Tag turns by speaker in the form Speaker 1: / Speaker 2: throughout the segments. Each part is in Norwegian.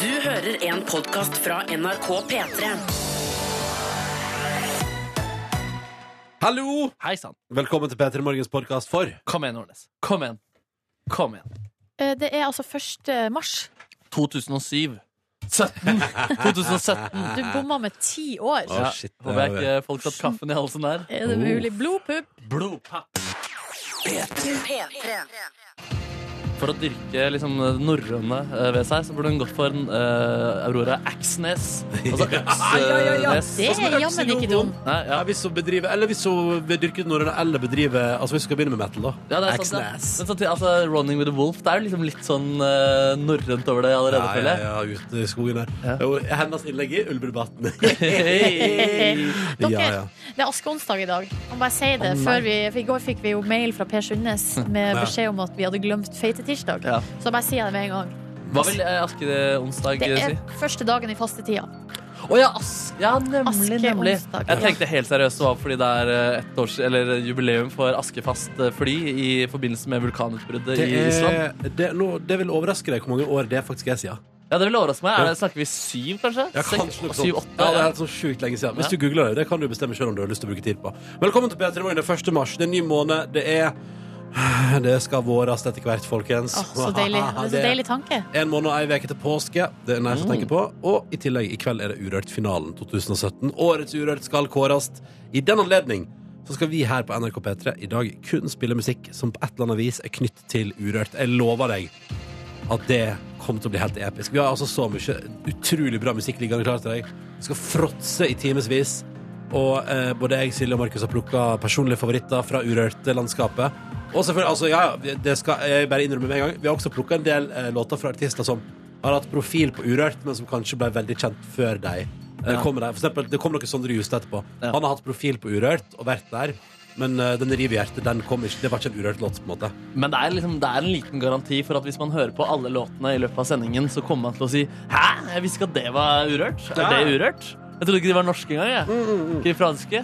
Speaker 1: Du hører en podcast fra NRK P3.
Speaker 2: Hallo!
Speaker 3: Hei sann.
Speaker 2: Velkommen til P3 Morgens podkast for
Speaker 3: Kom igjen, Nordnes. Kom igjen. Kom igjen.
Speaker 4: Eh, Det er altså 1. mars.
Speaker 3: 2007. 17. 2017.
Speaker 4: Du bomma med ti år.
Speaker 2: Å, shit, det
Speaker 3: Håper jeg
Speaker 2: var-
Speaker 3: ikke folk satt kaffen i halsen der.
Speaker 4: Er det mulig? Blodpupp.
Speaker 3: Blodpapp.
Speaker 1: P3.
Speaker 3: For å dyrke liksom, det norrøne eh, ved seg, så burde hun gått for en eh, Aurora Axnes. Altså Øksnes.
Speaker 4: Det er jammen ikke dumt.
Speaker 3: Nei, ja.
Speaker 2: Ja, hvis hun bedriver Eller hvis hun vil dyrke ut norrøne, eller bedriver Altså hvis hun skal begynne med metal, da.
Speaker 3: Ja, det er sant, ja.
Speaker 2: Axness.
Speaker 3: Men samtidig, altså, Running with the Wolf Det er jo liksom litt sånn eh, norrønt over det
Speaker 2: Ja,
Speaker 3: allerede,
Speaker 2: ja,
Speaker 3: føler jeg.
Speaker 2: ja, ute i skogen der.
Speaker 3: Ja.
Speaker 2: Jo, Hennes innlegg i Ulvedebatten.
Speaker 3: Hei.
Speaker 4: Dere,
Speaker 2: Ja, ja.
Speaker 4: Det er askeonsdag i dag. Jeg må bare si
Speaker 3: Å,
Speaker 4: det
Speaker 3: nei.
Speaker 4: før vi, for I går fikk vi jo mail fra Per Sundnes med
Speaker 2: Ja.
Speaker 4: beskjed om at vi hadde glemt feitetirsdag.
Speaker 3: Ja.
Speaker 4: Så jeg bare sier det med en gang.
Speaker 3: Hva vil eh, Askeonsdag
Speaker 4: Det
Speaker 3: eh,
Speaker 4: er
Speaker 3: si?
Speaker 4: første dagen i fastetida.
Speaker 3: Å ja, ask, ja, nemlig,
Speaker 4: Askeonsdag,
Speaker 3: nemlig.
Speaker 4: ja.
Speaker 3: Jeg tenkte helt seriøst det var fordi det er eh, ett års, eller jubileum for Askefast eh, fly i forbindelse med vulkanutbruddet
Speaker 2: Det,
Speaker 3: i Island.
Speaker 2: er, Eh, det, nå, det vil overraske deg hvor mange år det faktisk er siden.
Speaker 3: Ja, Det vil overraske meg.
Speaker 2: Ja.
Speaker 3: Er det, snakker vi syv, kanskje?
Speaker 2: Ja,
Speaker 3: Seks-
Speaker 2: kanskje noe sånt.
Speaker 3: syv,
Speaker 2: Ja,
Speaker 3: åtte,
Speaker 2: det er
Speaker 3: ja.
Speaker 2: helt sånn sjukt lenge siden. Hvis
Speaker 3: Ja.
Speaker 2: du googler det, det kan du bestemme selv om du har lyst til å bruke tid på. Velkommen til P3 Morgen. Det er 1. mars, det er en ny måned. Det er Det skal våres etter hvert, folkens.
Speaker 4: Åh, så deilig. Det er så deilig tanke.
Speaker 2: En måned og ei uke til påske. Det er nice å tenke på. Og i tillegg, i kveld er det Urørt-finalen 2017. Årets Urørt skal kåres. I den anledning så skal vi her på NRK P3 i dag kun spille musikk som på et eller annet vis er knytt til Urørt. Jeg lover deg at det kommer til å bli helt episk. Vi har altså så mye utrolig bra musikk liggende klar til deg. Vi skal fråtse i timevis. Og eh, både jeg, Silje og Markus har plukka personlige favoritter fra Urørt-landskapet. Og selvfølgelig, altså, ja, ja, det skal jeg bare innrømme med en gang, vi har også plukka en del eh, låter fra artister som har hatt profil på Urørt, men som kanskje ble veldig kjent før de eh,
Speaker 3: Ja.
Speaker 2: kom der. For eksempel, det kom noe Sondre Justad etterpå.
Speaker 3: Ja.
Speaker 2: Han har hatt profil på Urørt og vært der. Men eh, den river hjertet, den kom ikke. Det var ikke en Urørt-låt, på en måte.
Speaker 3: Men det er, liksom, det er en liten garanti for at hvis man hører på alle låtene i løpet av sendingen, så kommer man til å si Hæ? Jeg visste ikke at det var urørt.
Speaker 2: Ja.
Speaker 3: Er det urørt? Jeg trodde ikke de var norske engang. jeg. Ikke franske.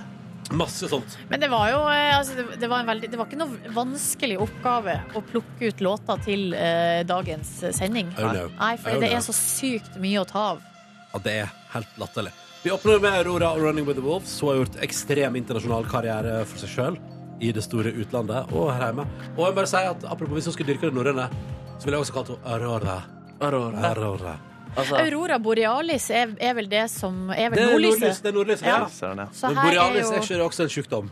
Speaker 2: Masse sånt.
Speaker 4: Men det var jo eh, altså, det, det, var en veldig, det var ikke noe vanskelig oppgave å plukke ut låter til eh, dagens sending.
Speaker 2: Oh, no.
Speaker 4: Nei, for
Speaker 2: Oh,
Speaker 4: det
Speaker 2: no.
Speaker 4: er så sykt mye å ta av.
Speaker 2: at det er helt latterlig. Vi åpner med Aurora og Running with the Wolves. Hun har gjort ekstrem internasjonal karriere for seg sjøl i det store utlandet og her hjemme. Og jeg må bare si at apropos hvis hun skulle dyrke det norrøne, så ville jeg også kalt henne Aurora.
Speaker 3: Aurora.
Speaker 2: Aurora.
Speaker 3: Altså,
Speaker 4: Aurora borealis er, er vel det som Er
Speaker 2: Det
Speaker 4: vel
Speaker 2: er nordlys,
Speaker 4: nordlyset?
Speaker 2: det er nordlys.
Speaker 4: Ja.
Speaker 2: Ja.
Speaker 3: Søren, ja.
Speaker 4: Så
Speaker 2: Men
Speaker 4: her er
Speaker 2: borealis
Speaker 4: jo
Speaker 2: er ikke det også en sjukdom?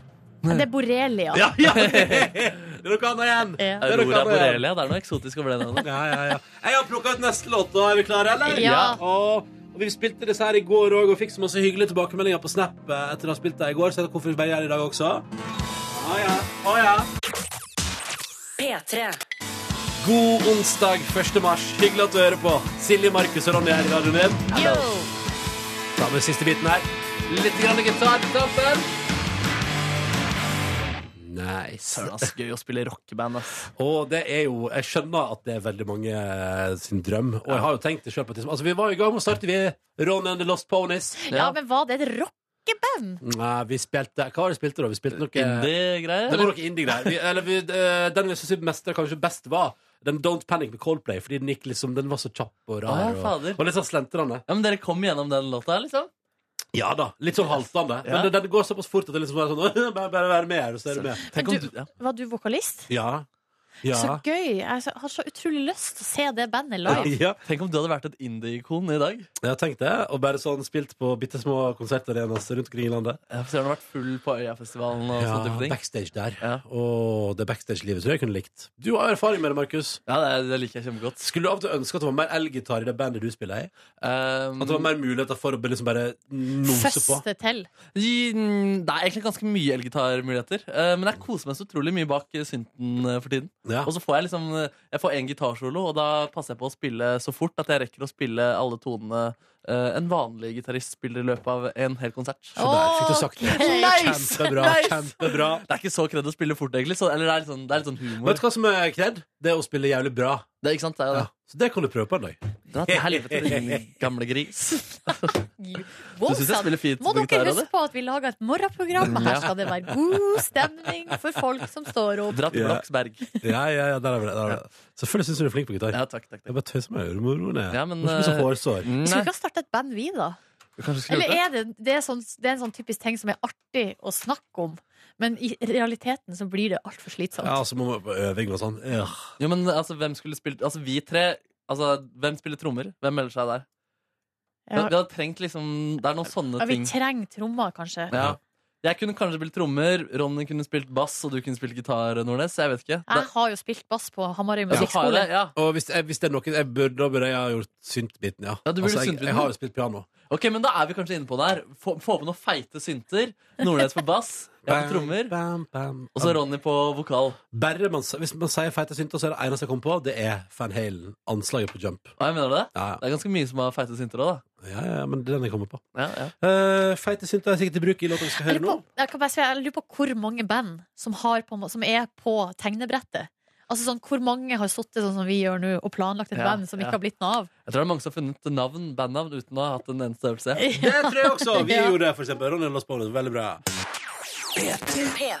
Speaker 4: Det er borrelia.
Speaker 2: Ja, ja! Det er noe annet igjen!
Speaker 4: Ja.
Speaker 2: Det er noe
Speaker 3: Aurora
Speaker 2: annet igjen.
Speaker 3: Borelia. Det er noe eksotisk over det navnet.
Speaker 2: Ja, ja, ja. Jeg har plukka ut neste låt, og er vi klare, eller?
Speaker 4: Ja.
Speaker 2: Og, og vi spilte disse her i går òg, og fikk så masse hyggelige tilbakemeldinger på Snap eh, etter å ha spilt det i går, så jeg vet hvorfor vi bare gjør det i dag også. Å ja. Å ja.
Speaker 1: P3.
Speaker 2: God onsdag 1. mars. Hyggelig at du hører på. Silje, Markus og Ronny er i radioen din.
Speaker 4: Yo!
Speaker 2: Ta med siste biten her.
Speaker 3: Litt grann gitar på toppen.
Speaker 2: Nice.
Speaker 3: Søren, ass. Gøy å spille rockeband, ass.
Speaker 2: Og det er jo, jeg skjønner at det er veldig mange eh, sin drøm. Og jeg har jo tenkt det selv på et tidspunkt. Altså, vi var i gang med å starte, vi. Ron and the Lost Ponies.
Speaker 4: Ja, men var det et rockeband?
Speaker 2: Nei, vi spilte Hva var det vi spilte da? Vi spilte noe
Speaker 3: Indie-greier.
Speaker 2: Det var
Speaker 3: eller?
Speaker 2: noe indie-greier. Vi- eller vi- eh, Den vi synes mest, kanskje best var den Don't Panic med Coldplay, fordi den gikk liksom, den var så kjapp og rar.
Speaker 3: Å, ja, fader.
Speaker 2: og, og litt sånn slentrende.
Speaker 3: Ja, men dere kom gjennom den låta, liksom?
Speaker 2: Ja da, litt sånn haltende.
Speaker 3: Ja.
Speaker 2: Men den, den går såpass fort at det liksom er sånn bare, bare være med her, og så er du med.
Speaker 3: Tenk om du, ja.
Speaker 4: Var du vokalist?
Speaker 2: Ja.
Speaker 4: Så
Speaker 2: Ja.
Speaker 4: gøy. Jeg har så utrolig lyst til å se det bandet live.
Speaker 2: ja.
Speaker 3: Tenk om du hadde vært et indie-ikon i dag.
Speaker 2: Jeg har tenkt det, og bare sånn spilt på bitte små konsertarenas rundt omkring i landet.
Speaker 3: Jeg får se om du har vært full på Øyafestivalen og sånne
Speaker 2: Ja,
Speaker 3: Sånn type ting.
Speaker 2: backstage der.
Speaker 3: Ja.
Speaker 2: Og det backstage-livet tror jeg jeg kunne likt. Du har erfaring med det, Markus.
Speaker 3: Ja, det, det liker jeg kjempegodt.
Speaker 2: Skulle du av og til ønske at det var mer elgitar i det bandet du spiller i? At
Speaker 3: Um,
Speaker 2: det var mer muligheter for å liksom bare nose på?
Speaker 4: Føste til.
Speaker 3: gi- mm, det er egentlig ganske mye elgitarmuligheter. Uh, men jeg koser meg så utrolig mye bak eh, synten eh, for tiden.
Speaker 2: Ja.
Speaker 3: Og så får jeg liksom eh, Jeg får én gitarsolo, og da passer jeg på å spille så fort at jeg rekker å spille alle tonene eh, en vanlig gitarist spiller i løpet av en hel konsert.
Speaker 2: Så der fikk du sagt det.
Speaker 3: Nice!
Speaker 2: Kjempebra.
Speaker 3: Nice!
Speaker 2: kjempebra
Speaker 3: Det er ikke så kredd å spille fort, egentlig. Så, eller det er litt sånn, det er litt sånn humor.
Speaker 2: Vet du hva som er kred? Det er å spille jævlig bra.
Speaker 3: Det, er- ikke sant? Det er jo
Speaker 2: Ja.
Speaker 3: det.
Speaker 2: Så det kan du prøve på en dag.
Speaker 3: Dra til helvete, din gamle gris. Du syns jeg
Speaker 4: Wow,
Speaker 3: spiller fint
Speaker 4: Må dere
Speaker 3: gitar,
Speaker 4: huske
Speaker 3: eller?
Speaker 4: på at vi lager et morgenprogram. og Her
Speaker 3: Ja.
Speaker 4: skal det være god stemning for folk som står opp.
Speaker 3: Dra til
Speaker 2: Ja.
Speaker 3: Bloksberg.
Speaker 2: Ja, ja, ja, der er vi det. Der er vi det. Selvfølgelig syns du du er flink på gitar.
Speaker 3: Ja, takk, takk,
Speaker 2: Jeg
Speaker 3: takk.
Speaker 2: bare tøyser med øremoroene.
Speaker 3: Ja,
Speaker 2: Må
Speaker 3: men,
Speaker 2: ikke bli så
Speaker 3: eh,
Speaker 2: hårsår.
Speaker 3: Nei,
Speaker 4: Skulle vi ikke ha startet et band, vi, da?
Speaker 3: kanskje skulle
Speaker 4: Eller
Speaker 3: gjort det?
Speaker 4: er det, det, er sånn, det er en sånn typisk ting som er artig å snakke om, men i realiteten så blir det altfor
Speaker 3: eh,
Speaker 4: slitsomt.
Speaker 2: Ja, så må man på øving og sånn. Ja.
Speaker 4: eh,
Speaker 3: Jo, men altså, hvem skulle spilt Altså, vi tre Altså, hvem spiller trommer? Hvem melder seg der? Vi
Speaker 4: Ja.
Speaker 3: vi hadde trengt liksom Det er noen sånne
Speaker 4: Ja, vi
Speaker 3: ting.
Speaker 4: trenger trommer, kanskje.
Speaker 3: Ja. Jeg kunne kanskje spilt trommer, Ronny kunne spilt bass, og du kunne spilt gitar, Nordnes. Jeg vet ikke.
Speaker 4: Jeg har jo spilt bass på Hamarøy
Speaker 3: Ja, du har jo
Speaker 4: musikkskole.
Speaker 3: det, ja.
Speaker 2: Og hvis, eh, hvis det er noen jeg burde, Da burde jeg ha gjort syntbiten, ja. Altså,
Speaker 3: Ja, du burde
Speaker 2: jeg,
Speaker 3: syntbiten.
Speaker 2: jeg har jo spilt piano.
Speaker 3: Ok, men da er vi kanskje inne på det her. Få, få på noen feite synter. Nordnes på bass, jeg på trommer,
Speaker 2: Bam, bam,
Speaker 3: og så Ronny på vokal.
Speaker 2: Bare man, hvis man sier feite synter, så er det eneste jeg kommer på, det er Van Halen. Anslaget på Jump.
Speaker 3: Hva mener du det?
Speaker 2: Ja,
Speaker 3: Det er ganske mye som har feite synter òg, da.
Speaker 2: ja, ja men det er den jeg kommer på.
Speaker 3: Ja, ja.
Speaker 2: Eh, feite synter er sikkert i bruk i låta vi skal
Speaker 4: Jeg
Speaker 2: høre nå.
Speaker 4: lurer, på, jeg, kan bare si, jeg lurer på hvor mange band som, har på, en må- som er på tegnebrettet. Altså sånn, Hvor mange har sittet sånn som vi gjør nå og planlagt et
Speaker 3: Ja,
Speaker 4: band som
Speaker 3: ja.
Speaker 4: ikke har blitt noe av?
Speaker 3: Jeg tror det er mange som har funnet navn, bandnavn uten å ha hatt en eneste øvelse.
Speaker 2: Det tror jeg også. Vi
Speaker 4: Ja.
Speaker 2: gjorde det, for eksempel. Ronny Los Bones, veldig bra.
Speaker 1: P3.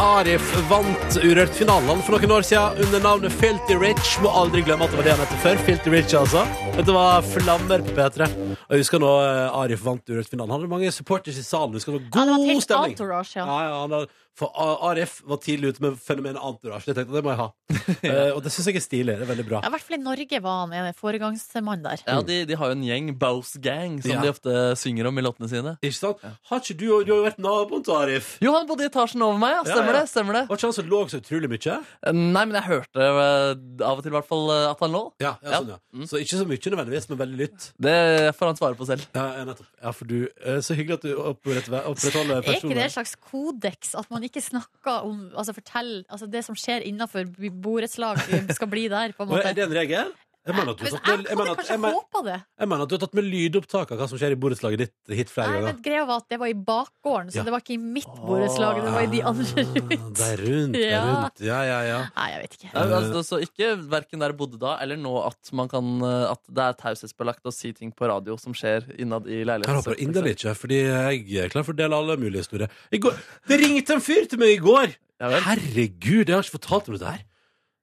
Speaker 2: Arif vant Urørt-finalen for noen år siden under navnet Filty Rich. Må aldri glemme at det var det han het før. Filty Rich, altså. Dette var flammer på P3. Og Jeg husker nå eh, Arif vant Urørt-finalen. Han hadde mange supporters i salen. Jeg Husker det
Speaker 4: Ja,
Speaker 2: var
Speaker 4: det var
Speaker 2: god
Speaker 4: et helt
Speaker 2: stemning.
Speaker 4: entourage, ja.
Speaker 2: Ja, ja, han hadde, for A- Arif var tidlig ute med fenomenet entourage. Jeg tenkte, det må jeg ha. Eh, og det syns jeg er stilig. Det er veldig bra.
Speaker 4: Ja, I hvert fall i Norge var han en foregangsmann der.
Speaker 3: Ja, de, de har jo en gjeng, Bouse Gang, som
Speaker 2: Ja.
Speaker 3: de ofte synger om i låtene sine.
Speaker 2: Ikke sant? Har ikke du, du har jo vært naboen til Arif.
Speaker 3: Jo, han bodde i etasjen over meg, ja.
Speaker 2: Ja,
Speaker 3: Stemmer
Speaker 2: ja.
Speaker 3: det? stemmer det
Speaker 2: Var ikke han som lå så utrolig mye?
Speaker 3: Nei, men jeg hørte eh, av og til i hvert fall eh, at han lå.
Speaker 2: Ja, ja,
Speaker 3: Ja.
Speaker 2: sånn, ja.
Speaker 4: Mm.
Speaker 2: Så ikke så mye nødvendigvis, men veldig litt.
Speaker 3: Det får han svare på selv.
Speaker 2: Ja, ja, nettopp. Ja, for du eh, Så hyggelig at du opprett- opprettholder
Speaker 4: Er ikke det
Speaker 2: personen.
Speaker 4: et slags kodeks at man ikke snakker om altså fortell, altså det som skjer innafor borettslag, skal bli der, på en
Speaker 2: Og er
Speaker 4: måte?
Speaker 2: det en regel? Jeg mener at du har
Speaker 4: Men
Speaker 2: tatt med, jeg
Speaker 4: jeg
Speaker 2: mener
Speaker 4: hadde
Speaker 2: at, jeg
Speaker 4: kanskje
Speaker 2: mener,
Speaker 4: håpa det.
Speaker 2: jeg mener at du har tatt med lydopptak av hva som skjer i borettslaget ditt hit flere
Speaker 4: Nei, men
Speaker 2: ganger.
Speaker 4: Greia var at det var i bakgården, så
Speaker 2: Ja. Ah.
Speaker 4: det var ikke i mitt borettslag. Det var i de andre rundt.
Speaker 2: Det er rundt, det er
Speaker 4: Ja.
Speaker 2: rundt. Ja, ja, ja.
Speaker 4: Nei, jeg vet ikke.
Speaker 2: Eh,
Speaker 3: Nei, men altså, så ikke verken der jeg bodde da, eller nå at, man kan, eh, at det er taushetsbelagt å si ting på radio som skjer innad i
Speaker 2: Jeg håper
Speaker 3: leiligheten.
Speaker 2: inderlig ikke, fordi jeg er klar for å dele alle mulige historier. I går, det ringte en fyr til meg i går!
Speaker 3: Ja, vel.
Speaker 2: Herregud, jeg har ikke fortalt om dette her.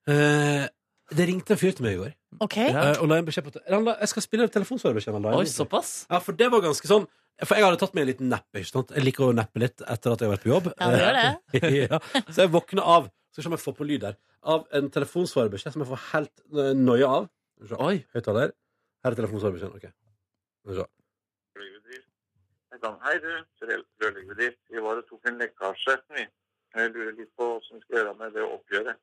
Speaker 2: Eh, det ringte en fyr til meg i går
Speaker 4: OK?
Speaker 3: Ja.
Speaker 2: eh, og la en beskjed på han la- Jeg skal spille telefonsvarerbeskjeden. han la inn.
Speaker 3: Oi, såpass?
Speaker 2: Ja, for det var ganske sånn For jeg hadde tatt meg en liten nepp, ikke sant? Jeg liker å neppe litt etter at jeg har vært på jobb
Speaker 4: Ja, det gjør det.
Speaker 2: ja. Så jeg våkner av Skal se om jeg får på lyd der Av en telefonsvarebeskjed som jeg får helt eh, nøye av Skal vi se,
Speaker 3: Oi.
Speaker 2: Høyttaler Her er telefonsvarebeskjeden, ok Skal vi se.
Speaker 5: rørleggerbedrift. Jeg kan, Hei, du. Rør- Rørleggerbedrift. Vi var og tok en lekkasje. vi. Jeg lurer litt på hvordan vi skal gjøre med det oppgjøret.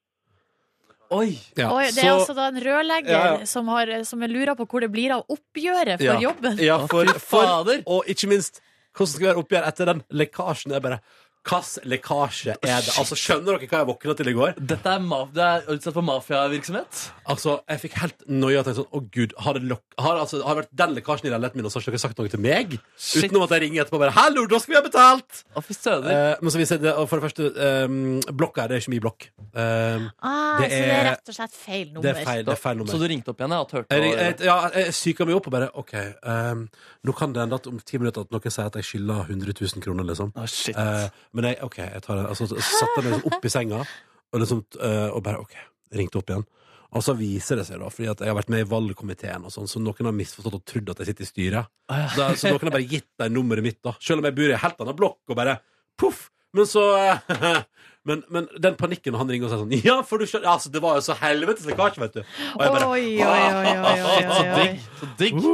Speaker 3: Oi.
Speaker 2: ja,
Speaker 4: Oi, det er
Speaker 2: så-
Speaker 4: altså da en rørlegger
Speaker 2: Ja, ja.
Speaker 4: som, har, som er lurer på hvor det blir av oppgjøret for
Speaker 2: Ja.
Speaker 4: jobben.
Speaker 2: Ja,
Speaker 3: Å,
Speaker 2: for,
Speaker 3: fy
Speaker 2: for
Speaker 3: fader.
Speaker 2: Og ikke minst Hvordan skal vi være oppgjør etter den lekkasjen Jeg bare Hvilken lekkasje er det? Altså, skjønner dere hva jeg våkna til i går?
Speaker 3: Dette er ma du er utsatt for mafiavirksomhet?
Speaker 2: Altså, jeg fikk helt nøye og tenkte sånn Å gud, har det, lok- har, altså, har det vært den lekkasjen i leiligheten min Og så har ikke dere sagt noe til meg
Speaker 3: Shit.
Speaker 2: Utenom at jeg ringer etterpå og bare Hallo, da skal vi ha betalt
Speaker 3: Å, fy søder.
Speaker 2: Eh, Men så viser jeg det og For det første, ehm, blokka her, det er ikke min blokk Ehm,
Speaker 4: Ah,
Speaker 2: Det
Speaker 4: så det er
Speaker 2: er-
Speaker 4: rett og slett feil nummer.
Speaker 2: det, er feil, det er feil
Speaker 3: Så
Speaker 2: nummer
Speaker 3: du ringte opp igjen? Jeg har hatt hørt
Speaker 2: jeg,
Speaker 3: på
Speaker 2: ring- jeg, ja, jeg syker meg opp og bare Ok, ehm, nå kan det enda at om ti minutter At noen sier at jeg skylder 100 000 kroner liksom
Speaker 3: Å, shit.
Speaker 2: Eh, men jeg, ok, jeg tar den altså, Så satte jeg meg liksom opp i senga og, liksom, eh, og bare, ok, ringte opp igjen Og så viser det seg da, fordi at jeg har vært med i valgkomiteen og sånn, Så noen har misforstått og trodd at jeg sitter i styret da, Så noen har bare gitt deg nummeret mitt da Selv om jeg bor i en helt annen blokk og bare, puff Men så, eh, men, men den panikken når han ringer og sier sånn Ja, for du skjønner, altså det var jo så helvetes lekkasje, vet du Og jeg bare,
Speaker 4: Oi, oi, oi, oi, oi,
Speaker 3: Så
Speaker 4: oi, oi.
Speaker 3: digg. Så digg.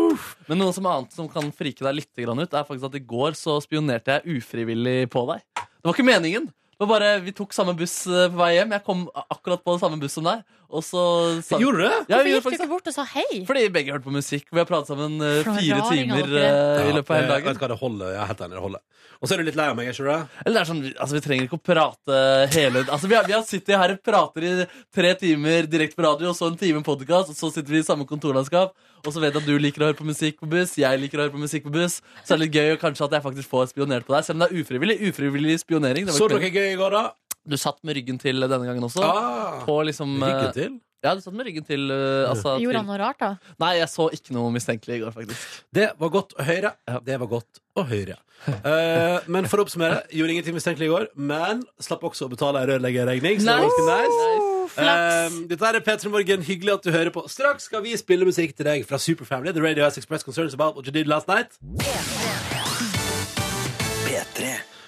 Speaker 3: Men noe som annet som kan frike deg litt grann ut, er faktisk at i går så spionerte jeg ufrivillig på deg. Det var ikke meningen. Det var bare, Vi tok samme buss eh, på vei hjem. Jeg kom a- akkurat på samme buss som deg. Og så sa
Speaker 2: gjorde du det?
Speaker 3: Ja,
Speaker 4: Hvorfor
Speaker 3: vi gjorde
Speaker 4: gikk du
Speaker 3: faktisk
Speaker 4: ikke bort og sa hei?
Speaker 3: fordi begge hørte på musikk. Vi har pratet sammen eh,
Speaker 4: For noen
Speaker 3: fire
Speaker 4: raringer
Speaker 3: timer
Speaker 4: dere
Speaker 3: eh, i løpet av hele
Speaker 2: Jeg vet
Speaker 3: dagen.
Speaker 2: hva det holder, jeg er helt enig, det holder Og så er du litt lei av meg, er ikke du det?
Speaker 3: Eller det er sånn, vi- altså, Vi trenger ikke å prate hele Altså, Vi har, vi har sittet her og prater i tre timer direkte på radio, og så en time podkast, og så sitter vi i samme kontorlandskap, og så vet jeg at du liker å høre på musikk på buss, jeg liker å høre på musikk på buss, så er det litt gøy og kanskje at jeg faktisk får spionert på deg, selv om det er ufrivillig. Ufrivillig spionering. Det var
Speaker 2: Så
Speaker 3: ikke
Speaker 2: dere gøy i går da?
Speaker 3: meningen. Du satt med ryggen til denne gangen også.
Speaker 2: Ah,
Speaker 3: På liksom eh,
Speaker 2: ryggen til?
Speaker 3: Jeg hadde stått med ryggen til. eh, altså, til.
Speaker 4: Gjorde han noe rart, da?
Speaker 3: Nei, jeg så ikke noe mistenkelig i går, faktisk.
Speaker 2: Det var godt å høre.
Speaker 3: Ja.
Speaker 2: Det var godt å høre. Eh, men for å oppsummere, gjorde ingenting mistenkelig i går, men slapp også å betale ei rørleggerregning. så det var ganske nice.
Speaker 4: Flaks.
Speaker 2: Eh, dette er P3 Morgen, hyggelig at du hører på. Straks skal vi spille musikk til deg fra Superfamily, The Radio Ice Express Concerns About What You Did Last Night.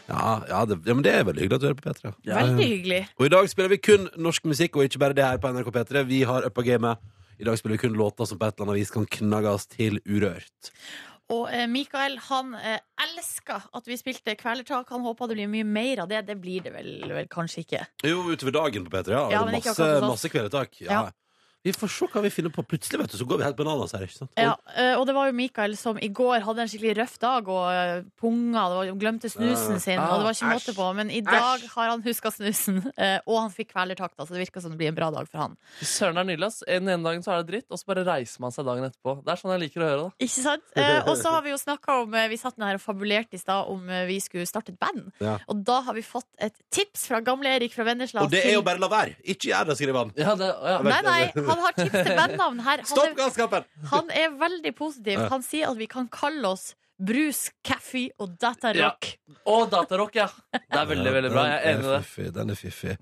Speaker 2: Ja, ja, det, ja men det er veldig hyggelig at du hører på P3. Eh,
Speaker 4: Veldig hyggelig.
Speaker 2: Og i dag spiller vi kun norsk musikk, og ikke bare det her på NRK P3. Vi har uppa gamet. I dag spiller vi kun låter som på et eller annet vis kan knagges til urørt.
Speaker 4: Og eh, Mikael han eh, elska at vi spilte Kvelertak. Han håpa det blir mye mer av det. Det blir det vel, vel kanskje ikke.
Speaker 2: Jo, utover dagen på P3, ja.
Speaker 4: Ja,
Speaker 2: Og
Speaker 4: men ikke
Speaker 2: masse
Speaker 4: akkurat hos oss.
Speaker 2: masse kveldetak. Ja.
Speaker 4: Ja.
Speaker 2: Vi får se hva vi finner på. Plutselig vet du, så går vi helt bananas her. ikke sant?
Speaker 4: Ja, eh, og det var jo Mikael som i går hadde en skikkelig røff dag og eh, punga det var, glemte
Speaker 2: Eh,
Speaker 4: snusen sin.
Speaker 3: Ah,
Speaker 4: og det var ikke måte på Men i dag har han huska snusen, eh, og han fikk kvelertak, da, så det virker som det blir en bra dag for han.
Speaker 3: Søren er nydelig, ass. Den ene dagen så er det dritt, og så bare reiser man seg dagen etterpå. Det er sånn jeg liker å høre det.
Speaker 4: Ikke sant? Eh, og så har vi jo snakka om eh, Vi satt ned her og fabulerte i stad om eh, vi skulle starte et band.
Speaker 2: Ja.
Speaker 4: Og da har vi fått et tips fra gamle Erik fra Vennesla.
Speaker 2: Og det er
Speaker 4: til-
Speaker 2: jo bare la være! Ikke gjør det, skriver han.
Speaker 3: Ja, det, ja.
Speaker 4: Nei, nei, han har tips til bandnavn her. Han
Speaker 2: Stopp
Speaker 4: er-
Speaker 2: galskapen!
Speaker 4: Han er veldig positiv.
Speaker 2: Ja.
Speaker 4: Han sier at vi kan kalle oss Brus, kaffe og datarock.
Speaker 3: Og datarock, ja. Det er veldig, veldig bra. Jeg er enig i det.
Speaker 2: Fiffig, den er fiffig.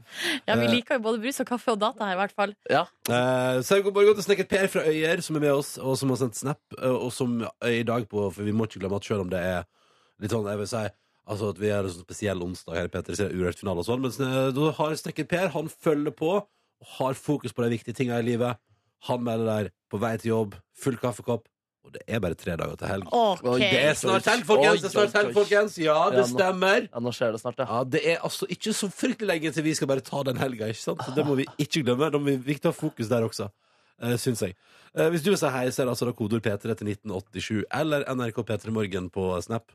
Speaker 4: Ja. vi liker jo både brus og kaffe og data her, i hvert fall.
Speaker 3: Ja.
Speaker 2: Eh, så jeg går bare godt og snekker Per fra Øyer, som er med oss, og som har sendt snap, eh, og som er i dag på For vi må ikke glemme at selv om det er litt sånn, jeg vil si Altså at vi har en sånn spesiell onsdag her i P3, så er det urørt finale og sånn, men eh, da har snekker Per, han følger på, og har fokus på de viktige tinga i livet. Han melder der på vei til jobb, full kaffekopp, og det er bare tre dager til helg.
Speaker 4: OK.
Speaker 3: Oi,
Speaker 2: Det er snart helg, folkens! Det er snart helg, folkens Ja, det stemmer!
Speaker 3: ja, nå skjer det snart, ja.
Speaker 2: Ja, Det er altså ikke så fryktelig lenge til vi skal bare ta den helga. ikke sant? Så Det må vi ikke glemme. Da må vi viktig å ha fokus der også, uh, syns jeg. Eh, hvis du vil si hei, så er det altså da kodeord P3 til 1987 eller NRK P3 Morgen på Snap.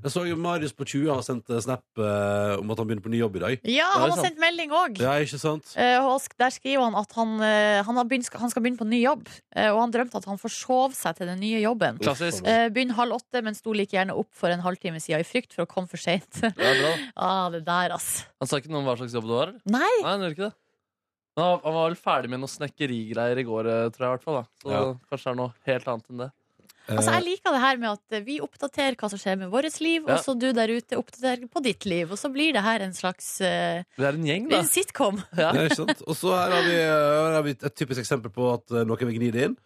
Speaker 2: Jeg så jo Marius på 20 har sendt eh, Snap eh, om at han begynner på ny jobb i dag.
Speaker 4: Ja,
Speaker 3: Det er
Speaker 4: han har
Speaker 3: sant.
Speaker 4: sendt melding òg.
Speaker 2: Ja, ikke sant?
Speaker 4: og sk- der skriver han at han, eh, han, har begynt, skal- han skal begynne på ny jobb. Eh, og han drømte at han forsov seg til den nye jobben.
Speaker 3: Klassisk.
Speaker 4: Eh, begynn halv åtte, men sto like gjerne opp for en halvtime siden i frykt for å komme for seint.
Speaker 3: Det er bra. da.
Speaker 4: ah, det der, ass.
Speaker 3: Han sa ikke noe om hva slags jobb det var? eller?
Speaker 4: Nei!
Speaker 3: Nei, han gjorde ikke det. Men han han var vel ferdig med noen snekkerigreier i går, eh, tror jeg. i hvert fall da. Så
Speaker 2: Ja.
Speaker 3: kanskje det er noe helt annet enn det.
Speaker 2: Eh.
Speaker 4: Altså, jeg liker det her med at eh, vi oppdaterer hva som skjer med vårt liv,
Speaker 3: Ja.
Speaker 4: og så du der ute oppdaterer på ditt liv, og så blir det her en slags eh,
Speaker 3: Vi er en gjeng, da.
Speaker 4: en sitcom.
Speaker 3: Ja.
Speaker 2: Ja, ikke sant? Og så her har, vi, her har vi et typisk eksempel på at eh, noen vil gni det inn.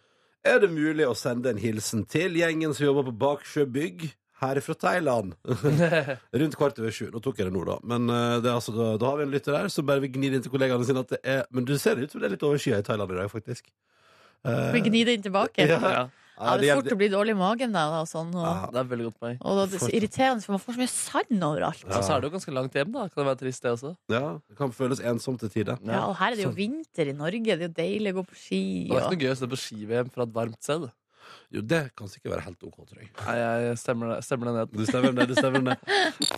Speaker 2: Er det mulig å sende en hilsen til gjengen som jobber på Baksjø bygg? Her fra Thailand. Rundt kvart over sju. Nå tok jeg det nå, da. Men eh, det er altså, da, da har vi en lytter der som bare vil gni det inn til kollegaene sine at det er Men du ser det ut som det er litt overskya i Thailand i dag, faktisk. Eh,
Speaker 4: Vi gnir det inn tilbake.
Speaker 2: Ja.
Speaker 4: Ja.
Speaker 3: Ja,
Speaker 4: det er fort å bli dårlig i magen da, og sånn. Og,
Speaker 2: Ja.
Speaker 3: det er veldig godt poeng.
Speaker 4: og det er så irriterende, for man får så mye sand overalt.
Speaker 2: Ja.
Speaker 3: Og så er det jo ganske langt hjem, da. Kan det være trist, det også?
Speaker 2: ja, det kan føles ensomt til tider.
Speaker 4: Ja, og her er det jo vinter i Norge, det er jo deilig å gå på ski.
Speaker 3: Det var ikke
Speaker 4: Og...
Speaker 3: noe gøy å stå på ski-VM fra et varmt sted.
Speaker 2: Jo, det kan sikkert være helt OK, tror jeg.
Speaker 3: Nei, jeg stemmer det, stemmer det ned.
Speaker 2: Du stemmer om det, du stemmer om det.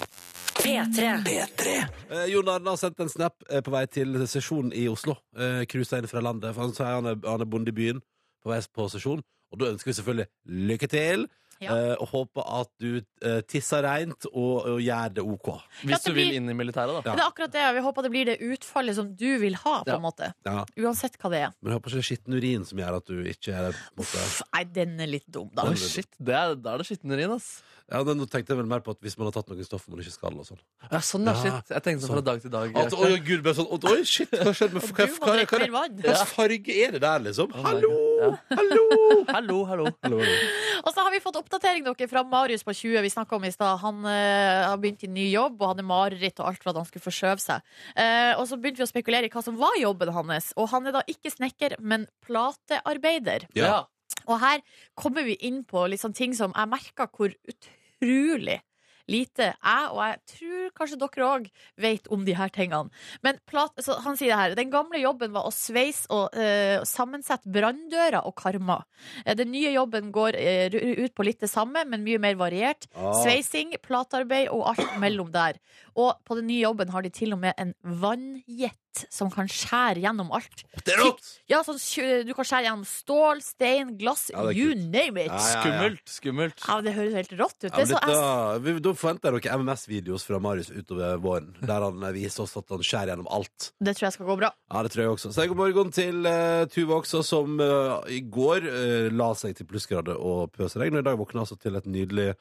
Speaker 1: P3.
Speaker 2: Eh, Jon Arne har sendt en snap eh, på vei til sesjonen i Oslo. Eh, Cruisa inn fra landet. For han, sier han, er, han er bonde i byen på vei på sesjon. Og da ønsker vi selvfølgelig lykke til.
Speaker 4: Ja.
Speaker 2: eh, og håper at du eh, tisser reint og, og gjør det OK.
Speaker 4: Ja,
Speaker 3: Hvis
Speaker 4: det
Speaker 3: du
Speaker 4: blir-
Speaker 3: vil inn i militæret, da.
Speaker 4: Men Det er akkurat det, og vi håper det blir det utfallet som du vil ha, på
Speaker 3: Ja.
Speaker 4: en måte.
Speaker 2: Ja.
Speaker 4: Uansett hva det er.
Speaker 2: Men jeg håper ikke det er skitten urin som gjør at du ikke er der. på en måte.
Speaker 4: Pff, nei, den er litt dum, da.
Speaker 3: Oi, shit, det er, Da er det skitten urin, ass.
Speaker 2: Ja, men Nå tenkte jeg vel mer på at hvis man har tatt noen stoffer man ikke skal. og sånn
Speaker 3: Ja, sånn, ja,
Speaker 2: Ja,
Speaker 3: shit. Jeg tenkte sånn fra
Speaker 2: sånn.
Speaker 3: dag til dag.
Speaker 2: At, oi, gud, bare sånn, oi, shit, hva skjedde med
Speaker 4: Og du må drikke mer vann.
Speaker 2: Hva slags farge er det der, liksom?
Speaker 3: my
Speaker 2: Hallo!
Speaker 3: God,
Speaker 2: Hallo!
Speaker 3: Hallo, hallo.
Speaker 2: Hallo, hallo.
Speaker 4: Og så har vi fått oppdatering dere fra Marius på 20 vi snakket om i stad. Han eh, har begynt i ny jobb og hadde mareritt og alt for at han skulle forskjøve seg. Eh, og så begynte vi å spekulere i hva som var jobben hans. Og han er da ikke snekker, men platearbeider.
Speaker 2: Ja.
Speaker 3: Ja.
Speaker 4: Og her kommer vi inn på litt sånn ting som jeg merker hvor utrolig lite jeg, og jeg tror kanskje dere òg, vet om de her tingene. Men plat, så han sier det her. Den gamle jobben var å sveise og eh, sammensette branndører og karmer. Eh, den nye jobben går eh, ru- ut på litt det samme, men mye mer variert.
Speaker 2: Ah.
Speaker 4: Sveising, platearbeid og alt mellom der. Og på den nye jobben har de til og med en vannjet nett som kan skjære gjennom alt.
Speaker 2: Det er rått!
Speaker 4: Ja, sånn, kjø- Du kan skjære gjennom stål, stein, glass,
Speaker 2: Ja, det er
Speaker 4: you
Speaker 2: kult.
Speaker 4: name it.
Speaker 2: Ja, ja, ja.
Speaker 3: Skummelt. skummelt
Speaker 4: Ja, det høres helt rått ut.
Speaker 2: Ja, men
Speaker 4: det er så,
Speaker 2: dette, vi, da forventer dere MMS-videoer fra Marius utover våren, der han eh, viser oss at han skjærer gjennom alt.
Speaker 4: jeg- det tror jeg skal gå bra.
Speaker 2: Ja, det tror jeg også. Så god morgen til eh, Tuva også, som eh, i går eh, la seg til plussgrader og pøsregn, og i dag våkna altså til et nydelig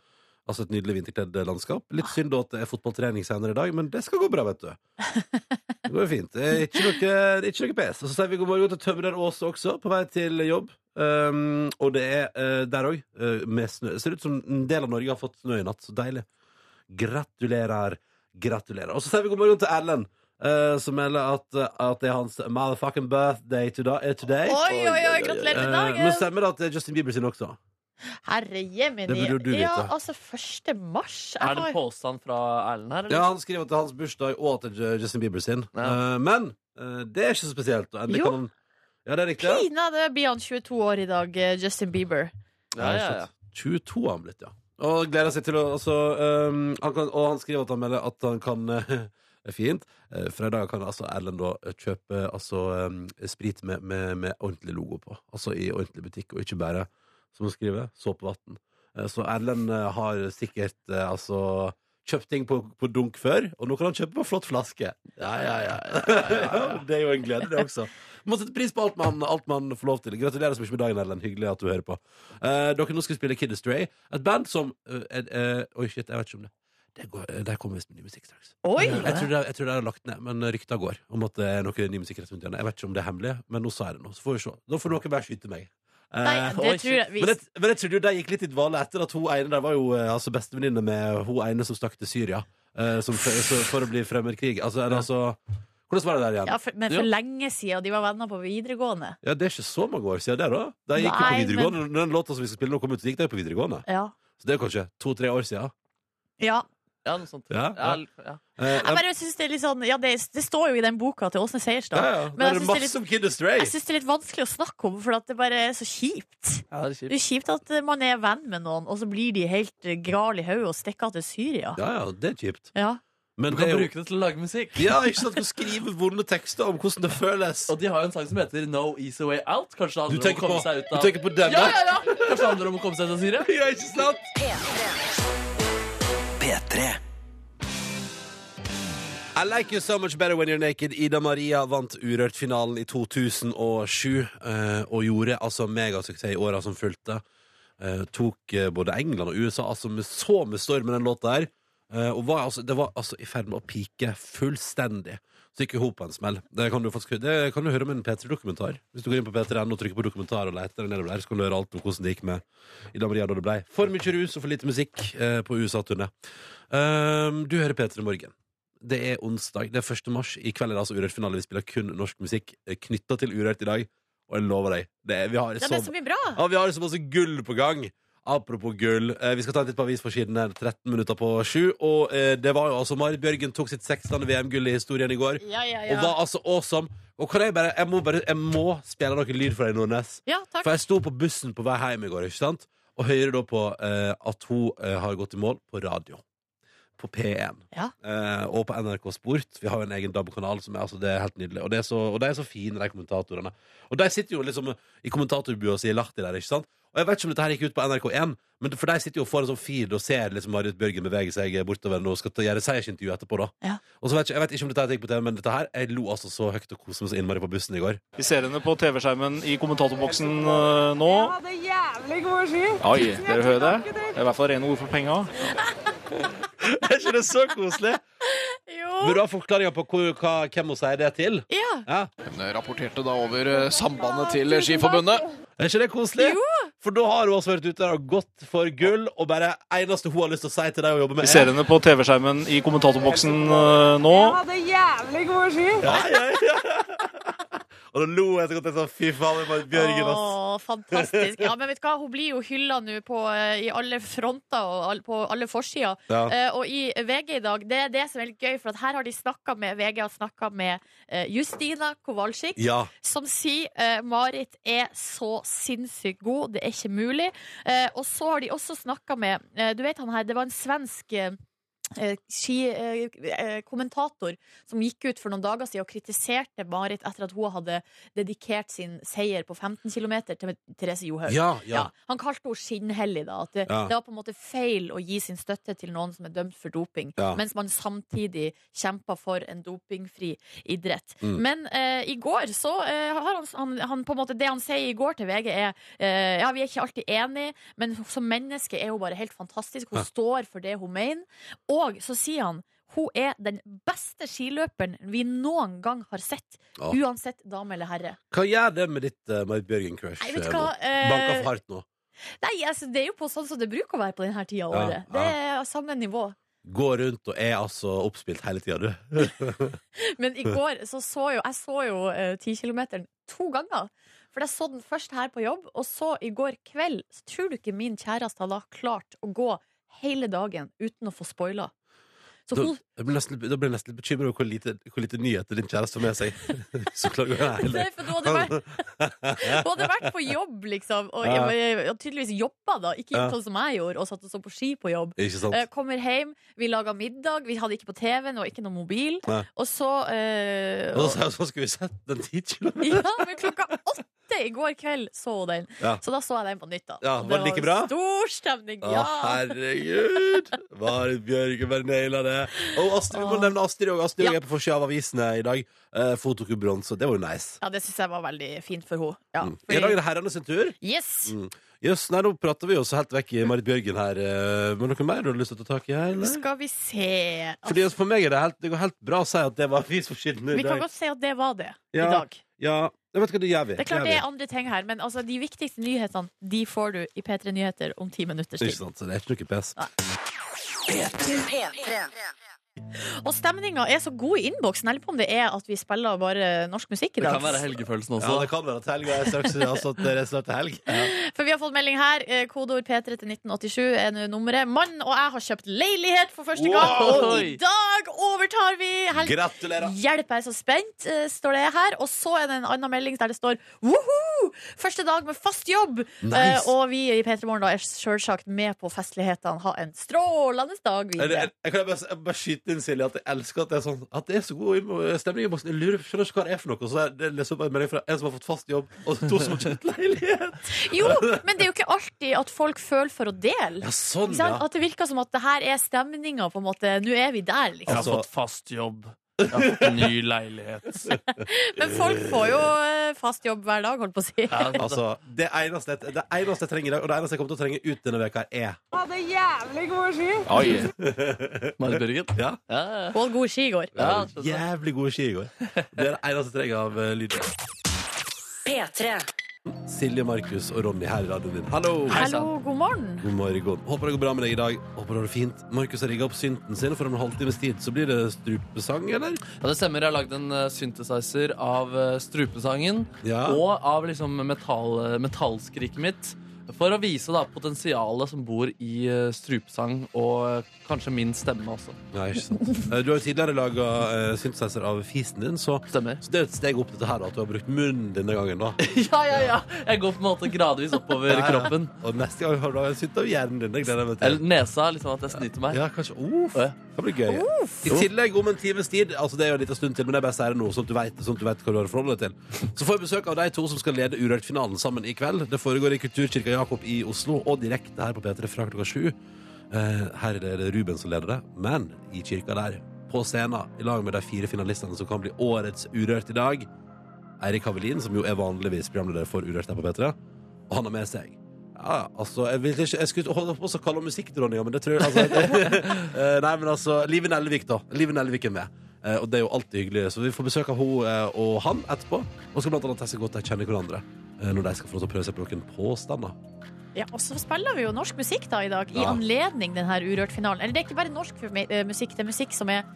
Speaker 2: Altså et nydelig vinterkledd landskap.
Speaker 4: Ah.
Speaker 2: Litt synd da at det er fotballtrening senere i dag, men det skal gå bra, vet du. Det går jo fint. Det er Ikke noe, det er ikke noe pes. Og så sier vi god morgen til Tømrer Åse også, på vei til jobb. Um, og det er eh, der òg, med snø. Det ser ut som en del av Norge har fått snø i natt. Så deilig. Gratulerer. Gratulerer. Og så sier vi god morgen til Erlend, eh, som melder at, at det er hans motherfucking birthday today. eh, today.
Speaker 4: Oi, oi, oi, gratulerer med
Speaker 2: Eh, men
Speaker 4: dagen!
Speaker 2: stemmer det at det er Justin Bieber sin også?
Speaker 4: Herre jemini.
Speaker 2: Det burde jo du
Speaker 4: Ja,
Speaker 2: vite.
Speaker 4: altså, 1. mars. Jeg
Speaker 3: Er det
Speaker 4: har-
Speaker 3: en påstand fra Erlend her?
Speaker 2: Ja, han skriver at det er hans bursdag og at det er Justin Bieber sin.
Speaker 3: Ja.
Speaker 2: Eh, men eh, det er ikke så spesielt. og endelig
Speaker 4: Jo.
Speaker 2: kan han- Ja, det er riktig. ja.
Speaker 4: Pinadø blir han 22 år i dag, eh, Justin Bieber.
Speaker 3: Ja, ja, ja.
Speaker 2: 22 har han blitt, ja. Og gleder seg til å altså, um, han kan, Og han skriver at han melder at han kan eh, Fint. Eh, Fra i dag kan altså Erlend da kjøpe altså, um, sprit med, med, med ordentlig logo på. Altså i ordentlig butikk, og ikke bare, som han skriver, såpevann. Eh, Så Erlend eh, har sikkert eh, altså kjøpt ting på, på dunk før, og nå kan han kjøpe på flott flaske. Ja, ja, ja. det er jo en glede, det også. Må sette pris på alt man, alt man får lov til. Gratulerer så mye med dagen, Erlend. Hyggelig at du hører på. Eh, dere nå skal spille Kid Astray, et band som eh, er- er- Oi, shit, jeg vet ikke om det. det går, eh, der kommer visst ny musikk straks.
Speaker 4: Oi!
Speaker 2: Jeg tror, det, jeg tror det er lagt ned, men rykta går om at det er noe ny musikk rett rundt hjørnet. Jeg vet ikke om det er hemmelig, men nå sa jeg det nå. Så får vi se. Da får noen bare skyte meg. Eh,
Speaker 4: Nei,
Speaker 3: oi,
Speaker 4: det tror jeg
Speaker 2: men
Speaker 4: vi
Speaker 2: jeg, men jeg trodde jo de gikk litt i dvale etter at hun ene der var jo eh, altså bestevenninne med hun ene som stakk til Syria eh, som, for, så, for å bli fremmedkrig. Altså, eller, altså, hvordan var det der igjen?
Speaker 4: ja, for, Men for
Speaker 3: Jo.
Speaker 4: lenge siden. De var venner på videregående.
Speaker 2: Ja, Det er ikke så mange år siden det, da. De gikk jo på
Speaker 4: Nei,
Speaker 2: videregående. Når Den låta som vi skal spille nå, kom ut, så gikk de på videregående.
Speaker 4: Ja.
Speaker 2: Så det er kanskje to-tre år siden.
Speaker 4: ja.
Speaker 3: Ja, noe sånt.
Speaker 2: Ja,
Speaker 3: Ja,
Speaker 2: ja.
Speaker 3: ja.
Speaker 2: Eh,
Speaker 4: Jeg bare synes det er litt sånn Ja, det, det står jo i den boka til Åsne
Speaker 2: ja,
Speaker 4: Seierstad.
Speaker 2: ja.
Speaker 4: Men
Speaker 2: Det
Speaker 4: jeg
Speaker 2: er
Speaker 4: synes det er
Speaker 2: masse
Speaker 4: litt-
Speaker 2: om Kid Astray.
Speaker 4: Jeg syns det er litt vanskelig å snakke om, for at det bare er så kjipt.
Speaker 3: ja det er
Speaker 4: Det
Speaker 3: kjipt.
Speaker 4: er kjipt at eh, man er venn med noen, og så blir de helt eh, gral i hodet og stikker av til Syria.
Speaker 2: Ja, ja, det er kjipt.
Speaker 4: Ja.
Speaker 2: Men det
Speaker 3: Du kan
Speaker 2: er jo
Speaker 3: bruke det til å lage musikk.
Speaker 2: Ja, ikke sant? Du kan skrive vonde tekster om hvordan det føles.
Speaker 3: Og de har jo en sang som heter No Easy Way Out. Kanskje det
Speaker 2: Du
Speaker 3: handler om å
Speaker 2: tenker på,
Speaker 3: komme seg ut
Speaker 2: du
Speaker 3: av
Speaker 2: tenker på denne?
Speaker 3: ja, ja, ja. Kanskje det handler om å komme seg ut av Syria?
Speaker 2: Ja, ikke sant? I like you so much better when you're naked. Ida Maria vant Urørt-finalen i 2007 eh, og gjorde altså megasuksess i åra som fulgte. Eh, tok eh, både England og USA altså med så med storm med den låta her. Eh, og var, altså, det var altså i ferd med å pike fullstendig. Så gikk hun på en smell. Det kan du faktisk det kan du høre om en P3-dokumentar. Hvis du går inn på P3.no og trykker på dokumentar og leter deg nedover der, så kan du høre alt om hvordan det gikk med Ida Maria da det blei for mye rus og for lite musikk eh, på USA-turné. Eh, du hører P3 Morgen. Det er onsdag, det er 1. mars. I kveld er det altså Urørt finale. Vi spiller kun norsk musikk knytta til Urørt i dag. Og jeg lover deg, det er, vi, har
Speaker 4: Ja,
Speaker 2: så,
Speaker 4: det er så mye bra!
Speaker 2: ja, vi har så masse gull på gang. Apropos gull, eh, vi skal ta en titt på avisforsidene 13 minutter på 7. Og eh, det var jo altså Marit Bjørgen tok sitt 16. VM-gull i historien i går.
Speaker 4: Ja, ja,
Speaker 2: Og
Speaker 4: ja.
Speaker 2: var altså awesome. Og kan jeg bare Jeg må, bare, jeg må spille noe lyd for deg, Nordnes.
Speaker 4: Ja, takk.
Speaker 2: For jeg sto på bussen på vei hjem i går, ikke sant? Og hører da på eh, at hun eh, har gått i mål på radio. På P1.
Speaker 4: Ja.
Speaker 2: Eh, og på NRK Sport. Vi har jo en egen DAB-kanal, som er, altså, det er helt nydelig. Og, det er så, og de er så fine, de kommentatorene. Og de sitter jo liksom i kommentatorbua og sier Lahti der, ikke sant? Og jeg vet ikke om dette her gikk ut på NRK1, men for de sitter jo foran sånn feed og ser liksom Marit Bjørgen bevege seg bortover nå og skal ta- gjøre seiersintervju etterpå, da.
Speaker 4: Ja.
Speaker 2: Og så vet jeg, jeg vet ikke om dette her gikk på TV, men dette her Jeg lo altså så høyt og koste meg så innmari på bussen i går.
Speaker 6: Vi ser henne på TV-skjermen i kommentatorboksen eh, nå.
Speaker 7: hadde jævlig gode ski.
Speaker 6: Oi, dere hører det? Det er i hvert fall rene ord for penga.
Speaker 2: Er ikke det så koselig?
Speaker 4: Jo.
Speaker 2: Vil du ha forklaringa på hvor, hva, hvem hun sier det til?
Speaker 4: Ja.
Speaker 2: Ja.
Speaker 8: Hun rapporterte da over eh, sambandet til Skiforbundet.
Speaker 2: Er ikke det koselig? For da har hun også vært ute der og gått for gull, og bare eneste hun har lyst til å si til deg å jobbe med,
Speaker 6: Vi ser henne på TV-skjermen i kommentatorboksen eh, nå.
Speaker 7: hadde jævlig gode ski.
Speaker 2: ja, ja, ja. Og da lo jeg så godt. Jeg sa fy faen, det var Bjørgen, ass.
Speaker 4: Åh, fantastisk. Ja, men vet du hva, hun blir jo hylla nå på, eh, i alle fronter og all, på alle forsider.
Speaker 2: Ja.
Speaker 4: Eh, og i VG i dag, det er det som er litt gøy, for at her har de snakket med VG har snakka med eh, Justina Kowalczyk,
Speaker 2: Ja.
Speaker 4: som sier eh, Marit er så sinnssykt god, det er ikke mulig. Eh, og så har de også snakka med eh, Du vet han her, det var en svensk eh, skikommentator som gikk ut for noen dager siden og kritiserte Marit etter at hun hadde dedikert sin seier på 15 km til Therese Johaug.
Speaker 2: Ja,
Speaker 4: Ja.
Speaker 2: ja.
Speaker 4: Han kalte henne skinnhellig, da. At det,
Speaker 2: Ja.
Speaker 4: det var på en måte feil å gi sin støtte til noen som er dømt for doping,
Speaker 2: Ja.
Speaker 4: mens man samtidig kjemper for en dopingfri idrett.
Speaker 2: Mm.
Speaker 4: Men eh, i går så eh, har han, han, han på en måte Det han sier i går til VG, er eh, Ja, vi er ikke alltid enige, men som menneske er hun bare helt fantastisk. Hun
Speaker 2: Ja.
Speaker 4: står for det hun mener. Og så sier han hun er den beste skiløperen vi noen gang har sett.
Speaker 2: Ja.
Speaker 4: Uansett dame eller herre.
Speaker 2: Hva gjør det med ditt eh, Marit Bjørgen-crush?
Speaker 4: Nei, vet
Speaker 2: eh,
Speaker 4: du hva?
Speaker 2: nå?
Speaker 4: Eh,
Speaker 2: Banka for hardt nå.
Speaker 4: Nei, altså, det er jo på sånn som det bruker å være på denne tida av
Speaker 2: Ja,
Speaker 4: året. Det er samme nivå.
Speaker 2: Går rundt og er altså oppspilt hele tida, du.
Speaker 4: Men i går så, så jo, jeg så jo tikilometeren to ganger. For jeg så den først her på jobb, og så i går kveld så tror du ikke min kjæreste hadde klart å gå hele dagen uten å få spoila. Så
Speaker 2: Da
Speaker 4: hun,
Speaker 2: jeg ble nesten, da ble jeg nesten litt bekymra over hvor lite, hvor lite nyheter din kjæreste har med seg. Så klager jeg
Speaker 4: det,
Speaker 2: heller.
Speaker 4: er for hun, hadde vært, hun hadde vært på jobb, liksom, og,
Speaker 2: Ja.
Speaker 4: og, tydeligvis jobba, da. Ikke
Speaker 2: Ja.
Speaker 4: gjort sånn som jeg gjorde, og satt og så på ski på jobb.
Speaker 2: Ikke sant?
Speaker 4: Eh, kommer hjem, vi laga middag, vi hadde ikke på TV-en og ikke noe mobil.
Speaker 2: Nei.
Speaker 4: Og så eh,
Speaker 2: Og da sa jeg sånn, skal vi sette den 10 km?
Speaker 4: Ja, men klokka åtte i går kveld så hun den.
Speaker 2: Ja.
Speaker 4: Så da så jeg den på nytt. da
Speaker 2: Ja,
Speaker 4: Og
Speaker 2: var det like bra?
Speaker 4: Stor stemning.
Speaker 2: Å,
Speaker 4: Ja.
Speaker 2: herregud! Marit Bjørgen bare naila det. Og Astrid, vi må
Speaker 4: Åh.
Speaker 2: nevne Astrid òg. Astrid
Speaker 4: Ja.
Speaker 2: er på forsida av avisene i dag. Eh, Fotok i bronse. Det var jo nice.
Speaker 4: ja, det syns jeg var veldig fint for henne. Ja,
Speaker 2: Mm. I dag
Speaker 4: fordi,
Speaker 2: er det herrene sin tur.
Speaker 4: yes!
Speaker 2: Jøss, nei, nå prater vi jo så helt vekk i Marit Bjørgen her. Eh, Men noe mer du har lyst til å ta tak i her? Eller?
Speaker 4: Skal vi se
Speaker 2: Fordi altså, For meg er det, helt, det går helt bra å si at det var avisforsiden i
Speaker 4: Vi kan
Speaker 2: dag.
Speaker 4: godt si at det var det
Speaker 2: Ja.
Speaker 4: i dag.
Speaker 2: Ja, jeg vet hva det gjør vi.
Speaker 4: Det er klart
Speaker 2: gjør
Speaker 4: det
Speaker 2: vi.
Speaker 4: er andre ting her, men altså, de viktigste nyhetene De får du i P3 Nyheter om ti minutters
Speaker 2: Ikke
Speaker 4: tid.
Speaker 2: sant, så det er ikke noe pes.
Speaker 1: P3.
Speaker 4: Og stemninga er så god i innboksen. Jeg lurer på om det er at vi spiller bare norsk musikk i
Speaker 3: Det
Speaker 4: dag.
Speaker 3: kan være helgefølelsen
Speaker 2: Ja,
Speaker 3: også.
Speaker 2: det kan være at helga er straks. Altså at det er snart helg.
Speaker 4: For vi har fått melding her. eh, Kodeord P3 til 1987 er nå nummeret. Mann og jeg har kjøpt leilighet for første gang.
Speaker 3: Wow!
Speaker 4: Og i dag overtar vi! Hel
Speaker 2: Gratulerer!
Speaker 4: Hjelp, jeg er så spent, eh, står det her. Og så er det en annen melding der det står Woho! Første dag med fast jobb!
Speaker 2: Nice.
Speaker 4: Eh, og vi i P3 Morgen da er sjølsagt med på festlighetene. Ha en strålende dag
Speaker 2: Er det-
Speaker 4: videre.
Speaker 2: er- Jeg kan bare, jeg bare skyte inn, Silje, at jeg elsker at det er sånn At det er så god im- stemning i boksen. Jeg lurer, skjønner ikke hva det er for noe. Og så er det liksom en melding fra en som har fått fast jobb, og to som har kjøpt leilighet.
Speaker 4: Jo, men det er jo ikke alltid at folk føler for å
Speaker 2: Ja,
Speaker 4: dele.
Speaker 2: sånn,
Speaker 4: Ikke sant?
Speaker 2: ja.
Speaker 4: At det virker som at det her er stemninga, på en måte. Nå er vi der, liksom.
Speaker 3: Jeg har
Speaker 2: Altså-
Speaker 3: fått fast jobb. Jeg har fått ny leilighet.
Speaker 4: Men folk får jo eh, fast jobb hver dag, holdt på å si.
Speaker 3: Ja,
Speaker 2: Altså, det eneste, det eneste jeg trenger i dag, og det eneste jeg kommer til å trenge ut denne veka her, er
Speaker 7: Hadde jævlig god ski.
Speaker 8: Oi.
Speaker 3: Marit Bjørgen.
Speaker 2: Ja.
Speaker 3: Ja,
Speaker 4: Og god ski i går.
Speaker 3: ja. ja, skjønner.
Speaker 2: Jævlig gode ski i går. Det er det eneste jeg trenger av eh, lyd.
Speaker 1: P3.
Speaker 2: Silje, Markus og Ronny her i radioen din. Hallo!
Speaker 4: Hallo, god morgen.
Speaker 2: God morgen. Håper det går bra med deg i dag. Håper du har det fint. Markus har rigga opp synten sin, og for om en halvtimes tid så blir det strupesang, eller?
Speaker 3: Ja, det stemmer. Jeg har lagd en eh, synthesizer av eh, strupesangen
Speaker 2: Ja.
Speaker 3: og av liksom metall, eh, metallskriket mitt. For å vise da potensialet som bor i eh, strupesang, og eh, kanskje min stemme også.
Speaker 2: Nei, ikke sant. Eh, Du har jo tidligere laga synthesizer av fisen din, så,
Speaker 3: Stemmer.
Speaker 2: så det er jo et steg opp dette her, da, at du har brukt munnen denne gangen, da.
Speaker 3: Ja, ja, ja! Jeg går på en måte gradvis oppover kroppen.
Speaker 2: Og neste gang har du en synt av hjernen din. Det gleder jeg meg
Speaker 3: Eller
Speaker 2: til.
Speaker 3: nesa, liksom at jeg snyter meg.
Speaker 2: Ja, kanskje. Uff.
Speaker 3: Ja.
Speaker 2: Det blir gøy. I tillegg, om en times tid, altså det er jo en liten stund til, men det er bare å si det nå, sånn at du vet, sånn at du vet hva du har å forholde deg til. Så får vi besøk av de to som skal lede Urørt-finalen sammen i kveld. Det foregår i Kulturkirka Jakob i Oslo, og direkte her på P3 fra klokka sju. Eh, her er det Ruben som leder det, men i kirka der, på scenen, i lag med de fire finalistene som kan bli årets Urørt i dag, Eirik Havelin, som jo er vanligvis programleder for Urørt her på P3, og han har med seg ja, altså, jeg, vil ikke, jeg skulle holde på å kalle henne musikkdronninga, men det tror jeg altså, Eh, Nei, men altså, Live Nelvik, da. Live Nelvik er med. Eh, og det er jo alltid hyggelig. Så vi får besøk av henne eh, og han etterpå. Og skal blant annet teste godt de kjenner hverandre. eh, når de skal få lov til å prøve seg på noen påstander.
Speaker 4: Ja, og så spiller vi jo norsk musikk da i dag, i
Speaker 2: Ja.
Speaker 4: anledning denne Urørt-finalen. Eller det er ikke bare norsk me- eh, musikk, det er musikk som er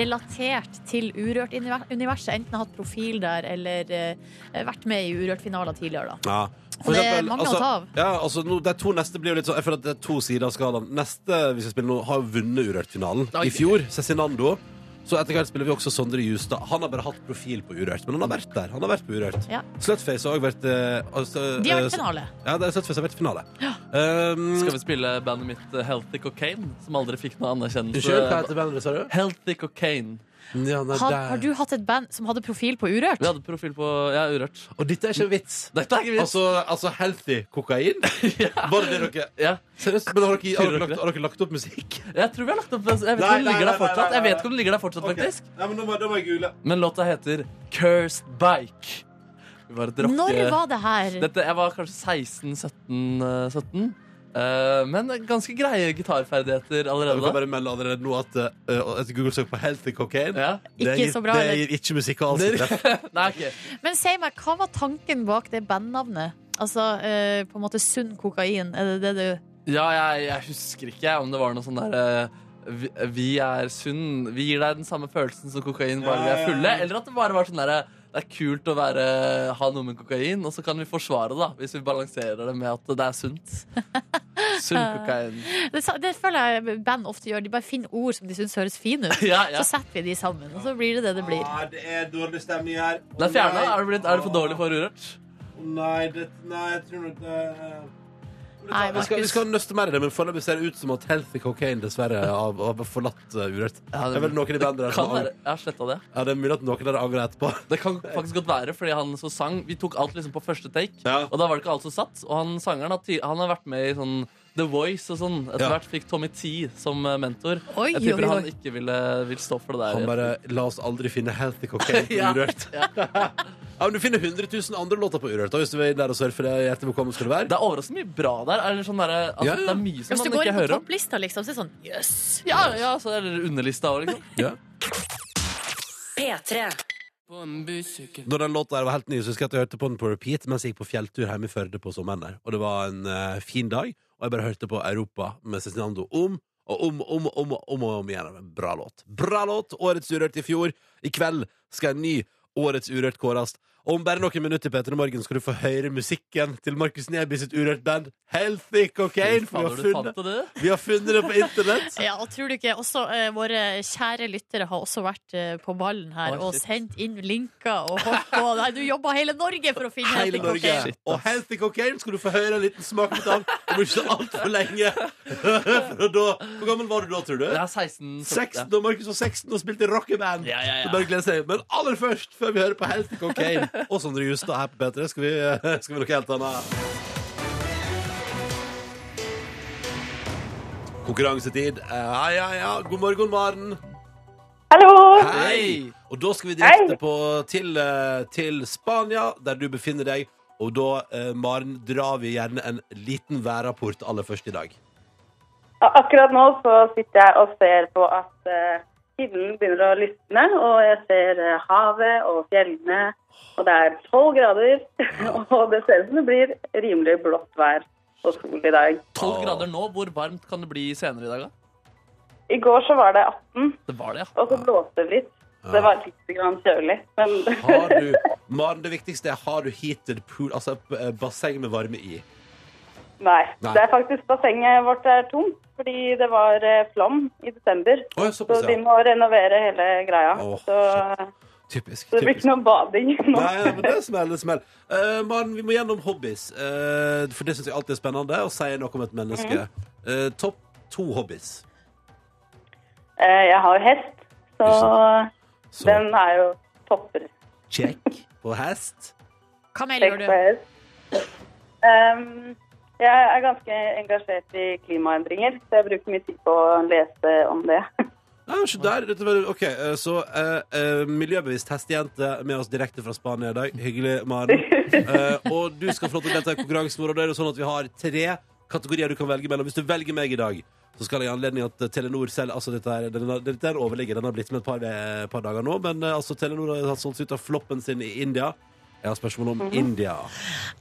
Speaker 4: relatert til Urørt-universet. Enten har hatt profil der, eller eh, vært med i Urørt-finaler tidligere, da.
Speaker 2: Ja.
Speaker 4: Og det er mange å
Speaker 2: altså,
Speaker 4: ta av.
Speaker 2: Ja, altså, nå, de to neste blir jo litt sånn Jeg føler at det er to sider av skalaen. Neste vi skal spille nå, har jo vunnet Urørt-finalen i fjor. Cezinando. Så etter hvert spiller vi også Sondre Justad. Han har bare hatt profil på Urørt, men han har vært der. Han har vært på Urørt.
Speaker 4: Ja.
Speaker 2: Slutface har også vært eh, altså,
Speaker 4: De har vært
Speaker 2: eh,
Speaker 4: finale.
Speaker 2: Ja, det er Slutface har vært finale. Um,
Speaker 3: Skal vi spille bandet mitt eh, Healthy Cocaine, som aldri fikk noe anerkjennelse?
Speaker 2: Unnskyld, hva heter bandet, sa du?
Speaker 3: Healthy Cocaine.
Speaker 2: Ja, nei,
Speaker 4: Har,
Speaker 2: der.
Speaker 4: har du hatt et band som hadde profil på Urørt?
Speaker 3: Vi hadde profil på Ja, Urørt.
Speaker 2: Og dette er ikke en vits.
Speaker 3: Dette er ikke vits.
Speaker 2: Altså, altså healthy kokain? Bare det dere
Speaker 3: Ja.
Speaker 2: Seriøst, men har dere, har,
Speaker 3: Fyrer
Speaker 2: dere
Speaker 3: dere
Speaker 2: lagt, har dere lagt opp musikk?
Speaker 3: Jeg tror vi har lagt opp Jeg vet ikke
Speaker 2: Nei,
Speaker 3: om den
Speaker 2: nei,
Speaker 3: ligger
Speaker 2: nei,
Speaker 3: der fortsatt.
Speaker 2: nei, nei,
Speaker 3: Jeg vet ikke om den ligger der fortsatt, faktisk.
Speaker 2: Nei, men da må, da må jeg google.
Speaker 3: Men låta heter Cursed Bike. Vi var et rocke...
Speaker 4: Når var det her?
Speaker 3: Dette, jeg var kanskje 16-17. Eh, men ganske greie gitarferdigheter
Speaker 2: Vi
Speaker 3: allerede
Speaker 2: kan
Speaker 3: da.
Speaker 2: bare melde allerede nå at eh, et Google-søk på healthy kokain
Speaker 3: Ja.
Speaker 2: det,
Speaker 4: Ikke
Speaker 2: gir,
Speaker 4: så bra,
Speaker 2: det
Speaker 4: eller?
Speaker 2: gir ikke musikalsk
Speaker 3: Det-
Speaker 2: treff.
Speaker 3: Nei, ok.
Speaker 4: Men si meg, hva var tanken bak det bandnavnet? Altså eh, på en måte sunn kokain, er det det du
Speaker 3: Ja, jeg, jeg husker ikke jeg, om det var noe sånn der eh, vi, vi er sunn, vi gir deg den samme følelsen som kokain, bare vi er fulle. Eller at det bare var sånn der eh, det er kult å være, ha noe med kokain, og så kan vi forsvare det, da. Hvis vi balanserer det med at det er sunt. Sunn kokain.
Speaker 4: Det, sa- det føler jeg band ofte gjør. De bare finner ord som de syns høres fine ut.
Speaker 3: Ja, ja. Ah,
Speaker 4: Så setter vi de sammen, og så blir det det det blir.
Speaker 2: det er dårlig stemning her.
Speaker 3: Den er fjerna. Er, det blitt- er det for dårlig for urørt?
Speaker 2: Nei, jeg tror nok det
Speaker 4: Nei,
Speaker 2: vi skal, vi
Speaker 4: Markus.
Speaker 2: skal nøste mer i det, men foreløpig ser det ut som at healthy cocaine dessverre har, har forlatt eh, urørt.
Speaker 3: Ja,
Speaker 2: det er vel noen i bandet der
Speaker 3: Kan
Speaker 2: som
Speaker 3: være.
Speaker 2: angrer.
Speaker 3: Jeg har sletta det.
Speaker 2: Ja, det er mulig at noen der angrer etterpå.
Speaker 3: Det kan faktisk godt være, fordi han som sang Vi tok alt liksom på første take, og da var det ikke alt som satt. Og han sangeren har, ty- han har vært med i sånn The Voice og sånn. Etter
Speaker 2: Ja.
Speaker 3: hvert fikk Tommy T som eh, mentor.
Speaker 4: Oi,
Speaker 3: Jeg
Speaker 4: oi,
Speaker 3: tipper
Speaker 4: oi.
Speaker 3: han ikke ville, vil stå for det der.
Speaker 2: Han bare La oss aldri finne healthy cocaine på
Speaker 3: Ja.
Speaker 2: Urørt. ja. men Du finner 100 000 andre låter på Urørt. da, Hvis du vil der og surfe, det er hjertelig velkommen skal du være.
Speaker 3: Det er overraskende mye bra der. Eller sånn derre altså,
Speaker 2: Ja, ja.
Speaker 3: Det er mye som
Speaker 4: Hvis du
Speaker 3: man
Speaker 4: går
Speaker 3: ikke
Speaker 4: inn på
Speaker 3: hører om.
Speaker 4: topplista, liksom, så er det sånn jøss.
Speaker 3: Ja, ja, så er det underlista òg, liksom.
Speaker 2: Ja.
Speaker 1: P3.
Speaker 2: Når den låta her var helt ny, så husker jeg at jeg hørte på den på repeat mens jeg gikk på fjelltur hjemme i Førde på sommeren. der Og det var en eh, fin dag, og jeg bare hørte på Europa med Cezinando om og om og om, og om, og om, og om igjen. Bra låt. Bra låt! Årets Urørt i fjor. I kveld skal en ny Årets Urørt kåres. Og om bare noen minutter Peter, i morgen skal du få høre musikken til Markus Neby sitt Urørt-band Healthy Cocaine. For vi har,
Speaker 3: Fader, du fant
Speaker 2: funnet,
Speaker 3: det, du.
Speaker 2: vi har funnet det på internett!
Speaker 4: Ja, og tror du ikke også eh, våre kjære lyttere har også vært eh, på ballen her
Speaker 3: Å,
Speaker 4: og
Speaker 3: shit.
Speaker 4: sendt inn linker og holdt på? Nei, du jobba hele Norge for å finne
Speaker 2: Hele
Speaker 4: Healthy
Speaker 2: Norge.
Speaker 4: Cocaine.
Speaker 3: Shit,
Speaker 2: og Healthy Cocaine skal du få høre en liten smakebit av om ikke så altfor lenge. For da, hvor gammel var du da, tror du?
Speaker 3: Jeg er 16.
Speaker 2: 16, og Markus var 16 og spilte i rockeband.
Speaker 3: Ja, ja, ja.
Speaker 2: Så bare gleder seg. Men aller først, før vi hører på Healthy Cocaine og Sondre Justad her på P3, skal vi, skal vi noe helt annet. Konkurransetid. Eh, Ja, ja, ja. God morgen, Maren.
Speaker 7: Hallo!
Speaker 2: Hei!
Speaker 3: Hei!
Speaker 2: Og da skal vi direkte på, til, eh, til Spania, der du befinner deg. Og da, eh, Maren, drar vi gjerne en liten værrapport aller først i dag.
Speaker 7: Og akkurat nå så sitter jeg og ser på at eh, himmelen begynner å lysne, og jeg ser eh, havet og fjellene, og det er 12 grader, og det ser ut som det blir rimelig blått vær og sol i dag.
Speaker 3: 12 grader nå. Hvor varmt kan det bli senere i dag, da?
Speaker 7: I går så var det 18,
Speaker 3: Det var det, ja.
Speaker 7: og så blåste det litt. Så Det var litt grann kjølig, men
Speaker 2: Har du, Maren, det viktigste er har du heated pool, altså eh, basseng med varme i.
Speaker 7: nei.
Speaker 2: Nei.
Speaker 7: Det er faktisk bassenget vårt er tomt, fordi det var eh, flom i desember.
Speaker 2: Å, ja,
Speaker 7: Så
Speaker 2: såpass,
Speaker 7: de
Speaker 2: ja.
Speaker 7: må renovere hele greia.
Speaker 2: Åh,
Speaker 7: Så,
Speaker 2: Typisk.
Speaker 7: så det blir
Speaker 2: typisk.
Speaker 7: ikke noe bading nå.
Speaker 2: Nei, nei, men det smeller, det smeller. Eh, Maren, vi må gjennom hobbies, eh, for det syns jeg alltid er spennende å si noe om et menneske.
Speaker 7: Mhm.
Speaker 2: Eh, Topp to hobbies.
Speaker 7: Eh, Jeg har jo hest, så
Speaker 2: Så
Speaker 7: den er jo topper.
Speaker 2: check på hest.
Speaker 4: Hva mer
Speaker 7: Sex
Speaker 4: gjør
Speaker 7: og
Speaker 4: du?
Speaker 7: hest. Ehm, Jeg er ganske engasjert i klimaendringer, så jeg bruker mye tid på å lese om det.
Speaker 2: Ja, se Ah, der. Dette var- OK, eh, så eh, eh, miljøbevisst hestejente med oss direkte fra Spania i dag. Hyggelig, Maren. Eh, og du skal få lov til å delta i konkurransen vår. Og det er jo sånn at vi har tre kategorier du kan velge mellom. Hvis du velger meg i dag, så skal jeg i anledning at eh, Telenor selv Altså, dette er, den, er- dette er en overligger. Den har blitt med et par, eh, par dager nå. Men eh, altså, Telenor har hatt solgt ut av floppen sin i India. Jeg har spørsmål om India.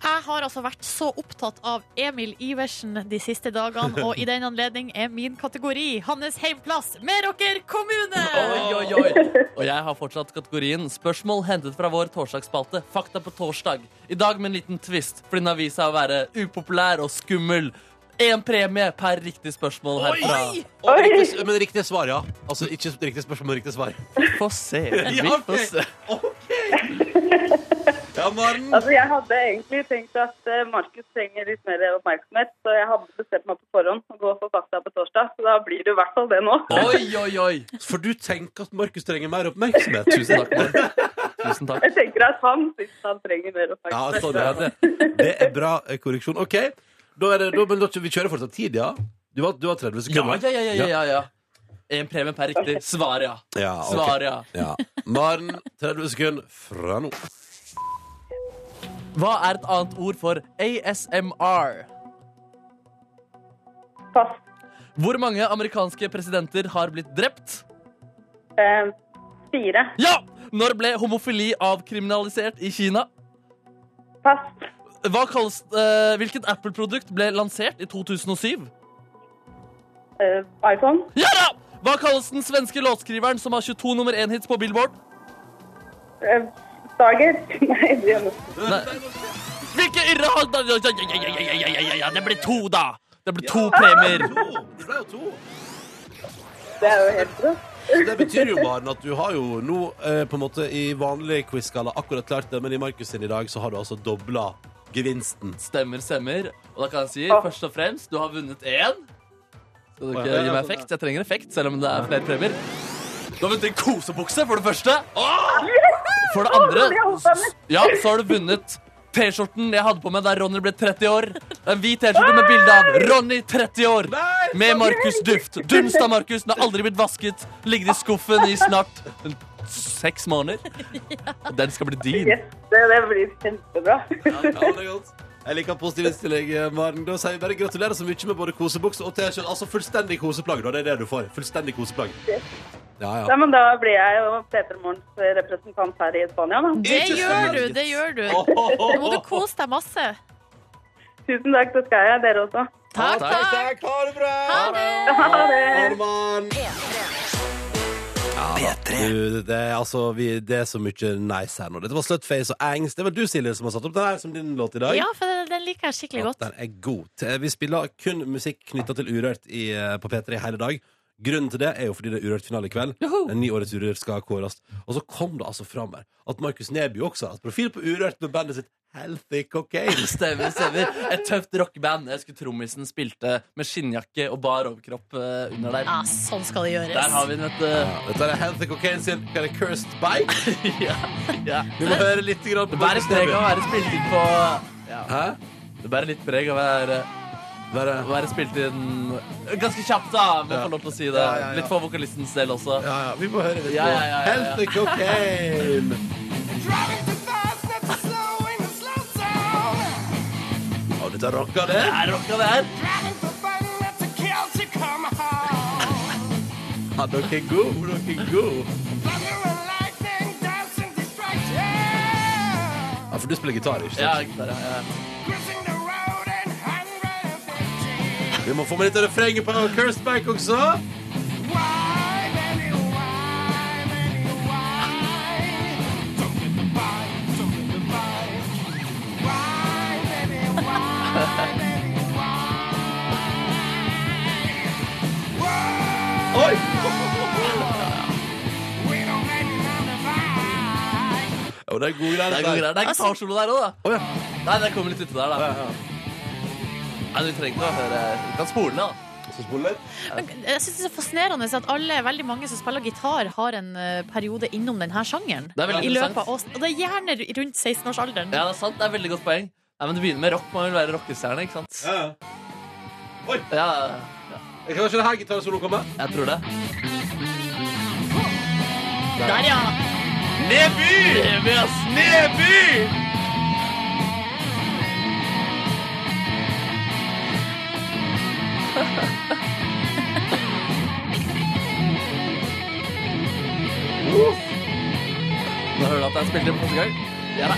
Speaker 4: Jeg har altså vært så opptatt av Emil Iversen de siste dagene, og i den anledning er min kategori hans heimplass Meråker kommune!
Speaker 3: Oi, oi, oi. Og jeg har fortsatt kategorien Spørsmål hentet fra vår torsdagsspalte Fakta på torsdag. I dag med en liten twist, fordi den har vist seg å være upopulær og skummel. én premie per riktig spørsmål herfra.
Speaker 2: Og
Speaker 7: Oi!
Speaker 2: riktig, men riktig svar, ja. Altså ikke riktig spørsmål, men riktig svar.
Speaker 3: Få se. Vi
Speaker 2: Ja, ok.
Speaker 3: får se.
Speaker 2: Ja, Maren.
Speaker 7: Altså, jeg hadde egentlig tenkt at eh, Markus trenger litt mer oppmerksomhet, så jeg hadde bestemt meg på forhånd å gå for fakta på torsdag, så da blir det i hvert fall det nå.
Speaker 3: Oi, oi, oi.
Speaker 2: For du tenker at Markus trenger mer oppmerksomhet?
Speaker 3: Tusen takk, Maren. Tusen takk.
Speaker 7: Jeg tenker at han syns han trenger mer
Speaker 2: Ja,
Speaker 7: oppmerksomhet.
Speaker 2: sånn er det. Det er bra eh, korreksjon. OK, da er det, da, men da, vi kjører fortsatt tid, ja? Du har, du har 30
Speaker 3: Ja,
Speaker 2: sekunder.
Speaker 3: ja, ja. ja, ja, ja. En premie per riktig. Svar ja.
Speaker 2: Ja, ok.
Speaker 3: Svar ja.
Speaker 2: Ja. Maren, 30 sekunder fra nå.
Speaker 3: Hva er et annet ord for ASMR?
Speaker 7: Pass.
Speaker 3: Hvor mange amerikanske presidenter har blitt drept?
Speaker 7: Eh, fire.
Speaker 3: Ja! Når ble homofili avkriminalisert i Kina?
Speaker 7: Pass.
Speaker 3: Hva kalles, eh, hvilket Apple-produkt ble lansert i 2007?
Speaker 7: Eh, iPhone.
Speaker 3: Ja da! Hva kalles den svenske låtskriveren som har 22 nummer 1-hits på Billboard?
Speaker 7: Eh, Stargate. Nei, det gjør noe.
Speaker 3: Hvilke yrre har ja, ja, ja, ja, ja, ja, ja, ja, ja, Det blir to, da! Det blir to premier.
Speaker 2: To. Det ble jo to.
Speaker 7: Det er jo helt bra.
Speaker 2: Det betyr jo, Maren, at du har jo nå eh, på en måte i vanlig quiz-skala akkurat klart det, men i Markus sin i dag så har du altså dobla gevinsten.
Speaker 3: Stemmer, stemmer. Og da kan jeg si først og fremst du har vunnet én. Skal du ikke gi meg effekt? Jeg trenger effekt, selv om det er flere premier. Du har vunnet en kosebukse, for det første. For det andre Ja, så har du vunnet T-skjorten jeg hadde på meg da Ronny ble 30 år. En hvit T-skjorte med bilde av Ronny 30 år. Med Markus Duft. Dunst av Markus. Den har aldri blitt vasket. Ligget i skuffen i snart seks måneder. Og Den skal bli din.
Speaker 7: Yes, det, det blir kjempebra.
Speaker 2: Ja, det er godt. Jeg liker positiv innstilling, eh, Maren. Da sier jeg bare gratulerer så mye med både kosebukse og T-skjorte. Altså fullstendig koseplagg, da. Det er det du får. Fullstendig koseplagg. Ja,
Speaker 7: Ja,
Speaker 2: ja.
Speaker 7: men da blir jeg jo Peter Morgens eh, representant her i Spania, da.
Speaker 4: Det
Speaker 2: Ikke
Speaker 4: gjør
Speaker 2: sant?
Speaker 4: du, det gjør du.
Speaker 2: Oh, oh, oh,
Speaker 4: Nå må du
Speaker 2: oh.
Speaker 4: kose deg masse.
Speaker 7: Tusen takk, det skal jeg. Dere også.
Speaker 4: Takk,
Speaker 2: Takk,
Speaker 4: takk.
Speaker 2: takk. Ha det bra.
Speaker 4: Ha det.
Speaker 7: Ha det.
Speaker 2: Ha det, Maren. Du, det, er, altså, vi, det er så mye nice her nå. Dette var Slutface og Angst. Det var du, Silje, som har satt opp den her som din låt i dag.
Speaker 4: Ja, for den- den liker jeg skikkelig
Speaker 2: At
Speaker 4: godt.
Speaker 2: Den er god. Eh, Vi spiller kun musikk knytta til Urørt i, eh, på P3 hele dag. Grunnen til det er jo fordi det er Urørt-finale i kveld. En ny årets Urørt skal kåres. Og så kom det altså fram her at Markus Neby også har hatt profil på Urørt med bandet sitt Healthy Cocaine.
Speaker 3: Stemmer, stemmer. Et tøft rockeband. Jeg skulle trommisen spilte med skinnjakke og bar overkropp eh, under der.
Speaker 4: Ja, sånn skal det
Speaker 3: Der har
Speaker 4: gjøres.
Speaker 3: vi den, vet du.
Speaker 2: Dette er Healthy Cocaine sin Kind of Cursed Bike.
Speaker 3: Ja, ja.
Speaker 2: Vi må høre litt grann på
Speaker 3: Det bærer
Speaker 2: Markus
Speaker 3: preg av å
Speaker 2: Neby.
Speaker 3: være spilt inn på
Speaker 2: Hæ?
Speaker 3: Det bærer litt preg av å være
Speaker 2: Bare,
Speaker 3: Å være spilt inn ganske kjapt, da. Må få lov til å si det.
Speaker 2: Ja, ja, ja.
Speaker 3: Litt for vokalistens del også.
Speaker 2: ja, ja, vi må høre litt
Speaker 3: Ja, ja, ja, ja, ja.
Speaker 2: på Healthy Cocaine. Å, dette rocka, det.
Speaker 3: Er rocka det her?
Speaker 2: Ja, dere er gode, dere er gode. Ja, for du spiller gitar, ikke
Speaker 3: Ja,
Speaker 2: sant?
Speaker 3: gitar, ja, ja.
Speaker 2: Vi må få med litt av refrenget på Cursed Back også. Oi! Jo, det er gode greier.
Speaker 3: Det er gode greier. Det er gitarsolo der òg, da.
Speaker 2: Å, ja.
Speaker 3: Nei, det kommer litt uti der, da. Nei, du trenger ikke å høre Du kan spole det, da.
Speaker 2: Skal vi spole litt?
Speaker 4: Men jeg synes det er så fascinerende at alle, veldig mange som spiller gitar, har en eh, periode innom denne sjangeren.
Speaker 3: Det er veldig
Speaker 4: I løpet av
Speaker 3: interessant.
Speaker 4: oss. Og det er gjerne rundt 16-årsalderen.
Speaker 3: Ja, det er sant. Det er et veldig godt poeng. Nei, men det begynner med rock. Man vil være rockestjerne, ikke sant?
Speaker 2: Ja, ja.
Speaker 3: Ja,
Speaker 2: Jeg kan ikke det her gitarsoloen komme.
Speaker 3: jeg tror det.
Speaker 4: Der, ja.
Speaker 3: Neby! Neby, ass. Neby! Nå hører du at jeg spilte den første gang. Ja da.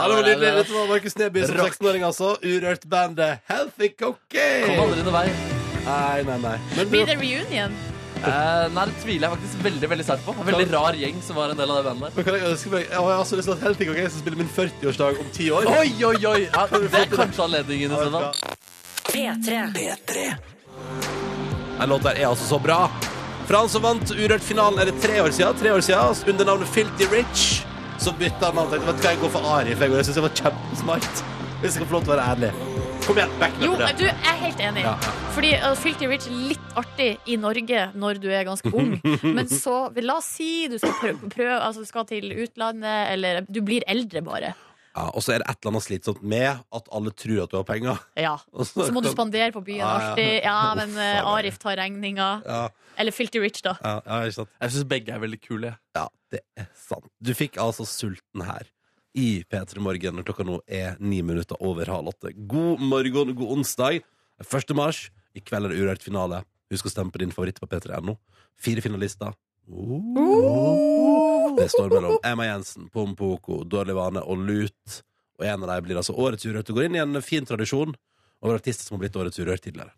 Speaker 2: Ja, det var nydelig. Dette var Markus Neby som 16-åring, altså. Urørt bandet Healthy
Speaker 3: Kom
Speaker 2: Cocaine.
Speaker 3: aldri noen vei.
Speaker 2: Nei, nei, nei. Men du,
Speaker 4: Blir det reunion?
Speaker 3: Eh, nei, det tviler jeg faktisk veldig veldig sterkt på. En Veldig rar gjeng som var en del av det bandet. der.
Speaker 9: Men kan jeg
Speaker 2: eh,
Speaker 9: ønske meg Jeg har altså lyst til at Helting og jeg skal spille min 40-årsdag om ti år.
Speaker 3: Oi, oi, oi! Ja, det er kanskje anledningen i så fall.
Speaker 1: P3.
Speaker 2: Den låta er altså så bra. For han som vant Urørt-finalen, er det tre år siden, tre år siden under navnet Filty Rich, så bytta han navn. Tenkte, Vet du hva, jeg går for Ari, for jeg går- jeg syns jeg var kjempesmart. Hvis jeg kan få lov til å være ærlig. Kom igjen, back me
Speaker 4: Jo,
Speaker 2: up på det.
Speaker 4: du, jeg er helt enig.
Speaker 2: Ja,
Speaker 4: Fordi uh, Filty Rich litt artig i Norge når du er ganske ung. Men så, la oss si du skal, prøve, prøve, altså, du skal til utlandet, eller du blir eldre bare.
Speaker 2: Ja, og så er det et eller annet slitsomt med at alle tror at du har penger.
Speaker 4: Ja.
Speaker 2: Og
Speaker 4: Så må du spandere på byen.
Speaker 2: Ja, ja.
Speaker 4: Artig. Ja, men
Speaker 2: Uff,
Speaker 4: uh,
Speaker 2: faen.
Speaker 4: Arif tar regninga.
Speaker 2: Ja,
Speaker 4: Eller Filty Rich, da.
Speaker 2: ja, ja, ikke sant.
Speaker 3: Jeg syns begge er veldig kule. jeg.
Speaker 2: Ja, det er sant. Du fikk altså sulten her i P3 Morgen når klokka nå er ni minutter over halv åtte. God morgen, god onsdag. 1. mars. I kveld er det urørt finale. Husk å stemme på din favoritt på p3.no. Fire finalister. Det står mellom Emma Jensen, Pompoko, Dårlig vane og Lut. Og en av dem blir altså Årets Urørt. Det går inn i en fin tradisjon over artister som har blitt Årets Urørt tidligere.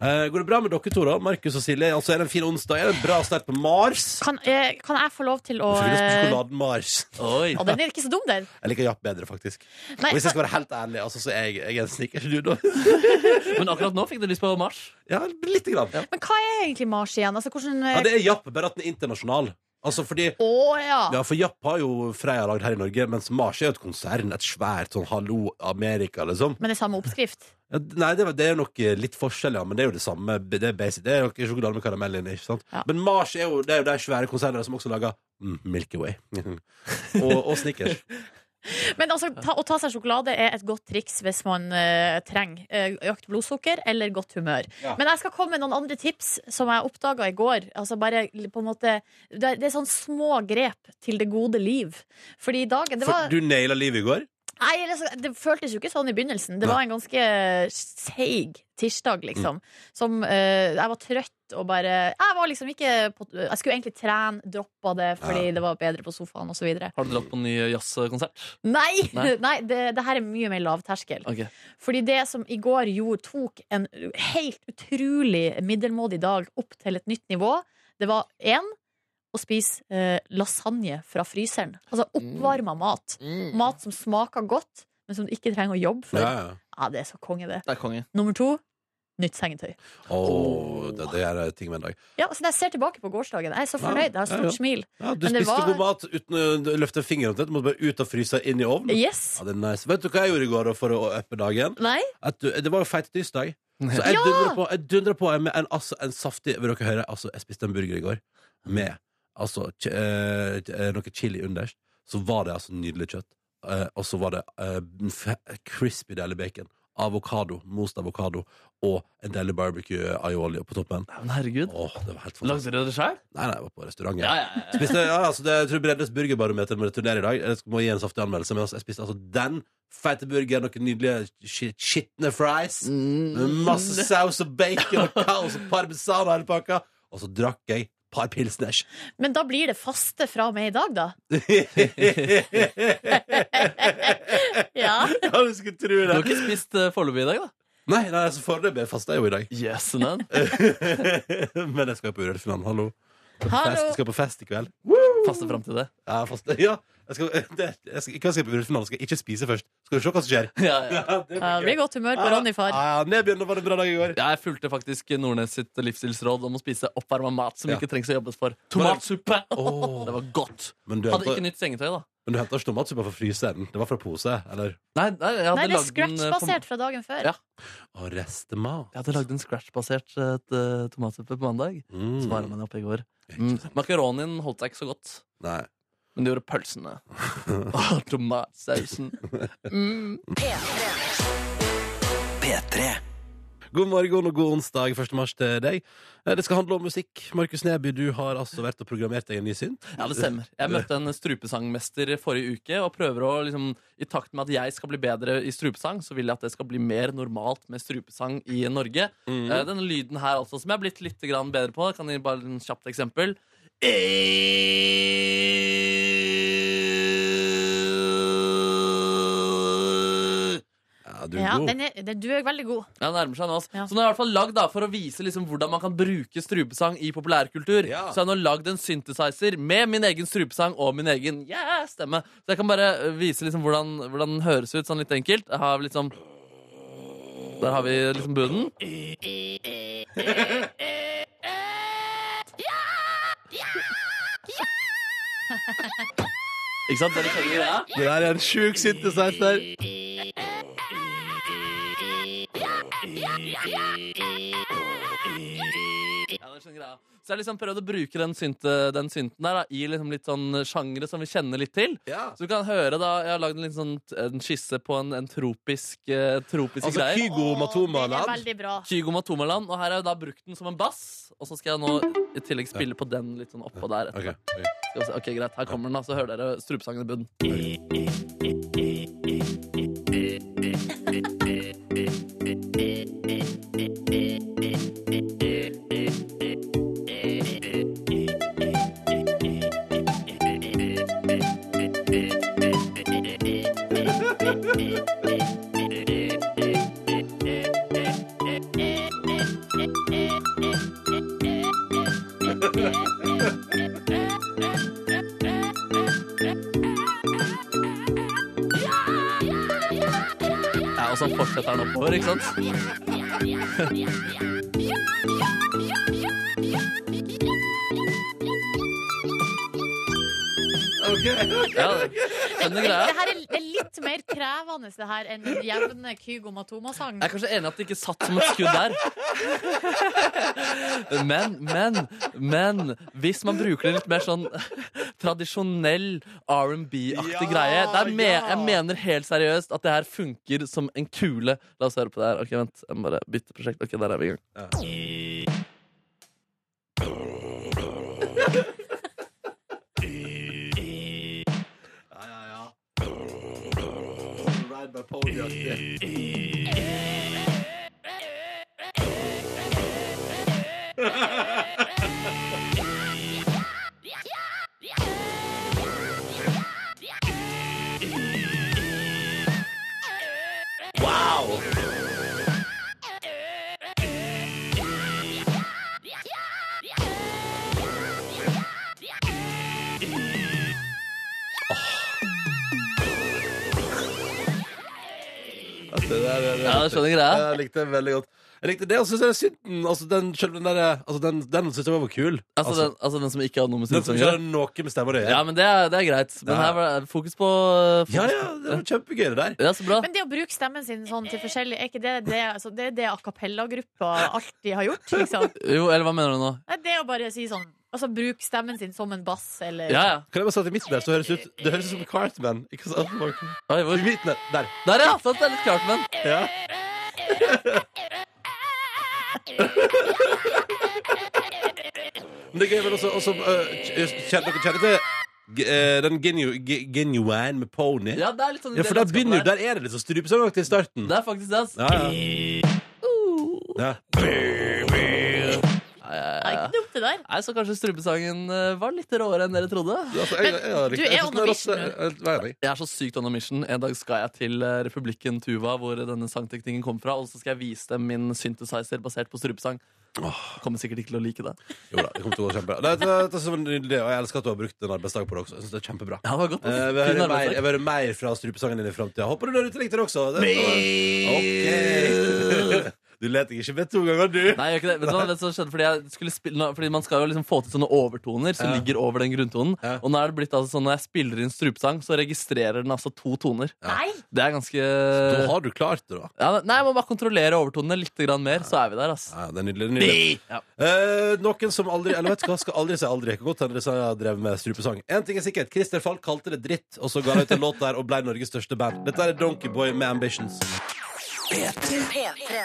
Speaker 2: Eh, går det bra med dere to, da? Markus og Silje. Altså, er det en fin onsdag? Er det en bra start på Mars?
Speaker 4: Kan, eh, kan jeg få lov til å
Speaker 2: Hvorfor ikke
Speaker 4: eh,
Speaker 2: sjokoladen Mars?
Speaker 3: Oi.
Speaker 4: Å, den er ikke så dum, den.
Speaker 2: Jeg liker Japp bedre, faktisk.
Speaker 4: Nei,
Speaker 2: Og hvis jeg skal være helt ærlig, altså, så er jeg, jeg er en snickers du, da.
Speaker 3: Men akkurat nå fikk du lyst på Mars.
Speaker 2: Ja, lite grann. Ja.
Speaker 4: Men hva er egentlig Mars igjen? Altså, hvordan eh,
Speaker 2: det er Japp, bare at den er internasjonal. Altså fordi
Speaker 4: Å ja.
Speaker 2: ja, for Japp har jo Freia lagd her i Norge, mens Mars er jo et konsern. Et svært sånn Hallo Amerika, liksom.
Speaker 4: Men det er samme oppskrift.
Speaker 2: Ja, nei, det, er- det er jo nok eh, litt forskjell, ja, men det er jo det samme. Det er basic. Det er jo ikke sjokolade med karamell inni, ikke sant.
Speaker 4: Ja.
Speaker 2: Men Mars er jo det er jo de svære konsernene som også lager mm, Milky Way. og, og Snickers.
Speaker 4: Men altså, ta, å ta seg sjokolade er et godt triks hvis man eh, trenger eh, økt blodsukker eller godt humør. Men jeg skal komme med noen andre tips som jeg oppdaga i går. Altså bare l- på en måte Det er, det er sånn små grep til det gode liv. Fordi i dag det
Speaker 2: For
Speaker 4: var,
Speaker 2: du naila livet i går.
Speaker 4: Nei, altså, det føltes jo ikke sånn i begynnelsen. Det var en ganske eh, seig tirsdag, liksom. Som eh, Jeg var trøtt og bare Jeg var liksom ikke på, Jeg skulle egentlig trene, droppa det fordi det var bedre på sofaen osv.
Speaker 3: Har du dratt på en ny jazzkonsert?
Speaker 4: Nei!
Speaker 3: Nei.
Speaker 4: Nei, det, det her er mye mer lavterskel.
Speaker 3: Ok.
Speaker 4: Fordi det som i går gjorde, tok en helt utrolig middelmådig dag opp til et nytt nivå, det var én å spise eh, lasagne fra fryseren. Altså oppvarma mat. Mat som smaker godt, men som du ikke trenger å jobbe for. Ja,
Speaker 2: ja.
Speaker 4: det er så konge, det.
Speaker 3: Det er konge.
Speaker 4: Nummer to nytt sengetøy.
Speaker 2: Åh, det, det er ting med en dag.
Speaker 4: Ja, altså, når jeg ser tilbake på gårsdagen, jeg er så
Speaker 2: Ja,
Speaker 4: fornøyd. Jeg har
Speaker 2: ja, ja.
Speaker 4: stort smil.
Speaker 2: Ja, du
Speaker 4: Men det
Speaker 2: spiste
Speaker 4: var-
Speaker 2: god mat uten å løfte fingeren omtrent. Du måtte bare ut av frysa inn i ovnen.
Speaker 4: Yes.
Speaker 2: Ja, det er nice. Vet du hva jeg gjorde i går da, for å uppe dagen?
Speaker 4: Nei?
Speaker 2: At du, det var jo feit tirsdag. Så jeg dundra på, jeg dundra på med en, altså, en saftig Vil dere høre? Altså, jeg spiste en burger i går med altså, ch eh, eh, noe chili underst. Så var det altså nydelig kjøtt. Eh, og så var det eh, f- crispy deilig bacon. Avokado, most avokado og en deilig barbecue aioli på toppen.
Speaker 3: Ja, Men herregud.
Speaker 2: Åh, det var helt fantastisk.
Speaker 3: Lagde dere det sjøl?
Speaker 2: Nei, nei, jeg var på restaurant. jeg.
Speaker 3: Ja, ja, ja.
Speaker 2: Spiste, ja, altså, det, jeg tror Breddes burgerbarometer må returnere i dag. Jeg skal- må gi en saftig anmeldelse. Men altså, jeg spiste altså den feite burgeren, noen nydelige sk- skitne fries, med
Speaker 4: Mm.
Speaker 2: masse saus og bacon og kaos og parmesan og hele pakka. Og så drakk jeg et par pilsners.
Speaker 4: Men da blir det faste fra og med i dag, da. Ja.
Speaker 2: Ja, du skulle tro
Speaker 3: Du har
Speaker 2: det.
Speaker 3: ikke spist uh, foreløpig i dag, da?
Speaker 2: Nei, nei, altså, foreløpig faster jeg jo i dag.
Speaker 3: Yes, man.
Speaker 2: Men jeg skal på Urørt-finalen. Hallo.
Speaker 4: Hallo.
Speaker 2: Jeg skal på fest i kveld.
Speaker 3: Faste fram til det.
Speaker 2: Ja, faste. ja. Jeg skal, det, jeg skal, ikke skal jeg på Urørt-finalen. Skal jeg ikke spise først. Skal du se hva som skjer?
Speaker 3: Ja, ja.
Speaker 4: Ja, det blir godt humør på Ronny, far.
Speaker 2: Ja, ja, Nebjørn, det var en bra dag i går.
Speaker 3: Jeg fulgte faktisk Nordnes sitt livsstilsråd om å spise oppvarma mat som
Speaker 2: Ja.
Speaker 3: ikke trengs å jobbes for. Tomatsuppe!
Speaker 2: Åh.
Speaker 3: Det var godt.
Speaker 2: Men du
Speaker 3: Hadde
Speaker 2: henter
Speaker 3: ikke nytt sengetøy, da.
Speaker 2: men du henter ikke tomatsuppa fra fryseren? Det var fra pose? Eller?
Speaker 3: Nei, nei, jeg hadde
Speaker 4: Nei, det er
Speaker 3: lagd en, eh, på-
Speaker 4: scratch-basert fra dagen før.
Speaker 3: Ja.
Speaker 2: Å, restemat.
Speaker 3: Jeg hadde lagd en scratch-basert eh, t- tomatsuppe på mandag.
Speaker 2: Mm.
Speaker 3: Så var den oppe i går. Mm. Makaronien holdt seg ikke så godt,
Speaker 2: Nei.
Speaker 3: men det gjorde pølsene. Åh, tomatsausen.
Speaker 2: God morgen og god onsdag 1. mars til deg. Eh, Det skal handle om musikk. Markus Neby, du har altså vært og programmert deg en ny synt.
Speaker 3: Ja, det stemmer. Jeg møtte en strupesangmester forrige uke og prøver å liksom I takt med at jeg skal bli bedre i strupesang, så vil jeg at det skal bli mer normalt med strupesang i Norge. Eh, Denne lyden her altså, som jeg er blitt litt grann bedre på, kan gi bare et kjapt eksempel.
Speaker 2: Ja, du er
Speaker 4: Ja,
Speaker 2: god.
Speaker 4: den er, den, du er veldig god.
Speaker 3: Ja, nærmer seg nå. ass.
Speaker 4: Ja.
Speaker 3: Så nå er i hvert fall lagd da, For å vise liksom hvordan man kan bruke strupesang i populærkultur,
Speaker 2: Ja.
Speaker 3: så har jeg nå lagd en synthesizer med min egen strupesang og min egen yeah, stemme. Så jeg kan bare eh, vise liksom hvordan, hvordan den høres ut, sånn litt enkelt. Jeg har liksom Der har vi liksom bunnen. Ikke sant? Dere skjønner greia?
Speaker 9: Det der er en sjuk synthesizer.
Speaker 3: Ja, det skjønner greia. Så jeg har liksom prøvd å bruke den, synte, den synten der da, i liksom litt sånn sjangre som vi kjenner litt til.
Speaker 2: Ja.
Speaker 3: Så du kan høre da, Jeg har lagd en, litt sånn, t- en skisse på en, en tropisk, eh, tropisk
Speaker 2: Altså
Speaker 3: greie.
Speaker 2: Kygo Matoma
Speaker 4: Den er
Speaker 2: Land.
Speaker 4: veldig bra.
Speaker 3: Kygo Matomaland. Og her har jeg da brukt den som en bass. Og så skal jeg nå i tillegg spille på den litt sånn oppå der.
Speaker 2: Ok, ok.
Speaker 3: Skal vi se. Ok, greit, Her kommer den, da. Så hører dere strupesangen i bunnen. Ja, og så fortsetter den oppover, ikke sant? Ja, skjønner
Speaker 4: Det,
Speaker 3: greia.
Speaker 4: her er, det er litt mer krevende det her enn den jevne Kygo Matoma-sang.
Speaker 3: Jeg er kanskje enig at det ikke satt som et skudd der. Men, men, men Hvis man bruker det litt mer sånn tradisjonell R&B-aktig greie det er me Jeg mener helt seriøst at det her funker som en kule. La oss høre på det her. Ok, vent. Jeg må bare bytte prosjekt. Ok, der er vi i gang.
Speaker 2: Altså,
Speaker 3: Ja, jeg skjønner greia.
Speaker 2: Jeg likte den veldig godt. Jeg likte det, og så synes jeg synten altså den, Selv den der altså den, den synes jeg var kul.
Speaker 3: Altså den, altså den som ikke hadde noe med
Speaker 2: den som
Speaker 3: synsen å
Speaker 2: ikke
Speaker 3: gjøre.
Speaker 2: har noe med stemma å
Speaker 3: Ja,
Speaker 2: gjøre.
Speaker 3: men det er, det er greit. Men
Speaker 2: Ja.
Speaker 3: her var det fokus på eh, fokus
Speaker 2: Ja, ja, det var kjempegøy, det der.
Speaker 3: på- Ja, så bra.
Speaker 4: Men det å bruke stemmen sin sånn til forskjellig, er ikke det det, altså, det, er det a cappella-gruppa alltid har gjort? Liksom?
Speaker 3: Jo, eller hva mener du nå?
Speaker 4: Nei, Det å bare si sånn Altså bruke stemmen sin som en bass,
Speaker 3: Ja,
Speaker 4: eller
Speaker 3: ja.
Speaker 2: Kan jeg bare si at i midten der så høres ut, det høres ut som Cartman. Ikke sant? Mark?
Speaker 3: Oi, hvor?
Speaker 2: I midten der. der.
Speaker 3: Der, ja! Sant, det er litt klart, men.
Speaker 2: Ja. Men det er gøy, men også, også øh, kj- kjenner dere kjenner til øh, den genu, ge- genuine med pony?
Speaker 3: Ja, det er litt sånn
Speaker 2: Ja, for der begynner jo, der er det litt sånn strupesangaktig i starten.
Speaker 3: Det er faktisk det, ass.
Speaker 2: Ja, ja. ja.
Speaker 4: Nei, ikke noe opp til der.
Speaker 3: Nei, Så kanskje strupesangen eh, var litt råere enn dere trodde?
Speaker 2: Altså, jeg, jeg, jeg,
Speaker 4: du
Speaker 2: jeg synes
Speaker 4: er
Speaker 2: den
Speaker 4: Eurovision,
Speaker 2: også- jeg- jeg er enig.
Speaker 3: Jeg er så sykt on a mission. En dag skal jeg til eh, republikken Tuva, hvor denne sangteknikken kom fra, og så skal jeg vise dem min synthesizer basert på strupesang. Kommer sikkert ikke til å like det.
Speaker 2: Jo da, det kommer til å gå kjempebra. Det, det, det er så nydelig, og jeg elsker at du har brukt en arbeidsdag på det også. Jeg synes det er kjempebra.
Speaker 3: Ja, det var godt,
Speaker 2: Eh,
Speaker 3: ass.
Speaker 2: Jeg vil
Speaker 3: Fin
Speaker 2: høre mer,
Speaker 3: arbeidsdag.
Speaker 2: jeg vil høre mer fra strupesangen din i framtida. Håper du når du likte det også. Det, Ok. Du leter ikke med to ganger, du.
Speaker 3: Nei, jeg gjør ikke det. Vet du hva, vet du hva som skjedde? Fordi, jeg skulle spille, nå- fordi man skal jo liksom få til sånne overtoner som
Speaker 2: Ja.
Speaker 3: ligger over den grunntonen.
Speaker 2: Ja.
Speaker 3: Og nå er det blitt altså sånn når jeg spiller inn strupesang, så registrerer den altså to toner.
Speaker 4: Nei!
Speaker 3: Det er ganske
Speaker 2: Da har du klart det, da.
Speaker 3: ja, Nei, jeg må bare kontrollere overtonene litt grann mer, så er vi der, altså. ass.
Speaker 2: Ja, det er nydelig. Det er nydelig.
Speaker 3: Ja.
Speaker 2: Eh, noen som aldri Eller vet du hva, skal aldri si aldri. Kan godt hende disse har drevet med strupesang. En ting er sikkert, Christer Falk kalte det dritt, og så ga han ut en låt der og ble Norges største band. Dette er Donkeyboy med Ambitions.
Speaker 1: P3.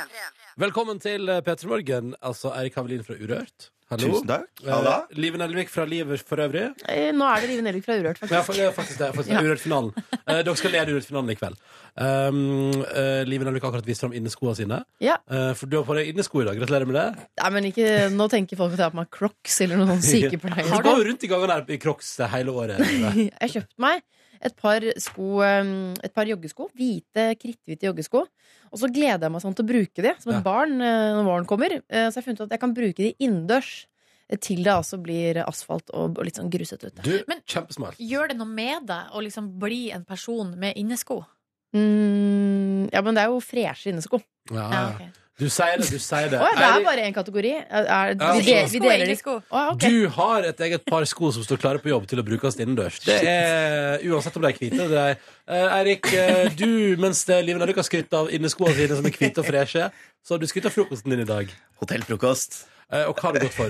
Speaker 2: Velkommen til P3 Morgen. Altså Eirik Havelin fra Urørt. Hallo.
Speaker 9: Tusen takk. Halla.
Speaker 2: Eh, Live Nelvik fra Livet for øvrig.
Speaker 10: Eh, Nå er det Live Nelvik fra Urørt,
Speaker 2: Men
Speaker 10: faktisk.
Speaker 2: jeg får- jeg er faktisk det. Faktisk, Urørt-finalen. Eh, dere skal lede Urørt-finalen i kveld. Um, eh, Live Nelvik har akkurat vist fram inneskoene sine.
Speaker 10: Ja.
Speaker 2: Eh, for du har på deg innesko i dag. Gratulerer med det.
Speaker 10: Nei, men ikke, nå tenker folk at jeg har på meg crocs eller noen sånn
Speaker 2: Har du
Speaker 10: sykepleier.
Speaker 2: går jo rundt i gangen her i crocs hele året.
Speaker 10: Jeg kjøpte meg et par, sko, um, et par joggesko. Hvite, kritthvite joggesko. Og så gleder jeg meg sånn til å bruke de som et
Speaker 2: Ja.
Speaker 10: barn eh, når våren kommer. Eh, Så jeg har funnet ut at jeg kan bruke de innendørs eh, til det altså blir asfalt og, og litt sånn grusete ute.
Speaker 2: Du,
Speaker 4: Men-
Speaker 2: kjempesmart.
Speaker 4: Gjør det noe med deg å liksom bli en person med innesko?
Speaker 10: Mm, ja, men det er jo freshe innesko.
Speaker 2: Ja,
Speaker 4: Ja,
Speaker 2: ja.
Speaker 4: ok.
Speaker 2: Du sier det, du sier det.
Speaker 10: Å, ja, det er
Speaker 2: Eirik,
Speaker 10: bare én kategori. Er, er,
Speaker 2: Ja.
Speaker 11: altså,
Speaker 10: vi, de, vi
Speaker 4: Innesko er
Speaker 10: deler de.
Speaker 4: innesko.
Speaker 10: Å, ja, ok.
Speaker 2: Du har et eget par sko som står klare på jobb til å brukes innendørs. Det er Uansett om de er hvite. Det er, Eh, Eirik, eh, du, mens det er Liven har lykka skrytt av inneskoene sine som er hvite og freshe, så har du skrytt av frokosten din i dag.
Speaker 11: Hotellfrokost.
Speaker 2: Eh, Og hva har du gått for?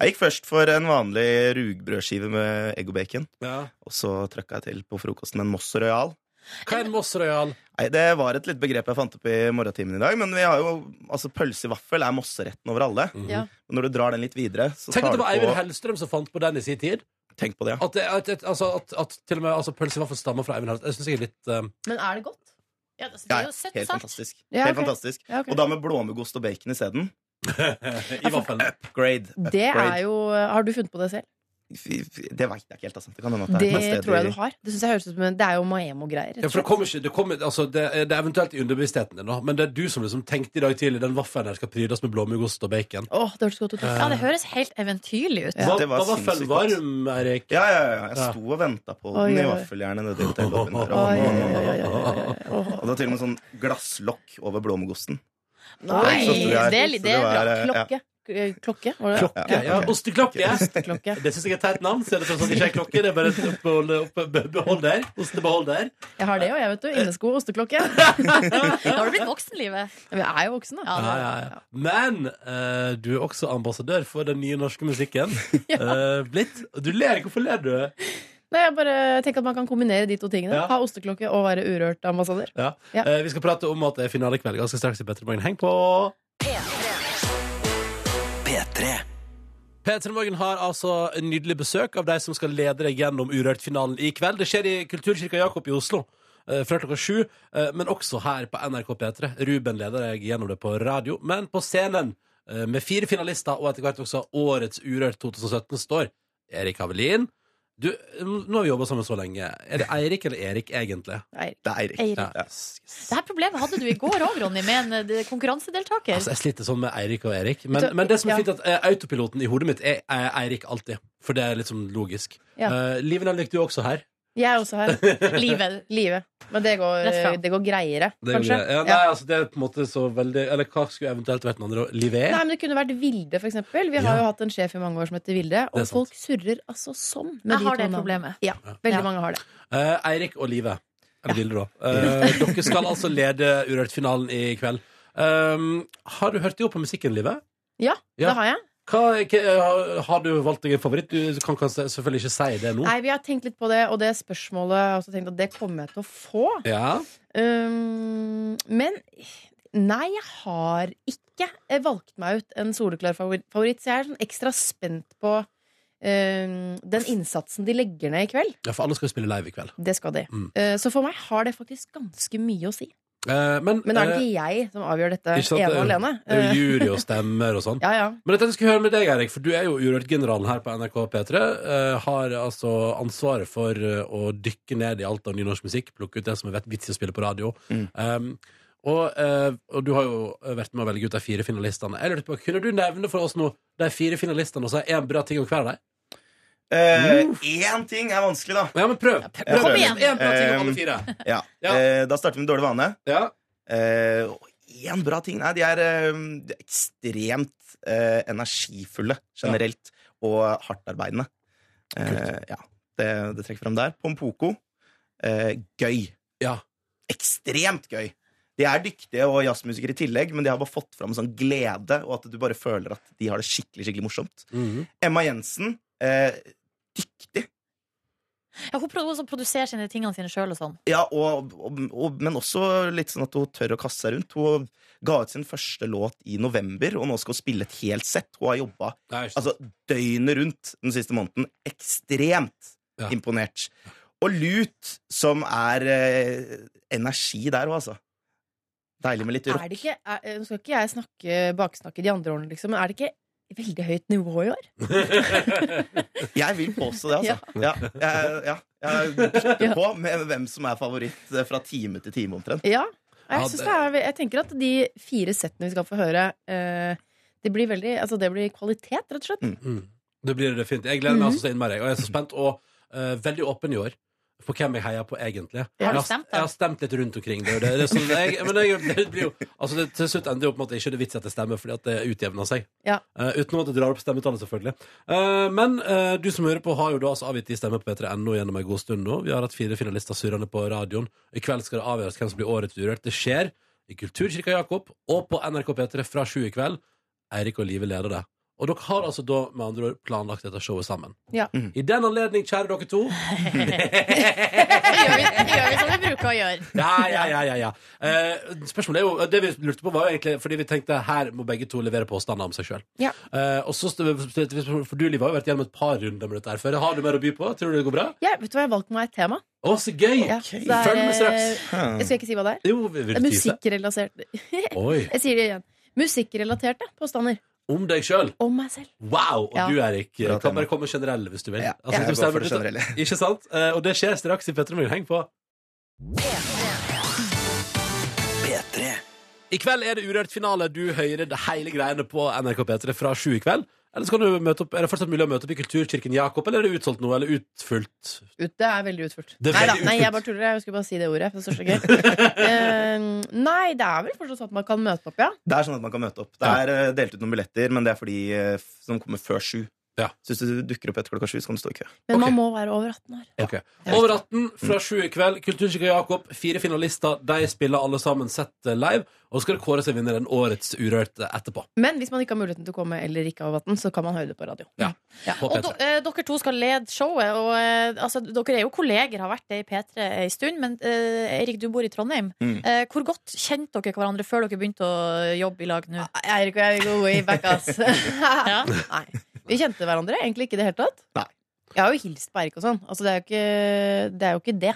Speaker 11: Jeg gikk først for en vanlig rugbrødskive med egg og bacon.
Speaker 2: Ja.
Speaker 11: Og så trøkka jeg til på frokosten en Moss Royal.
Speaker 2: Hva er en Moss Royal?
Speaker 11: Nei, Det var et litt begrep jeg fant opp i morgentimen i dag. Men vi har jo, altså pølse i vaffel er mosseretten over alle.
Speaker 10: Ja.
Speaker 11: Men når du drar den litt videre, så
Speaker 2: Tenk at
Speaker 11: tar
Speaker 2: det
Speaker 11: du
Speaker 2: var Eivind
Speaker 11: på
Speaker 2: Hellstrøm som fant på den i sin tid.
Speaker 11: Tenk på det, ja.
Speaker 2: At, det, at, at, altså, at, at til og med altså, pølse i hvert fall stammer fra Eivind Hellstrøm. Jeg synes jeg er litt eh,
Speaker 10: Men er det godt?
Speaker 4: Ja, altså, det
Speaker 11: Ja,
Speaker 4: er
Speaker 11: ja.
Speaker 4: jo søtt og
Speaker 11: Helt
Speaker 4: salt.
Speaker 11: fantastisk.
Speaker 10: Ja,
Speaker 11: Helt
Speaker 10: ok.
Speaker 11: fantastisk.
Speaker 10: Ja, ok.
Speaker 11: Og da med blåmuggost og bacon isteden.
Speaker 2: I vaffelen.
Speaker 11: Upgrade.
Speaker 10: Det er
Speaker 11: Upgrade.
Speaker 10: jo Har du funnet på det selv?
Speaker 11: Fy- fy- Det veit jeg ikke helt, altså. Det kan hende at det
Speaker 10: Det
Speaker 11: er noen steder
Speaker 10: tror jeg
Speaker 11: i-
Speaker 10: du har. Det synes jeg høres ut som en- Det er jo Maemo-greier.
Speaker 2: Ja, for det kommer ikke Det, kommer, altså, det, er- det er eventuelt i underbevisstheten din, da. Men det er du som liksom tenkte i dag tidlig den vaffelen her skal prydes med blåmuggost og bacon.
Speaker 10: Åh, det hørtes godt ut.
Speaker 4: Ja, det høres helt eventyrlig ut.
Speaker 2: Var,
Speaker 11: det var
Speaker 2: var vaffelen
Speaker 11: sinnssykt godt.
Speaker 2: varm, Eirik?
Speaker 11: Ja, ja, ja. Jeg
Speaker 2: Ja.
Speaker 11: sto og venta på
Speaker 10: Oi,
Speaker 11: den i
Speaker 10: oi, oi.
Speaker 11: vaffeljernet nede i hotelllobbyen der.
Speaker 10: Oi, oi, oi,
Speaker 11: Og
Speaker 10: oi, oi, oi, oi.
Speaker 11: det var til og med sånn glasslokk over blåmuggosten.
Speaker 10: Nei,
Speaker 11: Så det er-
Speaker 4: det er litt-
Speaker 11: så det var,
Speaker 10: Bra.
Speaker 11: eh,
Speaker 10: Klokke. Eh, Klokke, var det?
Speaker 2: Klokke? Ja,
Speaker 11: ok.
Speaker 2: osteklokke.
Speaker 10: Klokke.
Speaker 2: Det syns jeg er et teit navn. Ser det ut som sånn, ikke er klokke, det er bare et oppbeholder. Opp, beholder, ostebeholder.
Speaker 10: Jeg har det jo, jeg, vet du. Innesko og osteklokke.
Speaker 4: Nå har du blitt voksenlivet.
Speaker 10: Men jeg er jo voksen, da.
Speaker 2: Ja, ja, ja. Men eh, du er også ambassadør for den nye norske musikken. Eh, blitt. Du ler. Hvorfor ler du?
Speaker 10: Nei, jeg bare tenker at man kan kombinere de to tingene.
Speaker 2: Ja.
Speaker 10: Ha osteklokke og være urørt ambassadør.
Speaker 2: Ja.
Speaker 10: Ja.
Speaker 2: Eh, vi skal prate om at det er finalekveld ganske straks i Petter Morgen. Heng på!
Speaker 1: P3.
Speaker 2: Petter Morgen har altså en nydelig besøk av de som skal lede deg gjennom Urørt-finalen i kveld. Det skjer i Kulturkirka Jakob i Oslo eh, fra klokka sju, eh, men også her på NRK P3. Ruben leder deg gjennom det på radio, men på scenen eh, med fire finalister og etter hvert også årets Urørt 2017 står Erik Havelin. Du, eh, nå har vi jobba sammen så lenge. Er det Eirik eller Erik, egentlig?
Speaker 10: Nei,
Speaker 11: Det er Eirik.
Speaker 10: Eirik.
Speaker 2: Ja.
Speaker 4: Det her problemet hadde du i går òg, Ronny, med en eh, konkurransedeltaker.
Speaker 2: Altså, jeg sliter sånn med Eirik og Erik. Men,
Speaker 10: Vet du-
Speaker 2: men det som er
Speaker 10: ja.
Speaker 2: fint, er at eh, autopiloten i hodet mitt er, er Eirik alltid. For det er litt sånn logisk.
Speaker 10: Ja.
Speaker 2: Eh, Liv Nelvik, du er også her.
Speaker 10: Jeg er også her.
Speaker 4: Livet.
Speaker 10: Live. Men det går,
Speaker 4: Rett fra.
Speaker 10: det går greiere,
Speaker 2: Det er jo
Speaker 10: kanskje.
Speaker 2: greit. ja, nei, altså, det er på en måte så veldig Eller hva skulle eventuelt vært den andre? Live?
Speaker 10: Nei, men Det kunne vært Vilde, for eksempel. Vi har
Speaker 2: Ja.
Speaker 10: jo hatt en sjef i mange år som heter Vilde,
Speaker 2: Det er
Speaker 10: og
Speaker 2: sant.
Speaker 10: folk surrer altså sånn. med
Speaker 4: Jeg
Speaker 10: de to
Speaker 4: har det
Speaker 10: navnene.
Speaker 4: problemet.
Speaker 10: Ja,
Speaker 4: Ja.
Speaker 10: veldig mange har det.
Speaker 2: Eh, Eirik og Live. Eller Vilde, da. Eh, dere skal altså lede Urørt-finalen i kveld. Um, har du hørt deg opp på musikken, Live?
Speaker 10: Ja,
Speaker 2: Ja.
Speaker 10: det har jeg.
Speaker 2: Hva, hva, eh, har du valgt deg en favoritt? Du kan, kan selvfølgelig ikke si det nå.
Speaker 10: Nei, Vi har tenkt litt på det, og det spørsmålet har jeg også tenkt at det kommer jeg til å få.
Speaker 2: Ja.
Speaker 10: Um, men nei, jeg har ikke eh, valgt meg ut en soleklar favori- favoritt, så jeg er sånn ekstra spent på um, den innsatsen de legger ned i kveld.
Speaker 2: ja, for alle skal jo spille live i kveld.
Speaker 10: Det skal de.
Speaker 2: Mm.
Speaker 10: Eh, så for meg har det faktisk ganske mye å si.
Speaker 2: Eh, men
Speaker 10: Men er det
Speaker 2: eh,
Speaker 10: ikke jeg som avgjør dette
Speaker 2: Ikke sant?
Speaker 10: ene
Speaker 2: Det
Speaker 10: og
Speaker 2: er jo-
Speaker 10: alene? Eh,
Speaker 2: det er jo jury og stemmer og sånn.
Speaker 10: ja, ja.
Speaker 2: Men dette jeg skulle høre med deg, Erik, for du er jo Urørt-generalen her på NRK P3. eh, har altså ansvaret for eh, å dykke ned i alt av nynorsk musikk, plukke ut det som er vet- vits i å spille på radio.
Speaker 11: Mm.
Speaker 2: Um, og, eh, og du har jo vært med å velge ut de fire finalistene. Jeg lurte på, Kunne du nevne for oss nå de fire finalistene og si én bra ting om hver av dem?
Speaker 11: Eh, Én ting er vanskelig, da.
Speaker 2: Ja, men prøv!
Speaker 11: prøv.
Speaker 2: Kom igjen! Én bra ting om
Speaker 11: Um,
Speaker 2: alle fire.
Speaker 11: Ja.
Speaker 2: Ja.
Speaker 11: Eh, da starter vi med dårlig vane.
Speaker 2: Ja.
Speaker 11: Eh, og Én bra ting Nei, de er, eh, de er ekstremt eh, energifulle generelt. Og hardtarbeidende. Eh, ja, det, det trekker frem der. Pompoko. Eh, gøy.
Speaker 2: ja.
Speaker 11: Ekstremt gøy. De er dyktige og jazzmusikere i tillegg, men de har bare fått fram en sånn glede, og at du bare føler at de har det skikkelig skikkelig morsomt.
Speaker 2: Mhm.
Speaker 11: Emma Jensen. Eh, dyktig.
Speaker 4: Ja, hun prøver også å produsere sine tingene sine sjøl og sånn.
Speaker 11: Ja, og, og, og, men også litt sånn at hun tør å kaste seg rundt. Hun ga ut sin første låt i november, og nå skal hun spille et helt sett. Hun har jobba
Speaker 2: Nei, ikke sant.
Speaker 11: altså, døgnet rundt den siste måneden. Ekstremt
Speaker 2: Ja.
Speaker 11: imponert. Og Lut, som er eh, energi der òg, altså. Deilig med litt
Speaker 10: Er
Speaker 11: rock.
Speaker 10: det ikke, er, eh, nå skal ikke jeg snakke, baksnakke de andre årene, liksom, men er det ikke
Speaker 4: veldig høyt nivå i år.
Speaker 11: Jeg vil påstå det, altså. Ja. jeg, ja, jeg putter på med hvem som er favoritt eh, fra time til time, omtrent.
Speaker 4: Ja. og
Speaker 11: Ja,
Speaker 4: Jeg, synes
Speaker 11: det-
Speaker 4: det er, jeg tenker at de fire settene vi skal få høre, eh, det blir veldig Altså, det blir kvalitet, rett og slett.
Speaker 2: Det blir det fint. Jeg gleder meg
Speaker 4: Mhm.
Speaker 2: altså så innmari. Og jeg er så spent og eh, veldig åpen i år på hvem jeg heier på, egentlig.
Speaker 12: Ja. Har du
Speaker 2: jeg,
Speaker 12: stemt, da?
Speaker 2: jeg har stemt litt rundt omkring. Det, er jo det, det er sånn, jeg, men jeg, det blir jo, altså, det, til slutt ender det opp med at det ikke er vits i at jeg stemmer, fordi at det utjevner seg.
Speaker 4: Ja.
Speaker 2: Eh, utenom at det drar opp stemmetallet, selvfølgelig. Eh, men eh, du som hører på, har jo da altså avgitt din stemme på p3.no gjennom en god stund nå. Vi har hatt fire finalister surrende på radioen. I kveld skal det avgjøres hvem som blir årets Urørt. Det skjer i Kulturkirka Jakob og på NRK P3 fra sju i kveld. Eirik og Live leder det. Og dere har altså da med andre ord planlagt dette showet sammen.
Speaker 4: Ja.
Speaker 2: I den anledning, kjære dere to
Speaker 13: Det gjør vi som vi bruker å gjøre.
Speaker 2: Ja, ja, ja, ja, ja. Eh, Spørsmålet er jo Det vi lurte på, var jo egentlig fordi vi tenkte her må begge to levere påstander om seg sjøl.
Speaker 4: Ja.
Speaker 2: og så stilte vi spørsmål- For du, Liv, har jo vært gjennom et par runder med dette her før. Har du mer å by på? Tror du det går bra?
Speaker 4: Jeg, vet du hva, jeg har valgt meg et tema.
Speaker 2: Å, så gøy!
Speaker 4: Så det er,
Speaker 2: Følg med straks.
Speaker 4: eh, Jeg skal ikke si hva det er.
Speaker 2: Jo, vil
Speaker 4: Det er
Speaker 2: du tease
Speaker 4: musikkrelatert.
Speaker 2: Oi.
Speaker 4: Jeg sier det igjen. Musikkrelaterte påstander.
Speaker 2: om deg sjøl?
Speaker 4: Om meg selv.
Speaker 2: Wow! Og
Speaker 4: Ja.
Speaker 2: du, Erik,
Speaker 11: Bra
Speaker 2: kan
Speaker 11: tema.
Speaker 2: bare komme generell hvis du vil.
Speaker 11: Ja,
Speaker 2: Altså,
Speaker 11: jeg
Speaker 2: du
Speaker 11: går
Speaker 2: stemmer
Speaker 11: for det
Speaker 2: ut-
Speaker 11: generelle.
Speaker 2: Ikke sant? Eh, og det skjer straks i Petter Morgen. Heng på. P3. I kveld er det urørt finale. Du hører det hele greiene på NRK P3 fra sju i kveld. Eller så kan du møte opp, er det fortsatt mulig å møte opp i Kulturkirken Jakob, eller er det utsolgt nå? Eller utfullt?
Speaker 4: Ut, det er veldig utført.
Speaker 2: Det er
Speaker 4: nei, da,
Speaker 2: veldig
Speaker 4: nei,
Speaker 2: utfullt.
Speaker 4: jeg bare tuller. Jeg skulle bare si det ordet. for Det er så gøy. Eh, nei, det er vel fortsatt sånn at man kan møte opp, ja.
Speaker 11: Det er sånn at man kan møte opp. Det er eh, delt ut noen billetter, men det er for de eh, f- som kommer før sju. Så hvis du dukker opp etter klokka sju, så kan du stå i kø.
Speaker 4: Men man må være over 18 år.
Speaker 2: Ok. Over 18 fra 7 i kveld. Kulturkirka Jakob, fire finalister. De spiller alle sammen sett live. Og så skal det kåre seg vinneren Årets Urørt etterpå.
Speaker 4: Men hvis man ikke har muligheten til å komme eller ikke har over 18, så kan man høre det på radio.
Speaker 2: Ja. På
Speaker 13: Og
Speaker 2: P3.
Speaker 13: do- eh, dere to skal lede showet. Og, eh, altså, dere er jo kolleger, har vært det i P3 en stund. Men eh, Erik, du bor i Trondheim.
Speaker 4: Mm.
Speaker 13: Eh, hvor godt kjente dere hverandre før dere begynte å jobbe i lag nå?
Speaker 4: Ah, Erik og jeg går way back, ass. ja. Nei. Vi kjente hverandre egentlig ikke i det hele tatt. Jeg har jo hilst på Erik og sånn. Altså, det, er jo ikke, det er jo ikke det.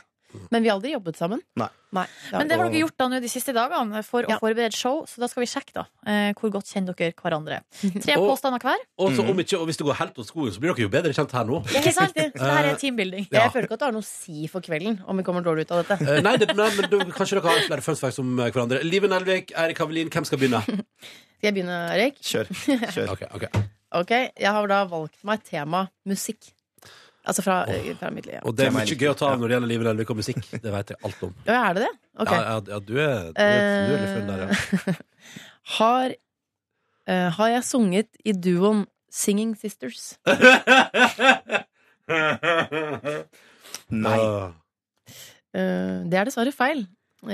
Speaker 4: Men vi har aldri jobbet sammen.
Speaker 11: Nei.
Speaker 4: Nei,
Speaker 13: Men det har dere gjort da nå de siste dagene for å forberede show, så da skal vi sjekke da eh, hvor godt kjenner dere hverandre. Tre
Speaker 2: Og-
Speaker 13: påstander hver.
Speaker 2: Og så om ikke, og hvis det går helt åt skogen, så blir dere jo bedre kjent her nå. Eh,
Speaker 4: Ikke sant?
Speaker 13: Så det her er teambuilding.
Speaker 2: Ja.
Speaker 4: Jeg føler ikke at det har noe å si for kvelden om vi kommer dårlig ut av dette.
Speaker 2: Eh, nei, det, nei, men du, kanskje dere har flere fun facts om eh, hverandre. Live Nelvik, Eirik Havelin, hvem skal begynne?
Speaker 4: Skal jeg begynne, Erik?
Speaker 11: Kjør.
Speaker 2: Ok, ok.
Speaker 4: Ok, Jeg har da valgt meg tema musikk. Altså fra, fra mitt liv. Ja.
Speaker 2: Og det er mye gøy å ta av når det gjelder Live Nelvik og musikk. Det vet jeg alt om.
Speaker 4: Ja, er det det? Ok. Eh,
Speaker 2: Ja, ja, ja, du er, du er, du er litt funn der, ja.
Speaker 4: Har, eh, har jeg sunget i duoen Singing Sisters?
Speaker 11: Nei.
Speaker 4: Eh, det er dessverre feil.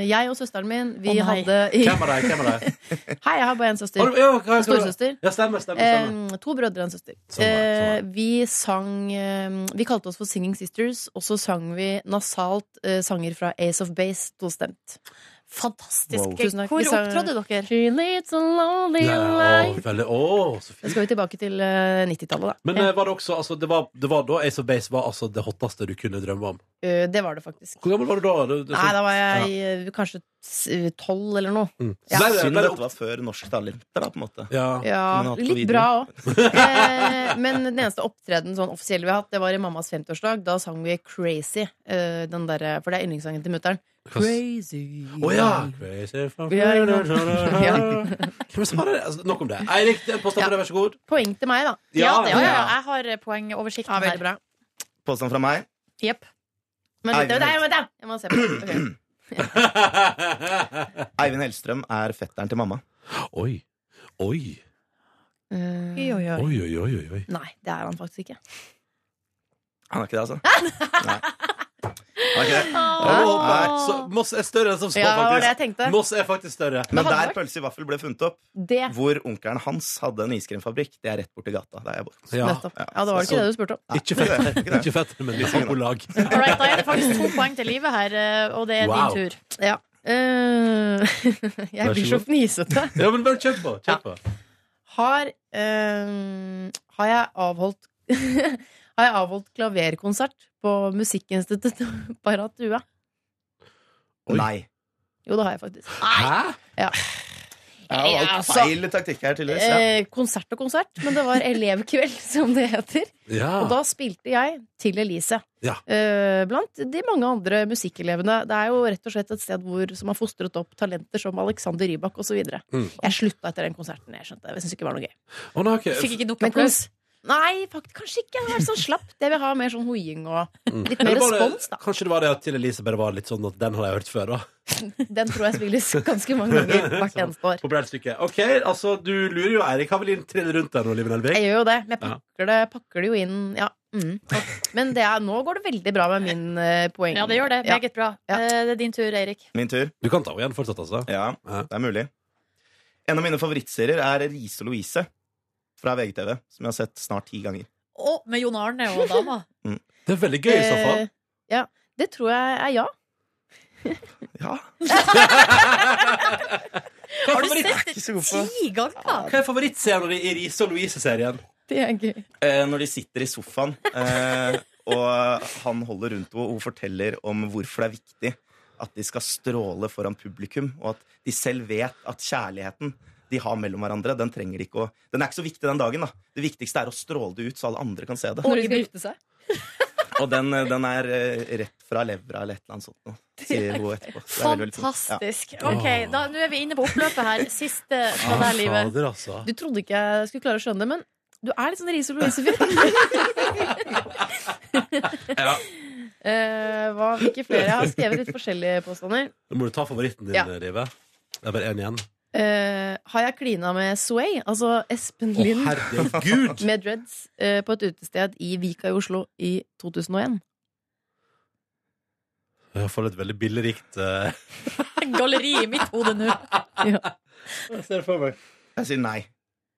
Speaker 4: Jeg og søsteren min,
Speaker 2: Å,
Speaker 4: vi
Speaker 2: nei.
Speaker 4: hadde
Speaker 2: Hvem er deg? Hvem er deg?
Speaker 4: Hei, jeg har bare én søster.
Speaker 2: Har du- ja, hva- hva-
Speaker 4: Storesøster.
Speaker 2: Ja, stemmer, stemmer, stemmer.
Speaker 4: Eh, to brødre og en søster.
Speaker 2: Sånn var det,
Speaker 4: Eh, vi sang eh, Vi kalte oss for Singing Sisters, og så sang vi nasalt eh, sanger fra Ace of Base tostemt.
Speaker 13: Fantastisk.
Speaker 4: Wow. Tusen takk.
Speaker 13: Hvor
Speaker 4: Vi sang-
Speaker 13: opptrådde dere?
Speaker 4: She leads a lonely
Speaker 2: Nei, å,
Speaker 4: life.
Speaker 2: veldig, å, så
Speaker 4: Da
Speaker 2: fint.
Speaker 4: skal vi tilbake til eh, 90-tallet, da.
Speaker 2: Men eh, var det også altså, det, var, det var da Ace of Base var altså det hotteste du kunne drømme om?
Speaker 4: Eh, det var det faktisk.
Speaker 2: Hvor gammel var du da? Det, det,
Speaker 4: Nei, da var jeg
Speaker 2: ja.
Speaker 4: eh, kanskje s- tolv eller noe.
Speaker 2: Mm.
Speaker 4: Ja.
Speaker 2: Ble det-
Speaker 11: Synd
Speaker 2: ble det
Speaker 11: dette var før Norsk Talent, da, på en måte.
Speaker 4: Ja, litt bra òg. Eh, men den eneste opptredenen sånn offisielle vi har hatt, det var i mammas 50-årsdag. Da sang vi Crazy, eh, den derre- for det er yndlingssangen til mutter'n. Crazy.
Speaker 2: Å ja! Crazy for-
Speaker 4: Ja, ja.
Speaker 2: Hvem som har det? Altså, nok om det. Eirik, det er en påstand for deg, vær så god.
Speaker 4: Poeng til meg, da.
Speaker 2: Ja,
Speaker 13: Ja, det, ja, ja,
Speaker 11: ja.
Speaker 13: jeg har poengoversikten ja, her.
Speaker 11: Påstand fra meg.
Speaker 13: Jepp.
Speaker 4: Men vent,
Speaker 11: Eivind
Speaker 4: vent, vent, vent, jeg må se på det. Ok.
Speaker 11: Eivind Hellstrøm er fetteren til mamma.
Speaker 2: Oi. Oi.
Speaker 4: Eh,
Speaker 2: Oi, oi, oi, oi.
Speaker 4: Nei, det er han faktisk ikke.
Speaker 11: Han er ikke det, altså? Nei. Han er ikke det.
Speaker 2: Åh.
Speaker 11: Nei.
Speaker 2: Så Moss er større enn som så,
Speaker 4: Ja, det var
Speaker 2: faktisk.
Speaker 4: det jeg tenkte.
Speaker 2: Moss er faktisk større.
Speaker 11: Men der pølse i vaffel ble funnet opp,
Speaker 4: Det
Speaker 11: hvor onkelen hans hadde en iskremfabrikk, det er rett borti gata. Der jeg bor.
Speaker 2: Ja.
Speaker 4: Nettopp. Ja, da var det ikke det du spurte om.
Speaker 2: Ikke fett, ikke fett men vi er på lag.
Speaker 13: All right, da er det faktisk to poeng til livet her, eh, og det er
Speaker 2: Wow.
Speaker 13: din tur.
Speaker 4: Ja. Eh,
Speaker 2: Vær så
Speaker 4: jeg blir så
Speaker 2: god.
Speaker 4: fnisete.
Speaker 2: Ja, men bare kjør på. Kjør på.
Speaker 4: Har, eh, har jeg avholdt Har jeg avholdt klaverkonsert på Musikkinstituttet Paratua?
Speaker 11: Nei.
Speaker 4: Jo, det har jeg faktisk.
Speaker 2: Hæ?
Speaker 4: Ja.
Speaker 11: Jeg har
Speaker 4: Ja,
Speaker 11: valgt
Speaker 4: altså.
Speaker 11: feil taktikk her, tydeligvis. Ja.
Speaker 4: Eh, konsert og konsert, men det var elevkveld, som det heter.
Speaker 11: Ja.
Speaker 4: Og da spilte jeg til Elise.
Speaker 2: Ah. Ja.
Speaker 4: Eh, blant de mange andre musikkelevene. Det er jo rett og slett et sted hvor, som har fostret opp talenter som Alexander Rybak osv. videre
Speaker 2: Mm.
Speaker 4: Jeg slutta etter den konserten. Jeg skjønte Jeg syntes ikke det var noe gøy.
Speaker 2: Å, nei, ok.
Speaker 4: Men kons- Nei, fakt, kanskje ikke. Det var sånn slapp. Det vil ha mer sånn hoiing og
Speaker 2: Mm.
Speaker 4: litt
Speaker 2: Eller
Speaker 4: mer
Speaker 2: bare-
Speaker 4: respons.
Speaker 2: Kanskje det var det at til Elise bare var litt sånn at den har jeg hørt før, da.
Speaker 4: Den tror jeg spilles ganske mange ganger hvert
Speaker 2: Sånn,
Speaker 4: eneste år.
Speaker 2: Populært stykke. Ok, altså, du lurer jo Eirik Havelin trill rundt der nå, Liven Elvik.
Speaker 4: Jeg gjør jo det, men jeg
Speaker 2: Ja.
Speaker 4: pakker det, pakker det jo inn. Ja. Mm. Men det er, nå går det veldig bra med min eh, poeng.
Speaker 13: Ja, det gjør det. Meget bra. Eh, Det er din tur, Eirik.
Speaker 11: Min tur.
Speaker 2: Du kan ta henne igjen fortsatt, altså.
Speaker 11: Ja, det er mulig. En av mine favorittserier er Riise og Louise fra VGTV, som jeg har sett snart ti ganger. Mm.
Speaker 13: Å, med Jon Arne og dama.
Speaker 2: Det er veldig
Speaker 4: Eh, Ja, det tror jeg er ja.
Speaker 13: Har du sett det ti ganger?
Speaker 2: Hva er favorittscenen din i Riise og Louise-serien?
Speaker 4: Det er gøy.
Speaker 11: Eh, når de sitter i sofaen, eh, og han holder rundt henne, og hun forteller om hvorfor det er viktig at de skal stråle foran publikum, og at de selv vet at kjærligheten de har mellom hverandre, den trenger de ikke å Den er ikke så viktig den dagen, da. Det viktigste er å stråle det ut, så alle andre kan se det.
Speaker 4: Når de skal gifte seg.
Speaker 11: Og den, eh, den er eh, rett fra levra eller et eller annet sånt noe, sier hun etterpå. Så det er veldig, veldig fint. Ja.
Speaker 13: Fantastisk. Ok, da, Nå er vi inne på oppløpet her. Siste
Speaker 4: sånn
Speaker 13: fra deg, livet.
Speaker 2: altså.
Speaker 4: Du trodde ikke jeg skulle klare å skjønne det, men du er litt sånn Riise og Louise-fyr.
Speaker 2: Ja.
Speaker 4: Eh, hva- Hvilke flere? Jeg har skrevet litt forskjellige påstander.
Speaker 2: Nå må du ta favoritten din, eh,
Speaker 4: Ja.
Speaker 2: Rive. Det er bare én igjen.
Speaker 4: Eh, har jeg klina med Sway, altså Espen
Speaker 2: Å,
Speaker 4: Lind,
Speaker 2: herregud!
Speaker 4: med dreads eh, på et utested i Vika i Oslo i 2001?
Speaker 2: Jeg har fått et veldig billerikt eh,
Speaker 13: Galleri i mitt hode nå.
Speaker 11: Jeg sier nei.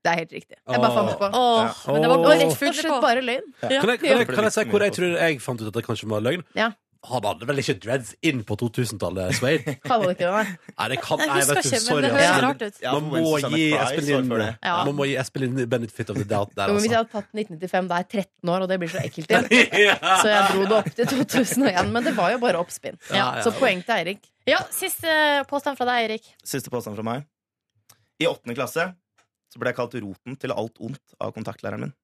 Speaker 4: Det er helt riktig. Jeg bare fant det på.
Speaker 2: Åh, men det var
Speaker 4: og
Speaker 2: godt
Speaker 4: rett
Speaker 2: å
Speaker 4: og slett bare løgn. Ja.
Speaker 2: Kan jeg, kan, jeg, kan jeg si hvor jeg tror jeg fant ut at det kanskje var løgn?
Speaker 4: Ja.
Speaker 2: Han hadde vel ikke dreads inn på 2000-tallet, Svein?
Speaker 4: Hadde det ikke det, nei.
Speaker 2: Nei, det kan
Speaker 4: Jeg
Speaker 2: Nei, vet
Speaker 4: husker
Speaker 2: du,
Speaker 4: ikke, men
Speaker 2: sorry.
Speaker 4: det høres
Speaker 2: altså.
Speaker 4: rart ut.
Speaker 11: Ja,
Speaker 2: Man
Speaker 11: for
Speaker 2: må
Speaker 11: Winston
Speaker 2: gi
Speaker 11: McFly,
Speaker 2: Espen
Speaker 11: sorry
Speaker 2: Lind
Speaker 11: for det.
Speaker 4: Ja.
Speaker 2: Man må gi Espen Lind benefit of the doubt der,
Speaker 4: Jo, men hvis jeg
Speaker 2: altså.
Speaker 4: hadde tatt 1995, da er jeg 13 år, og det blir så ekkelt igjen. Så jeg dro det opp til 2001, men det var jo bare oppspinn.
Speaker 11: Ja, ja.
Speaker 4: Så poeng til Eirik.
Speaker 13: Ja, siste påstand fra deg, Eirik.
Speaker 11: Siste påstand fra meg. I åttende klasse så ble jeg kalt roten til alt ondt av kontaktlæreren min.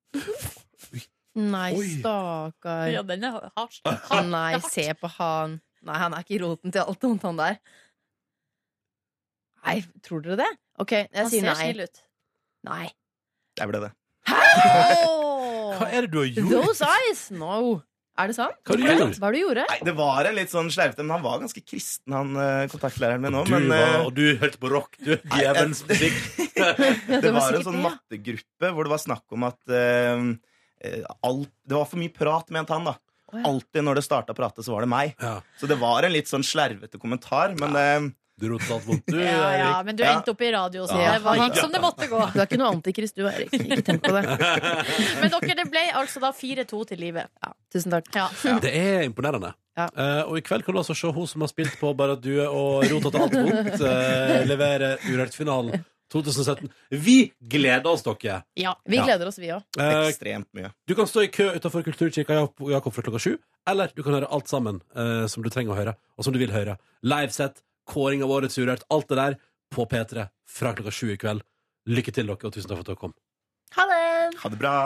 Speaker 4: Nei,
Speaker 11: Oi.
Speaker 4: stakkar.
Speaker 13: Ja, den er hardt.
Speaker 4: Nei, se på han. Nei, han er ikke roten til alt vondt, han der. Nei, tror dere det? Ok, jeg
Speaker 13: Han
Speaker 4: sier
Speaker 13: ser
Speaker 4: nei.
Speaker 13: snill ut.
Speaker 4: Nei.
Speaker 11: Jeg ble det.
Speaker 2: Hva er det du har
Speaker 4: Those eyes! No. Er det sant?
Speaker 11: Hva har du gjort?
Speaker 4: Hva har du gjorde?
Speaker 11: Nei, det var en litt sånn sleivete, men han var ganske kristen, han eh, kontaktlæreren min òg.
Speaker 2: Du var,
Speaker 11: eh,
Speaker 2: og du hørte på rock, du. Djevelens musikk.
Speaker 11: det var en sånn mattegruppe hvor det var snakk om at eh, eh, alt, Det var for mye prat, mente han, da.
Speaker 4: Å, ja.
Speaker 11: Alltid når det starta å prate, så var det meg. Så det var en litt sånn slervete kommentar, men eh,
Speaker 2: Du rotet alt vondt,
Speaker 11: du.
Speaker 13: Ja, ja, men du endte opp i radio, så
Speaker 11: Ja.
Speaker 13: det var, gikk som det måtte gå.
Speaker 4: Du er ikke noe antikrist, du, Erik. Ikke tenk på det.
Speaker 13: Men dere, det ble altså da 4-2 til livet.
Speaker 4: Tusen takk.
Speaker 13: Ja.
Speaker 2: Det er imponerende. Eh, og i kveld kan du altså se hun som har spilt på Bare at du er og rota til alt vondt, eh, levere Urørt-finalen 2017. Vi gleder oss, dere!
Speaker 4: Vi
Speaker 2: Ja.
Speaker 4: gleder oss, vi òg.
Speaker 2: Eh,
Speaker 11: Ekstremt mye.
Speaker 2: Du kan stå i kø utenfor Kulturkirka Jakob Jakob fra klokka sju, eller du kan høre alt sammen eh, som du trenger å høre, og som du vil høre. Livesett, kåring av årets Urørt, alt det der på P3 fra klokka sju i kveld. Lykke til, dere, og tusen takk for at dere kom.
Speaker 4: Ha det!
Speaker 11: Ha det bra.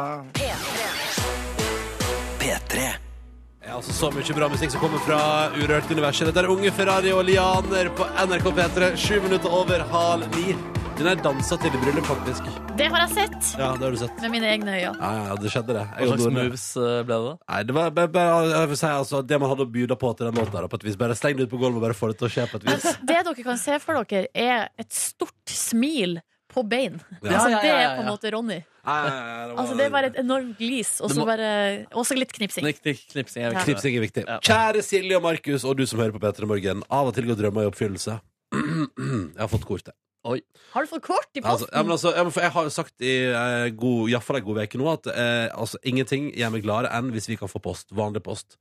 Speaker 2: P3 er altså så mye bra musikk som kommer fra Urørt universet. Dette er Unge Ferrari og Lianer på NRK P3, sju minutter over halv ni. Den er dansa til i bryllup, faktisk.
Speaker 13: Det har jeg sett
Speaker 2: Ja, det har du sett.
Speaker 13: med mine egne øyne.
Speaker 2: Ja, ja, det skjedde, det.
Speaker 3: Hva slags moves ble det?
Speaker 2: Nei, eh, det var bare, bare, jeg vil si, altså, det man hadde å bjuda på til den låten der, på et vis. Bare sleng det ut på gulvet og bare få det til å skje på et vis.
Speaker 13: Det dere kan se for dere, er et stort smil på bein.
Speaker 2: Ja.
Speaker 13: Altså,
Speaker 2: Ja, ja,
Speaker 13: det
Speaker 2: ja,
Speaker 13: er
Speaker 2: ja,
Speaker 13: på en
Speaker 2: ja.
Speaker 13: måte Ronny.
Speaker 2: Nei, nei, nei, det var-
Speaker 13: Altså, det er bare et enormt glis, og
Speaker 2: Det
Speaker 13: så
Speaker 2: må-
Speaker 13: bare Også litt knipsing.
Speaker 3: knipsing
Speaker 13: er viktig.
Speaker 2: Knipsing er viktig. Kjære Silje og Markus, og du som hører på P3 Morgen. Av og til går drømmer i oppfyllelse. Jeg har fått kortet. Oi.
Speaker 13: Har du fått kort i
Speaker 2: Altså,
Speaker 13: posten?
Speaker 2: ja, men altså, ja, men for jeg har jo sagt i eh, god, i hvert fall en god uke nå at eh, altså, ingenting gjør meg gladere enn hvis vi kan få post. Vanlig post.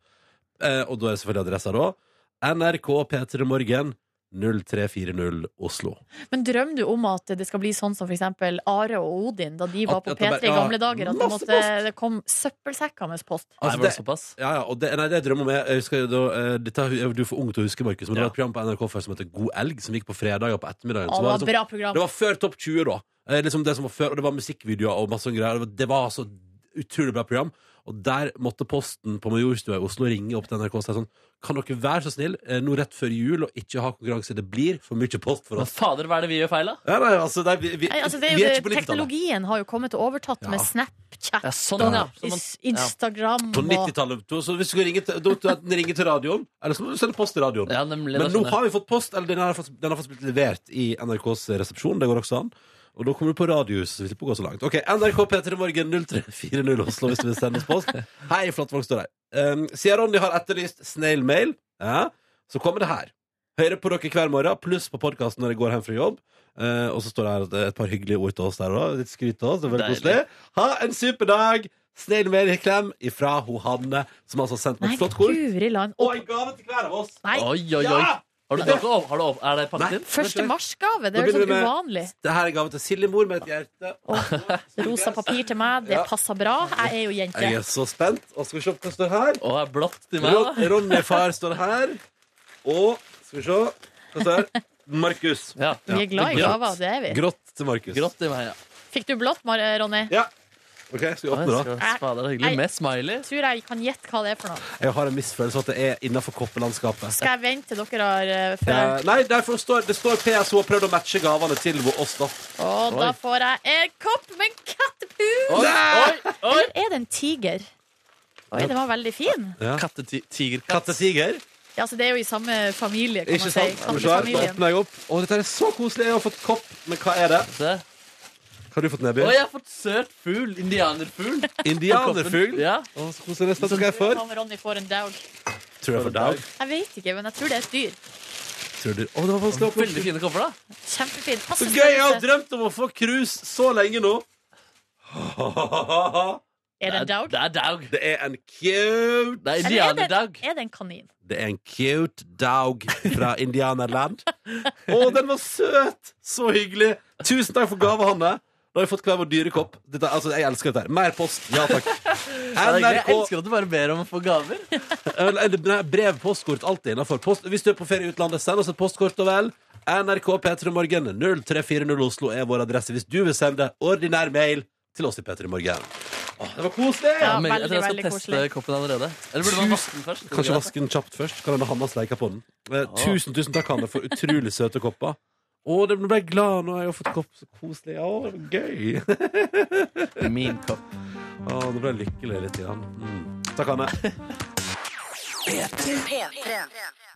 Speaker 2: Eh, og da er det selvfølgelig adressa, da. NRK P3 Morgen, 0340 Oslo.
Speaker 4: Men drømmer du om at det skal bli sånn som f.eks. Are og Odin da de var
Speaker 2: At-
Speaker 4: på
Speaker 2: at det
Speaker 4: P3 i
Speaker 2: bare-
Speaker 4: gamle dager? At det,
Speaker 2: Masse
Speaker 4: måtte, det kom søppelsekker med post?
Speaker 2: Altså, det, ja, ja, og det, nei, det jeg drømmer om er- jeg husker, da, eh, dette, er- Du er for ung til å huske, Markus, men det var et program på NRK før som heter God elg, som gikk på fredager på ettermiddagen.
Speaker 4: Å,
Speaker 2: som
Speaker 4: det var
Speaker 2: liksom-
Speaker 4: et bra program.
Speaker 2: Det var før Topp 20, da. Eh, liksom det som var før, og det var musikkvideoer og masse sånne greier. Det var, det var så utrolig bra program. Og der måtte Posten på Majorstua i Oslo ringe opp til NRK og si sånn Kan dere være så snill, eh, nå rett før jul, og ikke ha konkurranse? Det blir for mye post for oss.
Speaker 3: Fader, hva er det vi gjør feil, da?
Speaker 2: Ja, nei, altså, det er, vi, vi,
Speaker 4: Nei, altså det er
Speaker 2: vi
Speaker 4: jo
Speaker 2: er
Speaker 4: det,
Speaker 2: ikke på 90-tallet.
Speaker 4: teknologien har jo kommet og overtatt
Speaker 2: Ja.
Speaker 4: med Snapchat
Speaker 2: Ja, sånn, ja.
Speaker 4: og
Speaker 2: Så man-
Speaker 4: is- Instagram
Speaker 2: På
Speaker 4: og
Speaker 2: 90-tallet. to- Så hvis du skal ringe til, da- da- enten ringe til radioen, eller så må du sende post til radioen.
Speaker 3: da
Speaker 2: Men nå
Speaker 3: skjønner jeg.
Speaker 2: har vi fått post, eller den har fått, den har fått blitt levert i NRKs resepsjon. Det går også an. Og da kommer du på radiohuset, hvis det går så langt. Ok, NRK P3 Morgen 0340 Oslo hvis du vil sende oss post. Hei, Flattvang står her. Um, Siden Ronny har etterlyst snail mail, ja, så kommer det her. Hører på dere hver morgen, pluss på podkasten når jeg går hjem fra jobb. Eh, og så står det her at det er et par hyggelige ord til oss der òg. Litt skryt til oss. Det er veldig
Speaker 3: Deilig.
Speaker 2: koselig. Ha en super dag! Snill med en klem ifra ho Hanne, som altså har sendt meg
Speaker 4: Nei,
Speaker 2: et flott kort.
Speaker 4: guri land.
Speaker 2: Og en gave til hver av oss.
Speaker 4: Nei.
Speaker 3: Oi, oi, oi.
Speaker 2: Ja!
Speaker 3: Har du, har du, har du, er det
Speaker 2: Nei.
Speaker 3: pakket inn?
Speaker 4: Første marsgave. Det
Speaker 2: Nå
Speaker 4: er jo
Speaker 2: begynner
Speaker 4: sånn
Speaker 2: vi med-
Speaker 4: uvanlig.
Speaker 2: Det her er gave til Siljemor med et hjerte.
Speaker 4: Rosa papir til meg, det
Speaker 2: Ja.
Speaker 4: passer bra. Jeg er jo jente.
Speaker 2: Jeg er så spent. Og skal vi se hva som står her.
Speaker 3: Og er blått til meg,
Speaker 2: Ron,
Speaker 3: da?
Speaker 2: Ronny far står her. Og skal vi se hva står her. Markus.
Speaker 4: Vi er glad i
Speaker 2: Ja.
Speaker 4: gaver, det er vi.
Speaker 2: Grått til Markus.
Speaker 3: Grått til meg, ja.
Speaker 4: Fikk du blått, Mar- Ronny?
Speaker 2: Ja. Ok, skal vi
Speaker 3: Oi,
Speaker 2: åpne, da?
Speaker 3: skal- Fader, det er
Speaker 4: Nei.
Speaker 3: hyggelig. Med smiley.
Speaker 4: Tror jeg kan gjette hva det er for noe.
Speaker 2: Jeg har en misfølelse at det er innafor koppelandskapet.
Speaker 4: Skal jeg vente til dere har eh, før?
Speaker 2: Eh, nei, derfor står, det står PSO har prøvd å matche gavene til oss, da.
Speaker 4: Og da får jeg en kopp med en kattepus!
Speaker 2: Oi,
Speaker 3: oi,
Speaker 4: Eller er det en tiger? Oi, den var veldig fin.
Speaker 3: Kattetiger.
Speaker 2: Kattetiger.
Speaker 4: Ja, altså, det er jo i samme familie, kan
Speaker 2: Ikke
Speaker 4: man si.
Speaker 2: sant? Er du klar? Da
Speaker 4: Kattefamilien.
Speaker 2: åpner jeg opp. Å, dette er så koselig. Jeg har fått kopp, men hva er det? Hva har du fått, Neby?
Speaker 3: Oi, jeg har fått søt fugl. Indianerfugl.
Speaker 2: Indianerfugl?
Speaker 3: Ja.
Speaker 2: Å, så koselig. Jeg er spent på hva jeg får.
Speaker 4: Hva om Ronny får en dag?
Speaker 2: Tror jeg får dag.
Speaker 4: Jeg vet ikke, men jeg tror det er et dyr.
Speaker 2: Tror du... Å, det var vanskelig å åpne.
Speaker 3: Veldig fine kopper, da.
Speaker 4: Kjempefint. Passe
Speaker 2: Så gøy! Jeg har
Speaker 4: størrelse.
Speaker 2: drømt om å få krus så lenge nå.
Speaker 4: Er det en daug?
Speaker 3: Det er daug.
Speaker 2: Det er en cute
Speaker 3: Det er
Speaker 4: Eller er det,
Speaker 3: indianerdaug.
Speaker 4: er det en kanin?
Speaker 2: Det er en cute dog fra Indianerland. Å, den var søt! Så hyggelig. Tusen takk for gave, Hanne. Da har vi fått hver vår dyrekopp. Dette, altså, jeg elsker dette. her Mer post. Ja takk.
Speaker 3: Ja, det er gøy. Jeg
Speaker 2: NRK
Speaker 3: elsker at du bare ber om å få gaver.
Speaker 2: Eller, eller, nei, brev, postkort, alt er innenfor. Post, hvis du er på ferie i utlandet, send oss et postkort og vel. NRK P3 Morgen 0340 Oslo er vår adresse hvis du vil sende ordinær mail til oss i P3 Morgen. Åh, det var koselig!
Speaker 4: Ja,
Speaker 3: men jeg
Speaker 4: veldig,
Speaker 3: tror jeg skal
Speaker 4: veldig
Speaker 3: teste
Speaker 4: koselig.
Speaker 3: koppen allerede. Eller burde man vaske den først?
Speaker 2: Kanskje vaske den kjapt først. Kan hende Hanna sleiker på den. Eh, Tusen tusen takk, Hanne, for utrolig søte kopper. Å, det ble jeg glad nå. Jeg har fått kopp. Så koselig. Å, det var gøy.
Speaker 3: Min kopp.
Speaker 2: Å, nå ble jeg lykkelig litt. Grann. Mm. Takk, Hanne.
Speaker 1: P3.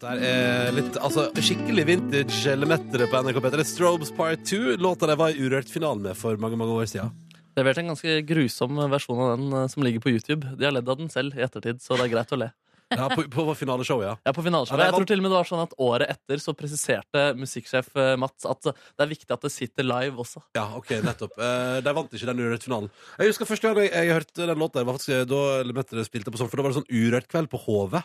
Speaker 2: Der er litt, altså, skikkelig vintage elementere på NRK P3. Strobes Part 2, låta de var i Urørt-finalen med for mange mange år siden.
Speaker 3: Levert en ganske grusom versjon av den eh, som ligger på YouTube. De har ledd av den selv i ettertid, så det er greit å le.
Speaker 2: Ja, på, på vår finaleshow, ja.
Speaker 3: Ja, på
Speaker 2: Ja,
Speaker 3: finaleshowet.
Speaker 2: det er
Speaker 3: Jeg tror
Speaker 2: vant-
Speaker 3: til og med det var sånn at Året etter så presiserte musikksjef eh, Mats at det er viktig at det sitter live også.
Speaker 2: Ja, ok, nettopp. Eh, de vant ikke den Urørt-finalen. Jeg husker første gang jeg, jeg hørte den låta, der, var faktisk eh, da elementere spilte på sånn, for da var det sånn Urørt-kveld på HV.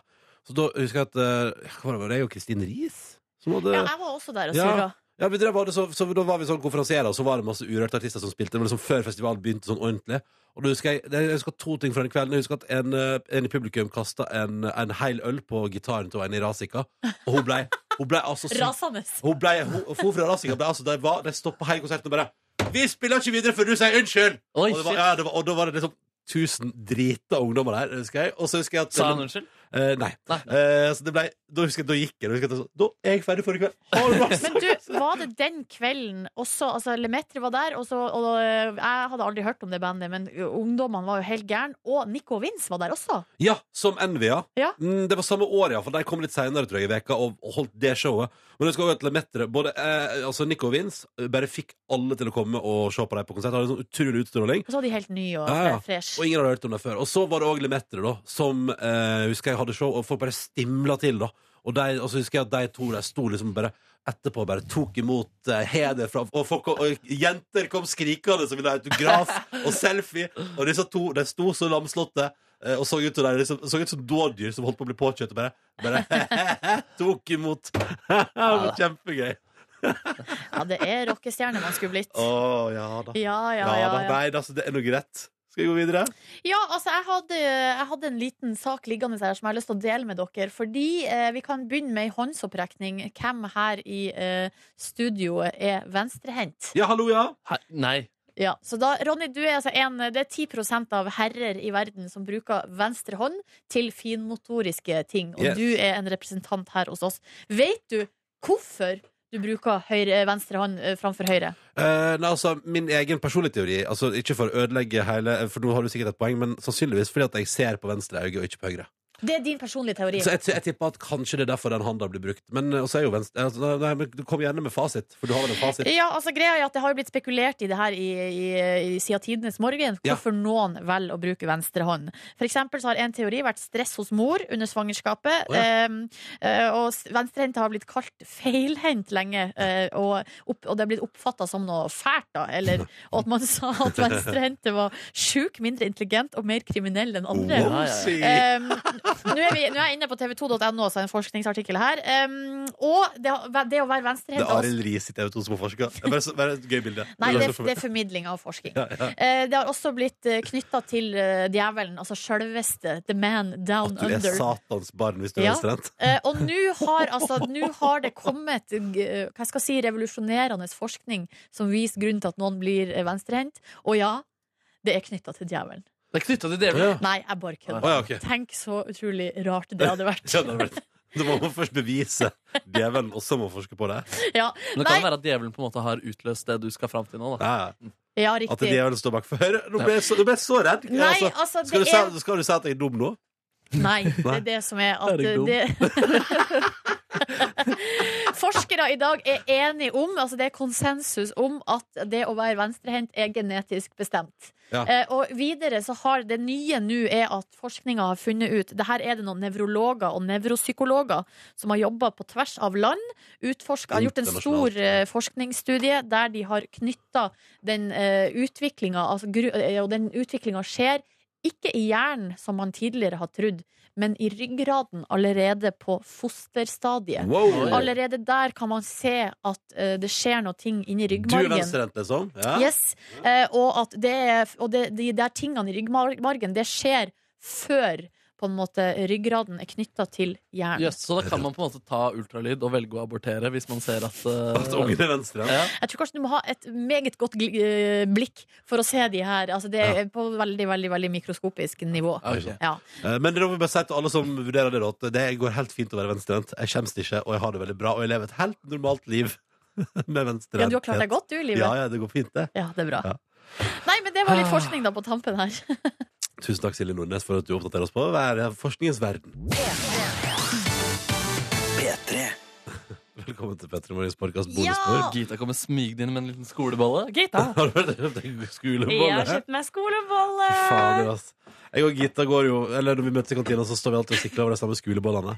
Speaker 2: Så da husker jeg at eh, hva var det, var det jo Kristin Riis som hadde
Speaker 4: Ja, jeg var også der og
Speaker 2: Ja.
Speaker 4: surra.
Speaker 2: Ja, vi drev, bare så, så da var vi sånn konferansierer, og så var det masse urørte artister som spilte. Men liksom før festivalen begynte sånn ordentlig. Og da husker jeg, jeg husker to ting fra den kvelden. Jeg husker at en, eh, en i publikum kasta en, en hel øl på gitaren til en i Rasika. Og hun blei hun ble altså så-
Speaker 4: Rasende.
Speaker 2: Hun ble, hun, hun fra Rasika ble altså De, var- de stoppa hele konserten og bare 'Vi spiller ikke videre før du sier unnskyld!'
Speaker 3: Oi,
Speaker 2: og, det var,
Speaker 3: shit.
Speaker 2: ja, det var, og da var det liksom Tusen drita ungdommer der, husker jeg. Og så husker jeg at
Speaker 3: Sa han unnskyld?
Speaker 2: Eh, nei.
Speaker 3: Nei.
Speaker 2: Eh, så det ble, da husker jeg, da gikk jeg. Da, husker jeg, at jeg sa, da er jeg ferdig for i kveld. Ha det bra.
Speaker 4: Men du, var det den kvelden også Altså, Lemetri var der, og så og, eh, Jeg hadde aldri hørt om det bandet, men ungdommene var jo helt gærne. Og Nico Vince var der også.
Speaker 2: Ja, som Envy, ja.
Speaker 4: Ja.
Speaker 2: Mm, det var samme år, ja, for de kom litt senere tror jeg, i veka og og holdt det showet. Men jeg skal også til Mettere. Både eh, altså Nico og Vince eh, bare fikk alle til å komme og se på dem på konsert. Det var en sånn utrolig utstråling.
Speaker 4: Og så var de helt nye og
Speaker 2: Ja, ja.
Speaker 4: fresh.
Speaker 2: Og ingen hadde hørt om det før. Og så var det òg Lemettere, da, som eh, husker jeg hadde show, og folk bare stimla til, da. Og, de, og så husker jeg at de to der sto liksom bare etterpå bare tok imot eh, heder fra Og, folk, og, og jenter kom skrikende som ville ha autograf og selfie. Og disse to de sto så lamslåtte.
Speaker 9: eh, og så ut som, de liksom, så ut som dådyr som holdt på å bli påkjørt, og bare, bare tok imot. det var kjempegøy.
Speaker 4: Ja, det er rockestjerne man skulle blitt.
Speaker 9: Å, ja da.
Speaker 4: Ja, ja,
Speaker 9: Ja
Speaker 4: ja.
Speaker 9: da.
Speaker 4: ja.
Speaker 9: Nei, altså, det er noe greit. Skal vi gå videre?
Speaker 4: Ja, altså jeg hadde, jeg hadde en liten sak liggende her som jeg har lyst til å dele med dere. Fordi eh, vi kan begynne med ei håndsopprekning. Hvem her i eh, studioet er venstrehendt?
Speaker 9: Ja, hallo, ja.
Speaker 3: nei.
Speaker 4: Ja, så da, Ronny, du er altså en, det er 10 av herrer i verden som bruker venstre hånd til finmotoriske ting. Og
Speaker 13: Yes.
Speaker 4: du er en representant her hos oss. Vet du hvorfor du bruker høyre, venstre hånd eh, framfor høyre?
Speaker 2: Eh, nei, altså, min egen personlige teori altså, Ikke for å ødelegge hele eh, For nå har du sikkert et poeng, men sannsynligvis fordi at jeg ser på venstre øye og ikke på høyre.
Speaker 4: Det er din personlige teori.
Speaker 2: Så jeg, jeg tipper at kanskje det er derfor den handa blir brukt. Men eh, også er jo venstre altså, nei, nei, men Du kom gjerne med fasit, for du har vel en fasit?
Speaker 4: Ja, altså greia er at Det har jo blitt spekulert i det her i, i, i siden tidenes morgen,
Speaker 2: Ja.
Speaker 4: hvorfor noen velger å bruke venstre hånd. For eksempel så har en teori vært stress hos mor under svangerskapet.
Speaker 13: Å, ja.
Speaker 4: em, eh, og s- venstrehendte har blitt kalt feilhendt lenge, eh, og, opp, og det er blitt oppfatta som noe fælt, da. Eller og at man sa at venstrehendte var sjukt mindre intelligent og mer kriminell enn andre.
Speaker 13: Oh, si.
Speaker 4: Em, nå er, vi, nå er jeg inne på tv2.no, så er det en forskningsartikkel her. Em, og det, det å være
Speaker 9: Det er
Speaker 4: venstrehendt
Speaker 9: Arild Rie sitt TV2 som har forska. Det er Bare, så- bare et gøy bilde.
Speaker 4: Nei, det, det er formidling av forskning.
Speaker 9: Ja, ja.
Speaker 4: Eh, Det har også blitt knytta til eh, djevelen, altså sjølveste the man down
Speaker 2: Du er
Speaker 4: under.
Speaker 2: satans barn hvis du er
Speaker 4: Ja.
Speaker 2: venstrehendt.
Speaker 4: Eh, og nå har, altså, nå har det kommet eh, hva skal jeg si, revolusjonerende forskning som viser grunnen til at noen blir eh, venstrehendt. Og ja, det er knytta til djevelen.
Speaker 3: Det er knytta til djevelen.
Speaker 4: Nei, jeg bare kødder.
Speaker 2: Å, ja, ok.
Speaker 4: Tenk så utrolig rart det hadde vært.
Speaker 2: Ja, det hadde vært. Da må man først bevise djevelen, og så må man forske på det.
Speaker 4: Ja,
Speaker 3: Men det kan være at djevelen på en måte har utløst det du skal fram til nå. Da.
Speaker 4: ja riktig.
Speaker 2: At djevelen står bak. For hør, nå ble jeg så, nå ble jeg så redd.
Speaker 4: Nei, altså,
Speaker 2: skal,
Speaker 4: det
Speaker 2: du si,
Speaker 4: er-
Speaker 2: skal du si at jeg er dum nå?
Speaker 4: Nei, det er det som er at eh,
Speaker 2: Er jeg dum?
Speaker 4: det, Forskere i dag er enige om, altså det er konsensus om, at det å være venstrehendt er genetisk bestemt.
Speaker 13: Ja.
Speaker 4: Eh, og videre så har det nye nå er at forskninga har funnet ut det her er det noen nevrologer og nevropsykologer som har jobba på tvers av land, utforska, har gjort en stor eh, forskningsstudie der de har knytta den eh, utviklinga, altså gru, eh, og den utviklinga skjer ikke i hjernen, som man tidligere har trodd, men i ryggraden allerede på fosterstadiet.
Speaker 2: Wow.
Speaker 4: Allerede der kan man se at eh, det skjer noe ting
Speaker 2: Du
Speaker 4: inni
Speaker 2: er
Speaker 4: ryggmargen.
Speaker 2: venstrehendt, liksom? Ja.
Speaker 4: Yes. Eh, og at det, er- og det, de der tingene i ryggmargen, det skjer før på en måte ryggraden er knytta til hjernen.
Speaker 3: Jøss, så da kan man på en måte ta ultralyd og velge å abortere hvis man ser at eh,
Speaker 2: At ungen er venstre.
Speaker 3: Ja.
Speaker 4: Jeg tror kanskje du må ha et meget godt gl- eh, blikk for å se de her. Altså, det er på veldig, veldig, veldig mikroskopisk nivå.
Speaker 2: Ja, ikke sant.
Speaker 4: Ja.
Speaker 2: Eh, Men da vil jeg bare si til alle som vurderer det, da, at det går helt fint å være venstrehendt. Jeg skjemmes ikke, og jeg har det veldig bra, og jeg lever et helt normalt liv med venstrehendt.
Speaker 4: Ja, du har klart deg godt, du, i livet.
Speaker 2: Ja, ja, det går fint, det.
Speaker 4: Ja, det er bra. Nei, men det var
Speaker 13: Ah.
Speaker 4: litt forskning da på tampen her.
Speaker 2: Tusen takk, Silje Nordnes, for at du oppdaterer oss på hver- forskningens verden. Velkommen til Petter Morgens podcast bonusbord.
Speaker 3: Ja! Gita kommer smygende inn med en liten skolebolle.
Speaker 2: Har du hørt om det? Skolebolle?
Speaker 13: Jeg har kjøpt meg skolebolle!
Speaker 2: Fader, ass. Jeg og Gita går jo Eller når vi møtes i kantina, så står vi alltid og sikler over de samme skolebollene.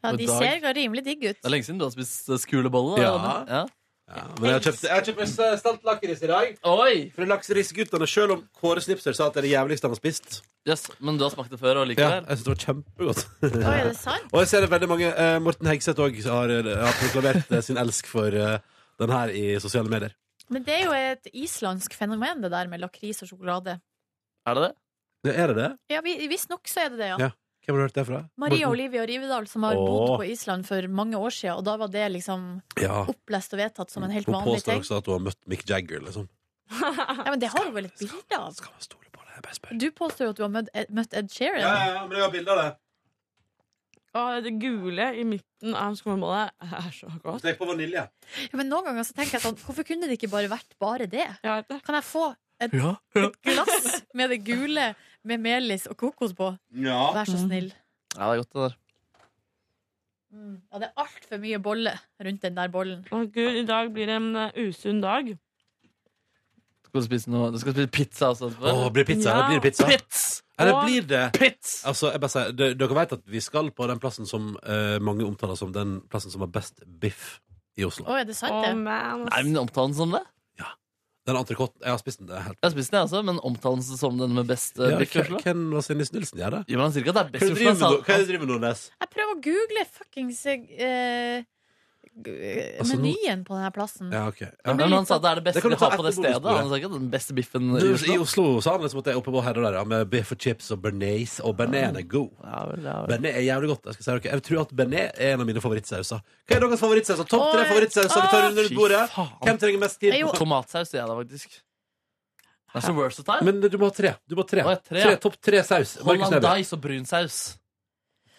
Speaker 4: Ja,
Speaker 2: Og
Speaker 4: de
Speaker 2: Dag-
Speaker 4: ser rimelig digg ut.
Speaker 3: Det er lenge siden du har spist eh, skolebolle.
Speaker 2: Ja.
Speaker 3: Ronny. ja.
Speaker 2: Men jeg har kjøpt, jeg har kjøpt meg stelt lakris i dag.
Speaker 3: Oi!
Speaker 2: Fra lakrisguttene, selv om Kåre Snipser sa at det er det jævligste han har spist.
Speaker 3: Yes, men du har smakt det før og liker
Speaker 2: Ja,
Speaker 3: det?
Speaker 2: jeg synes det var kjempegodt.
Speaker 4: Oi, er det sant?
Speaker 2: Og jeg ser det veldig mange eh, Morten Hegseth òg har, eh, har proklamert eh, sin elsk for eh, den her i sosiale medier.
Speaker 4: Men det er jo et islandsk fenomen, det der med lakris og sjokolade.
Speaker 3: Er det det?
Speaker 2: Ja, er det det?
Speaker 4: Ja, vi- Visstnok så er det det, ja.
Speaker 2: Ja. Hvem har du hørt det fra?
Speaker 4: Maria
Speaker 2: Morten?
Speaker 4: Olivia Rivedal, som har
Speaker 2: Åh.
Speaker 4: bodd på Island for mange år siden, og da var det liksom
Speaker 2: Ja.
Speaker 4: opplest og vedtatt som en helt
Speaker 2: Hun
Speaker 4: vanlig
Speaker 2: påstår
Speaker 4: ting.
Speaker 2: også at hun har møtt Mick Jagger, liksom.
Speaker 4: Ja, men det har hun vel et bilde av? Du påstår jo at du har møtt Ed, møtt Ed Sheeran.
Speaker 2: men jeg har bilde av det.
Speaker 13: Og det gule i midten av skolebolle er så godt.
Speaker 2: Tenk på vanilje.
Speaker 4: Ja, men noen ganger så tenker jeg sånn, hvorfor kunne det ikke bare vært bare det? Kan jeg få et
Speaker 3: Ja.
Speaker 4: glass med det gule med melis og kokos på?
Speaker 2: Ja.
Speaker 4: Vær
Speaker 3: Mm.
Speaker 4: så snill.
Speaker 3: Ja, det er godt, det der.
Speaker 4: Mm. Ja, det er altfor mye bolle rundt den der bollen.
Speaker 13: Å gud, i dag blir det en eh, usunn dag.
Speaker 3: Skal du spise, noe? Du skal spise pizza også? etterpå, eller?
Speaker 2: Åh, blir det pizza?
Speaker 13: Ja.
Speaker 2: Eller blir det pizza?
Speaker 3: Pits!
Speaker 2: Eller
Speaker 13: Og-
Speaker 2: blir det Altså, jeg bare sier, de- Dere vet at vi skal på den plassen som eh, mange omtaler som den plassen som har best biff i Oslo.
Speaker 4: Å, er det sant, det?
Speaker 13: Å, man, ass.
Speaker 3: Nei, men omtalen som det?
Speaker 2: Den entrecôten. Jeg har spist den. Det er helt
Speaker 3: Jeg har spist den, jeg også, men omtales det som den med best eh,
Speaker 2: Ja,
Speaker 3: drikkeførsel?
Speaker 2: Hvem var Sindis Nilsen? Ja, da?
Speaker 3: Jo, men han sier ikke at det er best
Speaker 2: Hva driver
Speaker 3: Oslo,
Speaker 2: du- hva er det du driver med, Nordnes?
Speaker 4: Jeg prøver å google fuckings eh, g-
Speaker 3: Altså, nå-
Speaker 4: menyen på denne plassen.
Speaker 2: Ja, ok.
Speaker 3: Ja,
Speaker 2: Ja.
Speaker 3: men han sa at det er det beste
Speaker 2: kan du
Speaker 3: vi har
Speaker 2: ta
Speaker 3: på det
Speaker 2: etter
Speaker 3: stedet.
Speaker 2: bonusbordet.
Speaker 3: Han sa ikke at den beste biffen i
Speaker 2: Du,
Speaker 3: Oslo.
Speaker 2: I Oslo sa han liksom at det er oppe på herre der, ja, med biff og chips og bearnés, og bearnés er god. Bearnés er jævlig godt. Jeg, skal si dere. jeg tror at bearnés er en av mine favorittsauser. Hva er deres favorittsauser? Topp tre
Speaker 3: Oi.
Speaker 2: favorittsauser? Vi tar under
Speaker 3: Fy
Speaker 2: bordet.
Speaker 3: faen.
Speaker 2: Hvem trenger mest tid? på-
Speaker 3: Tomatsaus sier jeg da, faktisk. Det er så versatile.
Speaker 2: Men du må ha tre. Du må ha tre.
Speaker 3: Å, ja, tre,
Speaker 2: tre
Speaker 3: ja.
Speaker 2: topp tre saus. Markus Neby.
Speaker 3: Hollandaise og brun saus.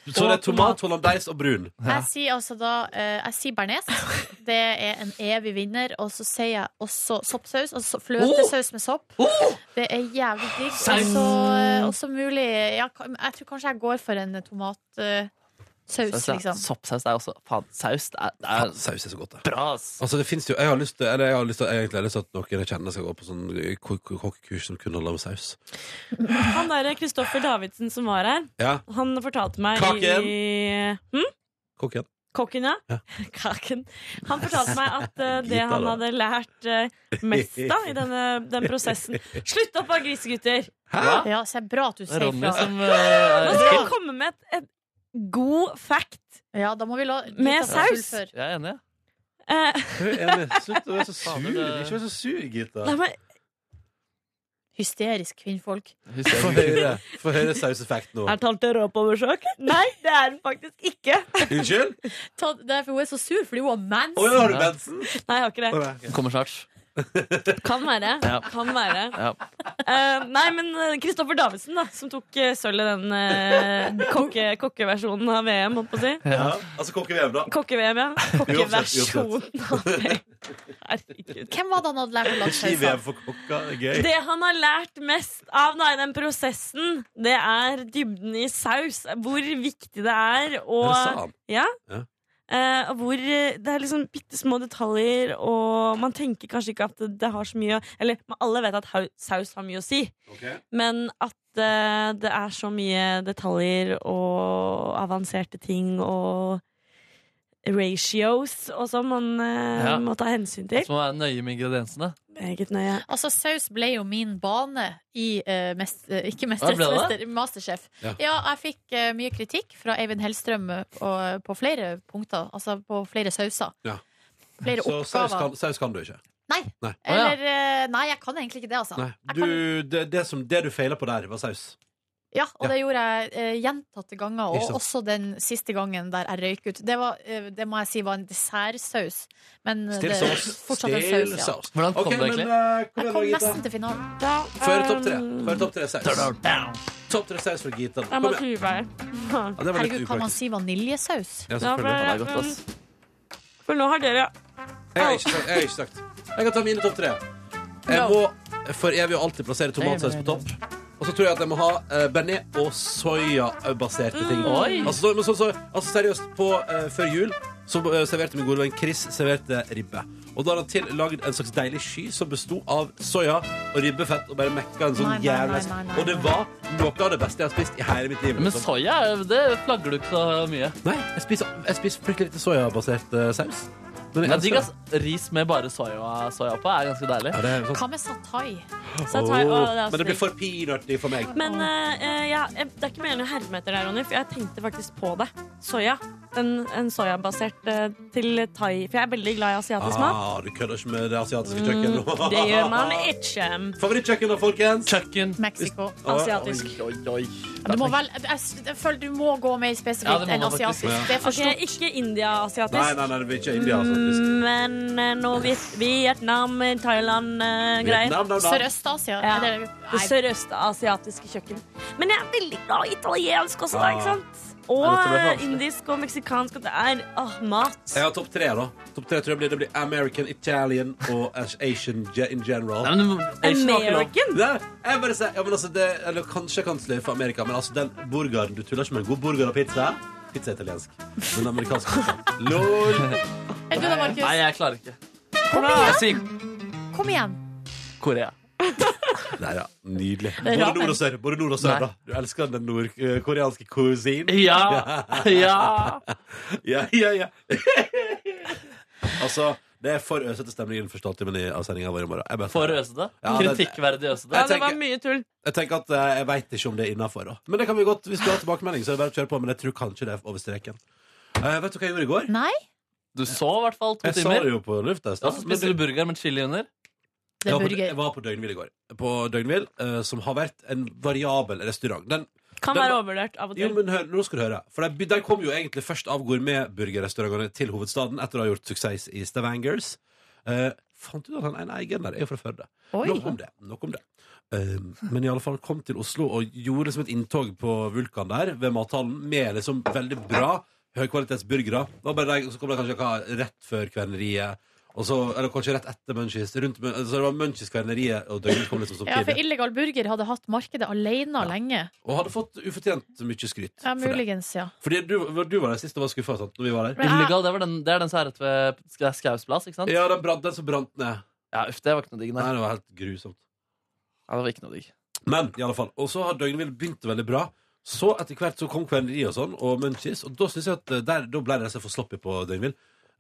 Speaker 2: Så det er tomat, hollandaise og brun.
Speaker 4: Jeg sier altså da eh, Jeg sier bearnés. Det er en evig vinner. Og så sier jeg også soppsaus. Altså fløtesaus med sopp.
Speaker 3: Oh!
Speaker 4: Det er jævlig digg. Og
Speaker 3: Saus.
Speaker 4: så eh, også mulig ja, ka- Jeg tror kanskje jeg går for en tomatsaus,
Speaker 3: Saus, ja.
Speaker 4: liksom.
Speaker 3: Soppsaus er også Faen, saus det er, det er
Speaker 2: Saus er så godt, det.
Speaker 3: Bra, ass.
Speaker 2: Altså, det finnes jo Jeg har lyst til Eller jeg har lyst til, jeg har egentlig lyst til at noen jeg kjenner, skal gå på sånn ko- ko- kokkekurs som kun handler om saus.
Speaker 13: Han derre Kristoffer Davidsen som var her,
Speaker 2: Ja.
Speaker 13: han fortalte meg
Speaker 2: Kaken.
Speaker 13: i hm?
Speaker 2: Kokken.
Speaker 13: Kokken, ja. Kaken. Han fortalte meg at eh, det
Speaker 2: Gita,
Speaker 13: han
Speaker 2: da.
Speaker 13: hadde lært eh, mest av i denne, den prosessen Slutt opp, da, grisegutter!
Speaker 4: Ja, så er bra at du
Speaker 3: Det er
Speaker 4: sier
Speaker 3: Ronny
Speaker 4: fra.
Speaker 3: som,
Speaker 13: Nå
Speaker 3: eh,
Speaker 13: skal jeg komme med et, et god fact
Speaker 4: Ja, da må vi la Gita
Speaker 13: med saus.
Speaker 4: fullføre.
Speaker 3: Jeg er enig. jeg.
Speaker 13: Eh,
Speaker 2: Slutt å være så sur.
Speaker 3: Fader, det-
Speaker 2: Ikke vær så sur, Gita.
Speaker 13: Nei, men
Speaker 4: Hysterisk kvinnfolk.
Speaker 2: Få høre, få høre sauseffekt nå.
Speaker 13: Er tante rå på besøk? Nei, det er hun faktisk ikke.
Speaker 2: Unnskyld?
Speaker 4: Ta, det er for hun er så sur fordi hun har mens.
Speaker 2: Å, ja, har du mensen?
Speaker 13: Nei, jeg har ikke det.
Speaker 3: Kommer snart.
Speaker 13: Kan være.
Speaker 3: Ja.
Speaker 13: Kan være.
Speaker 3: Ja.
Speaker 13: Eh, nei, men eh, Kristoffer Davidsen, da, som tok uh, sølv i den eh, kokke, kokkeversjonen av VM, holdt på å si.
Speaker 9: Ja, altså kokke-VM, da.
Speaker 13: Kokke-VM, ja. Kokkeversjonen av VM.
Speaker 4: Hvem var det han hadde lært å lage saus
Speaker 9: Ski-VM
Speaker 4: av?
Speaker 9: for kokker er gøy.
Speaker 13: Det han har lært mest av da, i den prosessen, det er dybden i saus. Hvor viktig det er. Og,
Speaker 9: Det sa han.
Speaker 13: Ja,
Speaker 2: Ja.
Speaker 13: Eh, og hvor eh, det er liksom bitte små detaljer, og man tenker kanskje ikke at det, det har så mye å Eller men alle vet at hau- saus har mye å si, men at eh, det er så mye detaljer og avanserte ting og ratios og sånn man eh,
Speaker 3: Ja.
Speaker 13: må ta hensyn
Speaker 3: Så
Speaker 2: Altså-
Speaker 13: til.
Speaker 3: må man være nøye med ingrediensene.
Speaker 13: Meget nøye.
Speaker 4: Altså, saus ble jo min bane i eh, mest, eh, Ikke
Speaker 3: Ja,
Speaker 4: Mesternes
Speaker 3: ble det
Speaker 4: mester, Masterchef. Ja.
Speaker 3: Ja.
Speaker 4: jeg fikk eh, mye kritikk fra Eivind Hellstrøm eh, og, på flere punkter. Altså på flere sauser.
Speaker 2: Ja.
Speaker 4: Flere
Speaker 2: Så saus
Speaker 4: oppgaver.
Speaker 2: kan, saus kan du ikke.
Speaker 4: Nei.
Speaker 2: Nei.
Speaker 4: Eller eh, Nei, jeg kan egentlig ikke det, altså.
Speaker 2: Nei. Du, det, det, som, det du feiler på der, var saus.
Speaker 4: Ja, og det gjorde jeg eh, gjentatte ganger,
Speaker 2: Ikke
Speaker 4: og
Speaker 2: sant.
Speaker 4: også den siste gangen der jeg røyk ut. Det, var, eh, det må jeg si var en dessertsaus. Men eh,
Speaker 2: Still
Speaker 4: det
Speaker 2: saus.
Speaker 4: fortsatt en
Speaker 2: Still
Speaker 4: saus. Ja.
Speaker 2: saus. Hvordan kom Ok, du egentlig? men, eh, hvordan
Speaker 4: jeg kom
Speaker 2: var Gita?
Speaker 4: nesten Eh, til finalen.
Speaker 2: Få høre topp tre. Få høre topp tre saus. Topp tre saus fra Gita.
Speaker 13: eh, Jeg må
Speaker 2: Kom igjen.
Speaker 13: tue meg.
Speaker 2: Ja, det var litt
Speaker 4: Herregud, kan man
Speaker 2: upraktisk.
Speaker 4: si vaniljesaus?
Speaker 2: Ja, selvfølgelig.
Speaker 13: Ja, for- Det er godt, ass. For nå har dere
Speaker 2: Jeg har ikke sagt. Jeg, har ikke sagt. jeg kan ta mine topp tre. Jeg må for evig og alltid plassere tomatsaus på topp. Og så tror jeg at jeg må ha uh, bearnés og soyabaserte ting.
Speaker 3: Mm. Oi.
Speaker 2: Altså, så, men så, så, altså seriøst, på eh, før jul så eh, serverte min gode venn Chris serverte ribbe. Og da hadde han til lagd en slags deilig sky som besto av soya og ribbefett. Og bare mekka en sånn
Speaker 3: Nei, nei,
Speaker 2: jævla
Speaker 3: nei, nei, nei,
Speaker 2: Og det var noe av det beste jeg har spist i hele mitt liv.
Speaker 3: Men
Speaker 2: liksom.
Speaker 3: soya det flagger du ikke så mye.
Speaker 2: Nei, jeg spiser, jeg spiser fryktelig lite soyabasert eh, saus.
Speaker 3: Men
Speaker 2: Men
Speaker 3: jeg
Speaker 2: jeg
Speaker 3: digger
Speaker 2: elsker
Speaker 3: ass. Ris med bare soya, soya på er ganske deilig.
Speaker 2: Ja, det er sånn-
Speaker 4: Hva med satai?
Speaker 13: Satai, å, det er
Speaker 2: Åh,
Speaker 13: også
Speaker 2: Men det blir
Speaker 13: digg.
Speaker 2: for peanøttig for meg.
Speaker 13: Men eh, ja, jeg- det er ikke meningen å herme etter deg, Ronny, for jeg tenkte faktisk på det. Soya. En, en soyabasert eh, til thai. For jeg er veldig glad i asiatisk mat.
Speaker 2: Ah, du kødder ikke med det asiatiske
Speaker 13: Mm,
Speaker 2: kjøkkenet.
Speaker 13: det gjør man ikke.
Speaker 2: Favorittkjøkken da, folkens?
Speaker 3: Kjøkken.
Speaker 4: Mexico.
Speaker 13: Asiatisk.
Speaker 3: Oi, oi, oi.
Speaker 4: Du må vel, jeg, jeg, jeg føler du må gå mer spesifikt
Speaker 2: Ja, det må
Speaker 4: enn
Speaker 2: man faktisk.
Speaker 4: asiatisk.
Speaker 2: Ja.
Speaker 4: Det er for
Speaker 13: Ok,
Speaker 4: stort.
Speaker 13: ikke India-asiatisk.
Speaker 2: Nei, nei, nei, det blir ikke India. Altså.
Speaker 13: Men eh, noe Viet- Vietnam, eh, Thailand-greier.
Speaker 2: Vietnam, da, da.
Speaker 4: Sørøst-Asia.
Speaker 13: Ja.
Speaker 4: Eller-
Speaker 13: Det sørøstasiatiske kjøkken. Men jeg er veldig glad i italiensk også, da.
Speaker 2: Ja.
Speaker 13: ikke sant?
Speaker 2: Ah. Ja, dette ble
Speaker 13: Og
Speaker 2: vanskelig.
Speaker 13: indisk og meksikansk. Og det er åh, mat.
Speaker 2: Jeg har topp tre, da. Topp tre tror jeg blir, det blir American, Italian og As- Asian ge- in general.
Speaker 13: Asian har ikke lov. American?
Speaker 2: Nei, jeg bare sier, ja, men altså, det, eller kanskje jeg kan sløye for Amerika, men altså, den burgeren Du tuller ikke med en god burger og pizza? Pizza er italiensk. Men amerikansk pizza. Lol.
Speaker 4: Er du da, Markus?
Speaker 3: Nei, jeg klarer ikke.
Speaker 4: Kom
Speaker 3: Jeg
Speaker 4: igjen!
Speaker 3: sier
Speaker 4: Kom igjen.
Speaker 3: Korea.
Speaker 2: Nei, ja, nydelig.
Speaker 4: Det er
Speaker 2: Både
Speaker 4: ramen.
Speaker 2: nord og sør. Både nord og sør
Speaker 3: Nei.
Speaker 2: da. Du elsker den nordkoreanske cuisine.
Speaker 3: Ja. Ja.
Speaker 2: ja, ja, ja. altså, Det er for øsete stemning i den første halvtimen i- av sendinga vår i morgen. Jeg bare-
Speaker 3: For øsete?
Speaker 2: Ja, det-
Speaker 3: Kritikkverdig øsete?
Speaker 2: Jeg tenker-
Speaker 13: mye tull.
Speaker 2: Jeg tenker at eh, jeg veit ikke om det er innafor. Men det kan vi godt, hvis du har tilbakemelding, så er det bare å kjøre på. Men jeg tror kanskje det er over streken. Eh, vet du hva jeg gjorde i går?
Speaker 4: Nei.
Speaker 3: Du så i hvert fall to
Speaker 2: jeg
Speaker 3: timer.
Speaker 2: sa det jo på lufta i
Speaker 3: Ja,
Speaker 2: stad.
Speaker 3: så spiste du burger med chili under.
Speaker 2: Jeg var, på, jeg var på Døgnhvil i går. På Døgnhvil, eh, som har vært en variabel restaurant. Den,
Speaker 13: Kan
Speaker 2: den
Speaker 13: være
Speaker 2: var-
Speaker 13: overvurdert av og
Speaker 2: Jo,
Speaker 13: til.
Speaker 2: men hør, nå skal du høre. For de, by- de kom jo egentlig først av gourmetburgerrestaurantene til hovedstaden etter å ha gjort suksess i Stavangers. Eh, fant ut at han ene eieren der er jo fra Førde.
Speaker 9: Oi.
Speaker 2: Nok om det. Nok om det. Eh, men i alle fall kom til Oslo og gjorde liksom et inntog på Vulkan der, ved mathallen, med liksom veldig bra høykvalitetsburgere. Det var bare de- Så kom det kanskje hva, rett før Kverneriet. Og så, eller kanskje rett etter Munchies. Rundt, Mun- så det var Munchies, Kverneriet og Døgnet kom liksom som
Speaker 4: Ja, for
Speaker 2: tidlig.
Speaker 4: illegal burger hadde hatt markedet alene lenge.
Speaker 2: Og hadde fått ufortjent mye skryt. for
Speaker 4: Ja,
Speaker 2: det.
Speaker 4: muligens, ja.
Speaker 2: Fordi du, du var der sist og var skuffa sånn, når vi var der.
Speaker 3: Illegal, det, var den, det er den som er rett ved Sk- Skaus plass, ikke sant?
Speaker 2: Ja, den, brant, den som brant ned.
Speaker 3: Ja, uff, det var ikke noe digg.
Speaker 2: Nei, det var helt grusomt.
Speaker 3: Ja, det var ikke noe digg.
Speaker 2: Men i alle fall. Og så har Døgnvill begynt veldig bra. Så etter hvert så kom Kverneri og sånn, og Munchies, og da synes jeg at eh, der, da ble det så for sloppy på Døgnvill.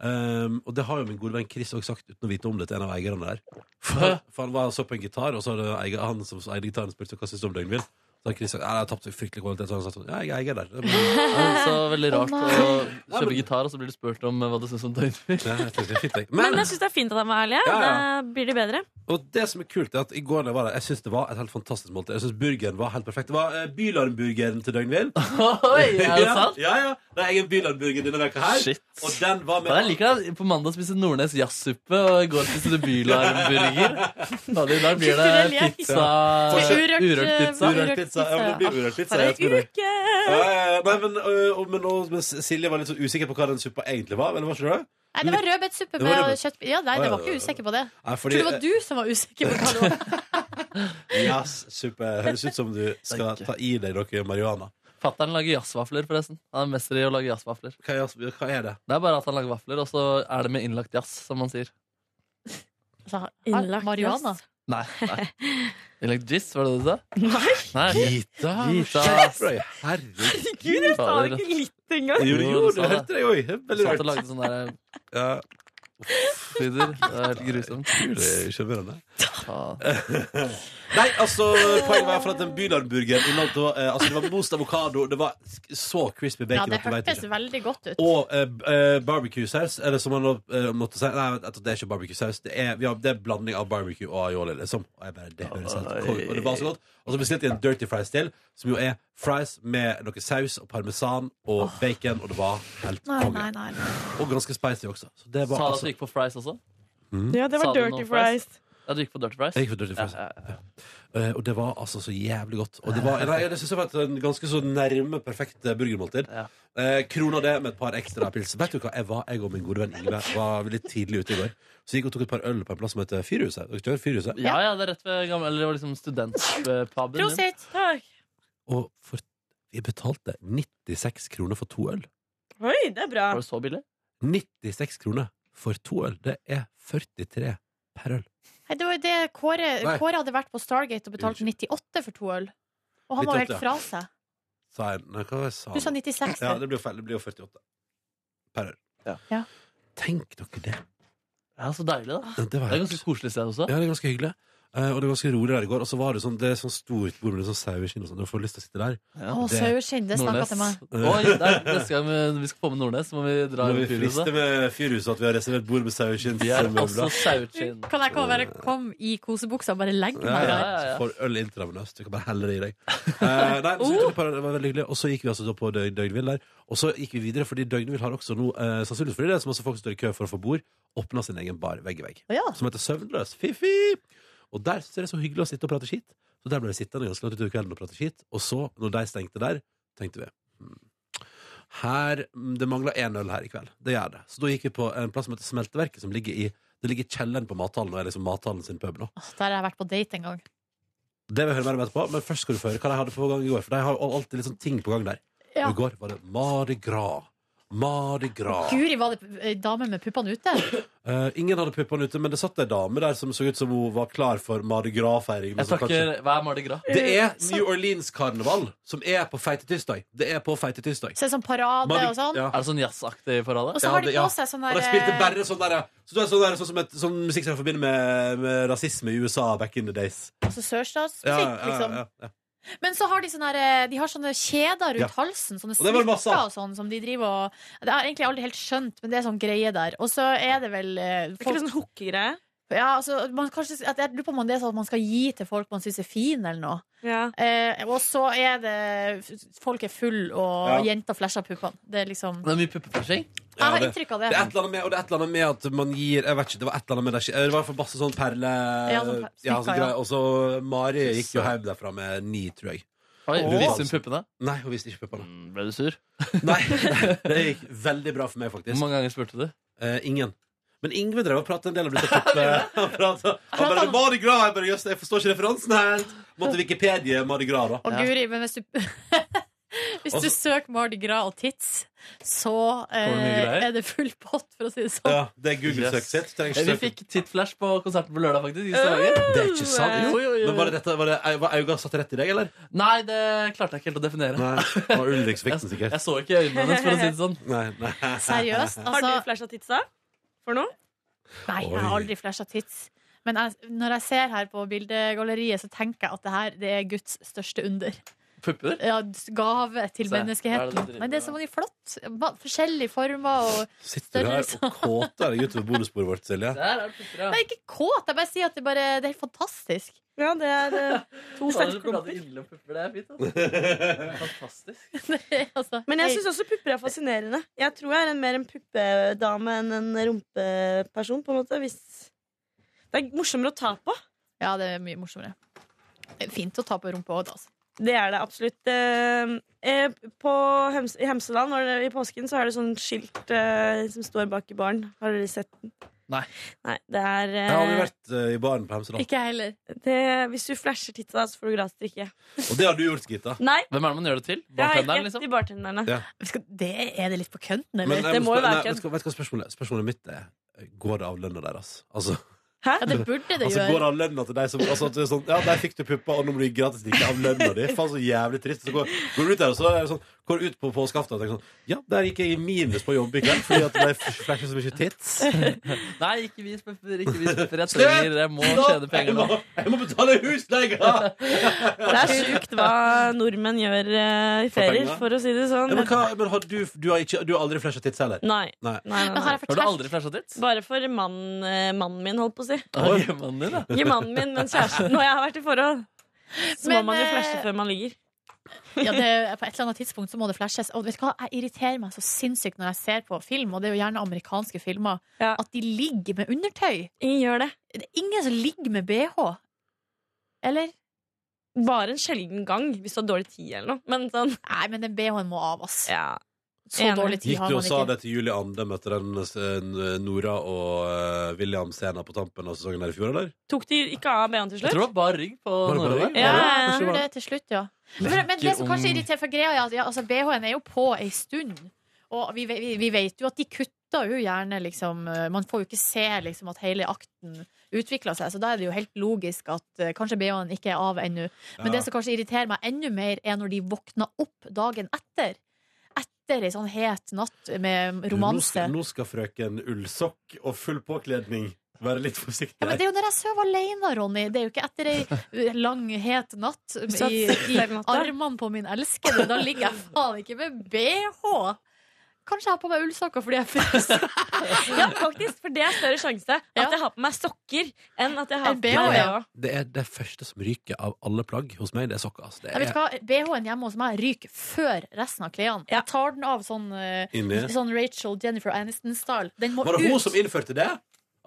Speaker 2: Ehm, og det har jo min gode venn Chris også sagt uten å vite om det til en av eierne der. For, for han var og så på en gitar, og så hadde eier, han som eide gitaren spurt hva synes du om Døgnvill. Så har Chris sagt at har tapt fryktelig kvalitet. Så han sagt sånn, ja, jeg er eier der. Det er bra.
Speaker 3: Så veldig rart
Speaker 2: Å,
Speaker 3: å
Speaker 2: nei.
Speaker 3: kjøpe gitar, og så blir du spurt om eh, hva du syns om døgnfyr.
Speaker 13: Men, altså- jeg syns det er fint at de er ærlige.
Speaker 2: Ja, ja.
Speaker 13: Da blir de bedre.
Speaker 2: Og det som er kult er at i går da jeg var der, jeg synes det var et helt fantastisk måltid. Jeg synes burgeren var helt perfekt. Det var uh, Bylarmburgeren til Døgnvill.
Speaker 3: Oi, er det
Speaker 2: ja,
Speaker 3: sant?
Speaker 2: Ja, ja. Det er egen Bylarmburger denne veka her.
Speaker 3: Shit.
Speaker 2: Og den var med
Speaker 3: Men jeg liker deg. På mandag spiste Nordnes jazzsuppe, og i går spiste du Bylarmburger. Da, I dag blir
Speaker 2: Kulturell
Speaker 3: det
Speaker 2: lek.
Speaker 3: pizza
Speaker 2: Forskjell.
Speaker 3: Urørt pizza.
Speaker 2: Urørt eh, pizza. Ja, men det blir urørt pizza.
Speaker 3: For en
Speaker 2: jeg tror det. Eh, nei, men, eh, og- men, og- men Silje var litt så usikker på hva den suppa egentlig var. Eller var ikke det?
Speaker 4: Nei, det var rødbetsuppe
Speaker 2: Det var
Speaker 4: med
Speaker 2: rødbet-
Speaker 4: kjøtt... Ja, nei,
Speaker 2: Å,
Speaker 4: det
Speaker 2: ja,
Speaker 4: var ikke usikker på det.
Speaker 2: Nei, fordi-
Speaker 4: Jeg
Speaker 2: eh,
Speaker 4: tror det var du som var usikker på hva det var.
Speaker 2: Jazzsuppe. Høres ut som du skal ta i deg noe marihuana.
Speaker 3: Fattern lager jazzvafler, forresten. Han er mester i å lage jazzvafler.
Speaker 2: Hva, er det?
Speaker 3: Det er bare at han lager vafler, og så er det med innlagt jazz, som man sier.
Speaker 4: Altså,
Speaker 13: Innlagt
Speaker 4: Marihuana.
Speaker 13: jazz.
Speaker 3: Nei. nei. Innlagt jizz, var det det du sa?
Speaker 13: Nei.
Speaker 3: nei.
Speaker 2: Gitar.
Speaker 3: Gitar.
Speaker 2: Herregud,
Speaker 13: jeg sa det ikke litt engang.
Speaker 2: Jo, jo,
Speaker 3: sa
Speaker 2: du hørte det jo. Det er veldig
Speaker 3: Satt
Speaker 2: rart.
Speaker 3: og lagde sånne sånn der
Speaker 2: ja.
Speaker 3: lyder. Det var helt grusomt.
Speaker 2: Det er skjønnende.
Speaker 3: Ja.
Speaker 2: Nei, altså, poenget var for at den bylarmburgeren inneholdt det var, eh, altså, det var most avokado, det var sk- så crispy bacon
Speaker 4: Ja, det
Speaker 2: at du vet
Speaker 4: hørtes
Speaker 2: ikke.
Speaker 4: veldig godt ut.
Speaker 2: Og eh, b- eh, barbecue-saus, eller som man nå, eh, måtte si Nei, vet du, det er ikke barbecue-saus. Det er, vi har, det er blanding av barbecue og aioli, liksom. Og, jeg bare, det høres helt kong- og det var så godt. Og så bestilte jeg en dirty fries til, som jo er fries med noe saus og parmesan og bacon, og det var helt
Speaker 4: Nei,
Speaker 2: konge.
Speaker 4: nei, nei.
Speaker 2: Og ganske spicy også. Så det var
Speaker 3: Sa du at
Speaker 2: altså
Speaker 3: du gikk på fries også?
Speaker 2: Mhm.
Speaker 13: Ja, det
Speaker 3: Sa
Speaker 13: var
Speaker 3: du
Speaker 13: dirty
Speaker 3: noe fries?
Speaker 13: fries.
Speaker 3: Ja, du gikk på dirty fries?
Speaker 2: Jeg gikk for Dirty Fries.
Speaker 3: Ja, ja, ja.
Speaker 2: Eh, og det var altså så jævlig godt. Og det var, nei, jeg synes det var et en ganske så nærme perfekt eh, burgermåltid. Eh, krona det med et par ekstra pils. Vet du hva, jeg, var, jeg og min gode venn Ingve var litt tidlig ute i går. Så gikk og tok et par øl på en plass som heter Fyrhuset. Dere kjenner Fyrhuset?
Speaker 3: Ja, ja, det er rett ved gamle Eller det var liksom studentpuben. din.
Speaker 4: Prosit!
Speaker 2: Og for, vi betalte 96 kroner for to øl.
Speaker 13: Oi, det er bra.
Speaker 3: Var det så billig?
Speaker 2: 96 kroner for to øl. Det er 43 per øl.
Speaker 4: Nei, det var jo det Kåre,
Speaker 2: Nei.
Speaker 4: Kåre hadde vært på Stargate og betalt 98 for to øl. Og han var
Speaker 2: 98,
Speaker 4: jo helt fra seg.
Speaker 2: Sa jeg, nei, hva var det jeg sa?
Speaker 4: Du sa 96.
Speaker 2: Ja, det blir jo feil. Det blir jo 48 per øl.
Speaker 4: Ja.
Speaker 2: Tenk dere det.
Speaker 3: Ja, Så deilig, da.
Speaker 2: Ja, det var
Speaker 3: er ganske koselig sted også.
Speaker 2: Ja, det er ganske hyggelig. Eh, og det var ganske rolig der i går. Og så var det sånn, det er sånn stort bord med litt sånn saueskinn og sånn. Du får lyst til å sitte der.
Speaker 4: Å,
Speaker 2: Det-
Speaker 4: saueskinn, det snakka
Speaker 3: Nordnes.
Speaker 4: til meg.
Speaker 3: Oi, der, neste gang vi- vi skal få med Nordnes, så må vi dra
Speaker 2: Må
Speaker 3: i
Speaker 2: vi friste
Speaker 3: fyrhuset.
Speaker 2: med Fyrhuset at vi har reservert bord med saueskinn?
Speaker 3: Vi er
Speaker 2: som møbler?
Speaker 3: også saueskinn.
Speaker 4: Kan jeg komme, bare komme i kosebuksa og bare legge
Speaker 2: Ja,
Speaker 4: meg
Speaker 2: ja,
Speaker 4: der?
Speaker 2: Så får øl intravenøst. altså, Du kan bare helle det i deg. Eh, nei, men så
Speaker 3: Oh.
Speaker 2: tok vi på- det var veldig hyggelig. Og så gikk vi altså da på Døg- Døgnvill der. Og så gikk vi videre, fordi Døgnvill har også nå, eh, sannsynligvis fordi det er så masse folk som står i kø for å få bord, åpna sin egen bar vegg i vegg. Som heter Søvnløs. Fifi! Og der synes jeg det er så hyggelig å sitte og prate skit. Så der ble vi sittende ganske langt utover kvelden og prate skit. Og så, når de stengte der, tenkte vi hmm, her, mm, Det mangler én øl her i kveld. Det gjør det. Så da gikk vi på en plass som heter Smelteverket, som ligger i det ligger i kjelleren på mathallen og er liksom mathallen sin pub nå.
Speaker 4: Der har jeg vært på date en gang.
Speaker 2: Det vil jeg høre mer om etterpå, men først skal du få høre hva de hadde på gang i går. For de har jo alltid litt sånn ting på gang der.
Speaker 4: Ja.
Speaker 2: Og i går var det Mardi Gras. Mardi Gras.
Speaker 4: Guri, var det ei dame med puppene ute?
Speaker 2: Eh, ingen hadde puppene ute, men det satt ei dame der som så ut som hun var klar for Mardi Gras-feiring. men
Speaker 3: Jeg
Speaker 2: som
Speaker 3: snakker,
Speaker 2: kanskje-
Speaker 3: Hva er Mardi Gras?
Speaker 2: Det
Speaker 4: Eh,
Speaker 2: er New Orleans-karneval, som er på feitetirsdag. Det er på feitetirsdag.
Speaker 4: Så det er sånn parade
Speaker 2: Mardi-
Speaker 4: og sånn?
Speaker 2: ja.
Speaker 3: Er det sånn jazzaktig parade?
Speaker 4: Og så har de på seg sånn der-
Speaker 2: Og de spilte bare sånn der, ja. Så det er sånn, der, sånn som, et, sånn musikk som jeg forbinder med, med rasisme i USA back in the days.
Speaker 4: Altså sørstatsmusikk, liksom.
Speaker 2: ja.
Speaker 4: Men så har de sånne, her, eh, de har sånne kjeder rundt
Speaker 2: Ja.
Speaker 4: halsen, sånne
Speaker 2: Og det var det masse
Speaker 4: smykker
Speaker 2: av.
Speaker 4: og sånn, som de driver og Det har jeg egentlig aldri helt skjønt, men det er sånn greie der. Og så er det vel eh, folk...
Speaker 13: det sånn hokkegreie?
Speaker 4: Ja, altså, man kanskje, at jeg lurer på om det er sånn at man skal gi til folk man syns er fine, eller noe. Eh, og så er det Folk er full og
Speaker 2: Ja.
Speaker 4: jenter flasher puppene. Det er liksom
Speaker 2: Det er mye puppeflashing.
Speaker 4: Jeg har inntrykk av det.
Speaker 2: er et eller annet med, og det er et eller annet med at man gir Jeg vet ikke, det var et eller annet med det skje- Det var i hvert fall masse sånn perle...
Speaker 4: Ja, sånn per-
Speaker 2: ja, sånn
Speaker 4: smykker, ja.
Speaker 2: greier. Og så Mari gikk jo hjem derfra med ni, tror jeg.
Speaker 3: Oi,
Speaker 2: Og-
Speaker 3: hun viste hun puppene?
Speaker 2: Nei, hun viste ikke puppene.
Speaker 3: Ble du sur?
Speaker 2: Nei, det gikk veldig bra for meg, faktisk.
Speaker 3: Hvor mange ganger spurte du?
Speaker 2: Eh, ingen. Men Ingve drev og pratet en del om disse puppene. Han pratet- han bare,
Speaker 4: Pratet han-
Speaker 2: Mardi Gras, jeg bare, jøss, jeg forstår ikke referansen helt. Måtte Wikipedia Mardi Gras, da.
Speaker 4: Å, guri, men hvis du Hvis du
Speaker 2: Altså-
Speaker 4: søker Mardi Gras og tits, så
Speaker 2: Kommer det mye
Speaker 4: eh,
Speaker 2: greier?
Speaker 4: er det full pott, for å si det sånn.
Speaker 2: Ja, det er Google-søket sitt. Trenger ikke
Speaker 3: Eh, Vi
Speaker 2: søke.
Speaker 3: fikk tittflash på konserten på lørdag, faktisk. I Stavanger.
Speaker 2: Det er ikke sant.
Speaker 3: Jo, jo, jo.
Speaker 2: Men var, det dette, var, det, var øynene satt rett i deg, eller?
Speaker 3: Nei, det klarte jeg ikke helt å definere.
Speaker 2: Nei, det var Ulriksvikten, sikkert.
Speaker 3: Jeg så ikke i øynene hennes, for å si det sånn.
Speaker 2: Nei, nei.
Speaker 4: Seriøst? Altså,
Speaker 13: Har du flasha titsa for noe?
Speaker 4: Nei, jeg har
Speaker 2: Oi.
Speaker 4: aldri flasha tits. Men jeg, når jeg ser her på bildegalleriet, så tenker jeg at det her det er Guds største under.
Speaker 3: Pupper?
Speaker 4: Ja, gave til
Speaker 3: Se, hva er det du
Speaker 4: menneskeheten.
Speaker 3: driver
Speaker 4: Men det er så mye flott. Ba- Forskjellige former og
Speaker 2: Sitter du her og kåter deg utover bonusbordet vårt, Silje?
Speaker 4: Jeg er ikke kåt, jeg bare sier at det, bare, det er helt fantastisk.
Speaker 13: Ja, det er eh, to
Speaker 3: Fader, prater ille om pupper, det er fint, altså. Fantastisk.
Speaker 4: altså-
Speaker 13: Men jeg syns også pupper er fascinerende. Jeg tror jeg er en, mer en puppedame enn en rumpeperson. på en måte hvis Det er morsommere å ta på.
Speaker 4: Ja, det er mye morsommere. Det er Fint å ta på rumpa òg, da. Altså.
Speaker 13: Det er det absolutt. Eh, eh, På Hems I Hemsedal når det, i påsken så er det sånn skilt eh, som står bak i baren. Har dere sett den?
Speaker 2: Nei.
Speaker 13: Nei, det er eh,
Speaker 2: Jeg har aldri vært eh, i baren på Hemsedal.
Speaker 13: Ikke
Speaker 4: jeg heller.
Speaker 13: Det, hvis du flasher titsa, så får du gratis drikke.
Speaker 2: Og det har du gjort, Gita.
Speaker 13: Nei.
Speaker 3: Hvem er det man gjør det til?
Speaker 13: Det er
Speaker 3: Bartenderen,
Speaker 13: helt
Speaker 3: liksom?
Speaker 13: til bartenderne.
Speaker 2: Ja.
Speaker 4: Det er det litt på kønten,
Speaker 2: Men eh,
Speaker 4: eller?
Speaker 2: jeg spør- nei, vet du hva- vet du hva spørsmålet, spørsmålet mitt er? Går det av lønna deres? Altså
Speaker 4: Ja, det burde det
Speaker 2: altså, Går
Speaker 4: gjøre.
Speaker 2: av lønna til deg som altså, at det er sånn, Ja, der fikk du puppa, og nå må du gi gratis drikke av lønna di. Faen, så jævlig trist. Så går, går du ut der, og så er det sånn, går du ut på påskeaften og tenker sånn Ja, der gikk jeg i minus på jobb i kveld fordi at det ble flashet så mye tits.
Speaker 3: Nei, ikke vis pupper. Ikke vis pupper. Jeg trenger Jeg må tjene penger nå.
Speaker 2: Jeg må betale husleia!
Speaker 13: Det er sjukt hva nordmenn gjør eh, i
Speaker 2: For
Speaker 13: ferier,
Speaker 2: pengene.
Speaker 13: for å si det
Speaker 2: Ja,
Speaker 13: sånn.
Speaker 2: men hva, men har du, du, har ikke, du har aldri flasha tits heller?
Speaker 13: Nei.
Speaker 2: Nei.
Speaker 13: Nei, nei, nei.
Speaker 3: Har du aldri flasha tits?
Speaker 13: Bare for mannen, eh, mannen min, holdt på å si.
Speaker 3: Oi, mannen din, da.
Speaker 13: Ikke mannen min, men kjæresten. Når jeg har vært i forhold, så må
Speaker 4: Men,
Speaker 13: man jo
Speaker 4: eh,
Speaker 13: flashe før man ligger.
Speaker 4: Ja, det, på et eller annet tidspunkt så må det flashes. Og vet du hva, jeg irriterer meg så sinnssykt når jeg ser på film, og det er jo gjerne amerikanske filmer, at de ligger med undertøy.
Speaker 13: Ingen gjør det.
Speaker 4: Det er ingen som ligger med bh. Eller?
Speaker 13: Bare en sjelden gang, hvis du har dårlig tid eller noe. Men sånn.
Speaker 4: Nei, men den bh-en må av, ass. Så
Speaker 13: Enig.
Speaker 4: dårlig tid
Speaker 2: Gikk
Speaker 4: har
Speaker 2: du og
Speaker 4: man
Speaker 2: sa
Speaker 4: ikke.
Speaker 2: det til Julie Andem etter den eh, Nora og eh, William Sena på tampen av sesongen her i fjor, eller?
Speaker 13: Tok de ikke av BH-en til
Speaker 3: Jeg
Speaker 13: slutt?
Speaker 3: tror det var bar rygg på
Speaker 2: Var det bare
Speaker 3: Norge.
Speaker 2: rygg?
Speaker 4: Ja,
Speaker 2: Ja,
Speaker 4: jeg
Speaker 2: kanskje
Speaker 4: tror
Speaker 2: var-
Speaker 4: det til slutt, ja. Men, men det som kanskje irriterer for greia er at ja, altså, BH-en er jo på ei stund. Og vi, ve- vi, vi vet jo at de kutter jo gjerne liksom eh, Man får jo ikke se liksom at hele akten utvikler seg, så da er det jo helt logisk at eh, kanskje BH-en ikke er av ennå. Men
Speaker 13: Ja.
Speaker 4: det som kanskje irriterer meg enda mer, er når de våkner opp dagen etter. Etter ei sånn het natt med
Speaker 2: Du, Nå
Speaker 4: romanse.
Speaker 2: skal, nå skal frøken ullsokk og full påkledning være litt forsiktig.
Speaker 4: Ja, men det er jo når jeg sover alene, Ronny. Det er jo ikke etter ei lang, het natt
Speaker 13: Satt
Speaker 4: i, i
Speaker 13: der i natta.
Speaker 4: armene på min elskede. Da ligger jeg faen ikke med BH! Kanskje jeg har på meg ullsokker fordi jeg fryser.
Speaker 13: Ja, faktisk, for det er større sjanse at jeg har på meg sokker enn at jeg har
Speaker 4: Enn
Speaker 13: på
Speaker 4: BH,
Speaker 13: meg
Speaker 4: ja.
Speaker 13: BH.
Speaker 2: Det er det første som ryker av alle plagg hos meg, det er sokker. Altså. Det
Speaker 4: Jeg vet
Speaker 2: er...
Speaker 4: hva, BH-en hjemme hos meg ryker før resten av klærne. Jeg tar den av sånn, eh,
Speaker 2: Inni.
Speaker 4: sånn Rachel Jennifer Aniston-style. Den må
Speaker 2: Var det
Speaker 4: ut.
Speaker 2: hun som innførte det?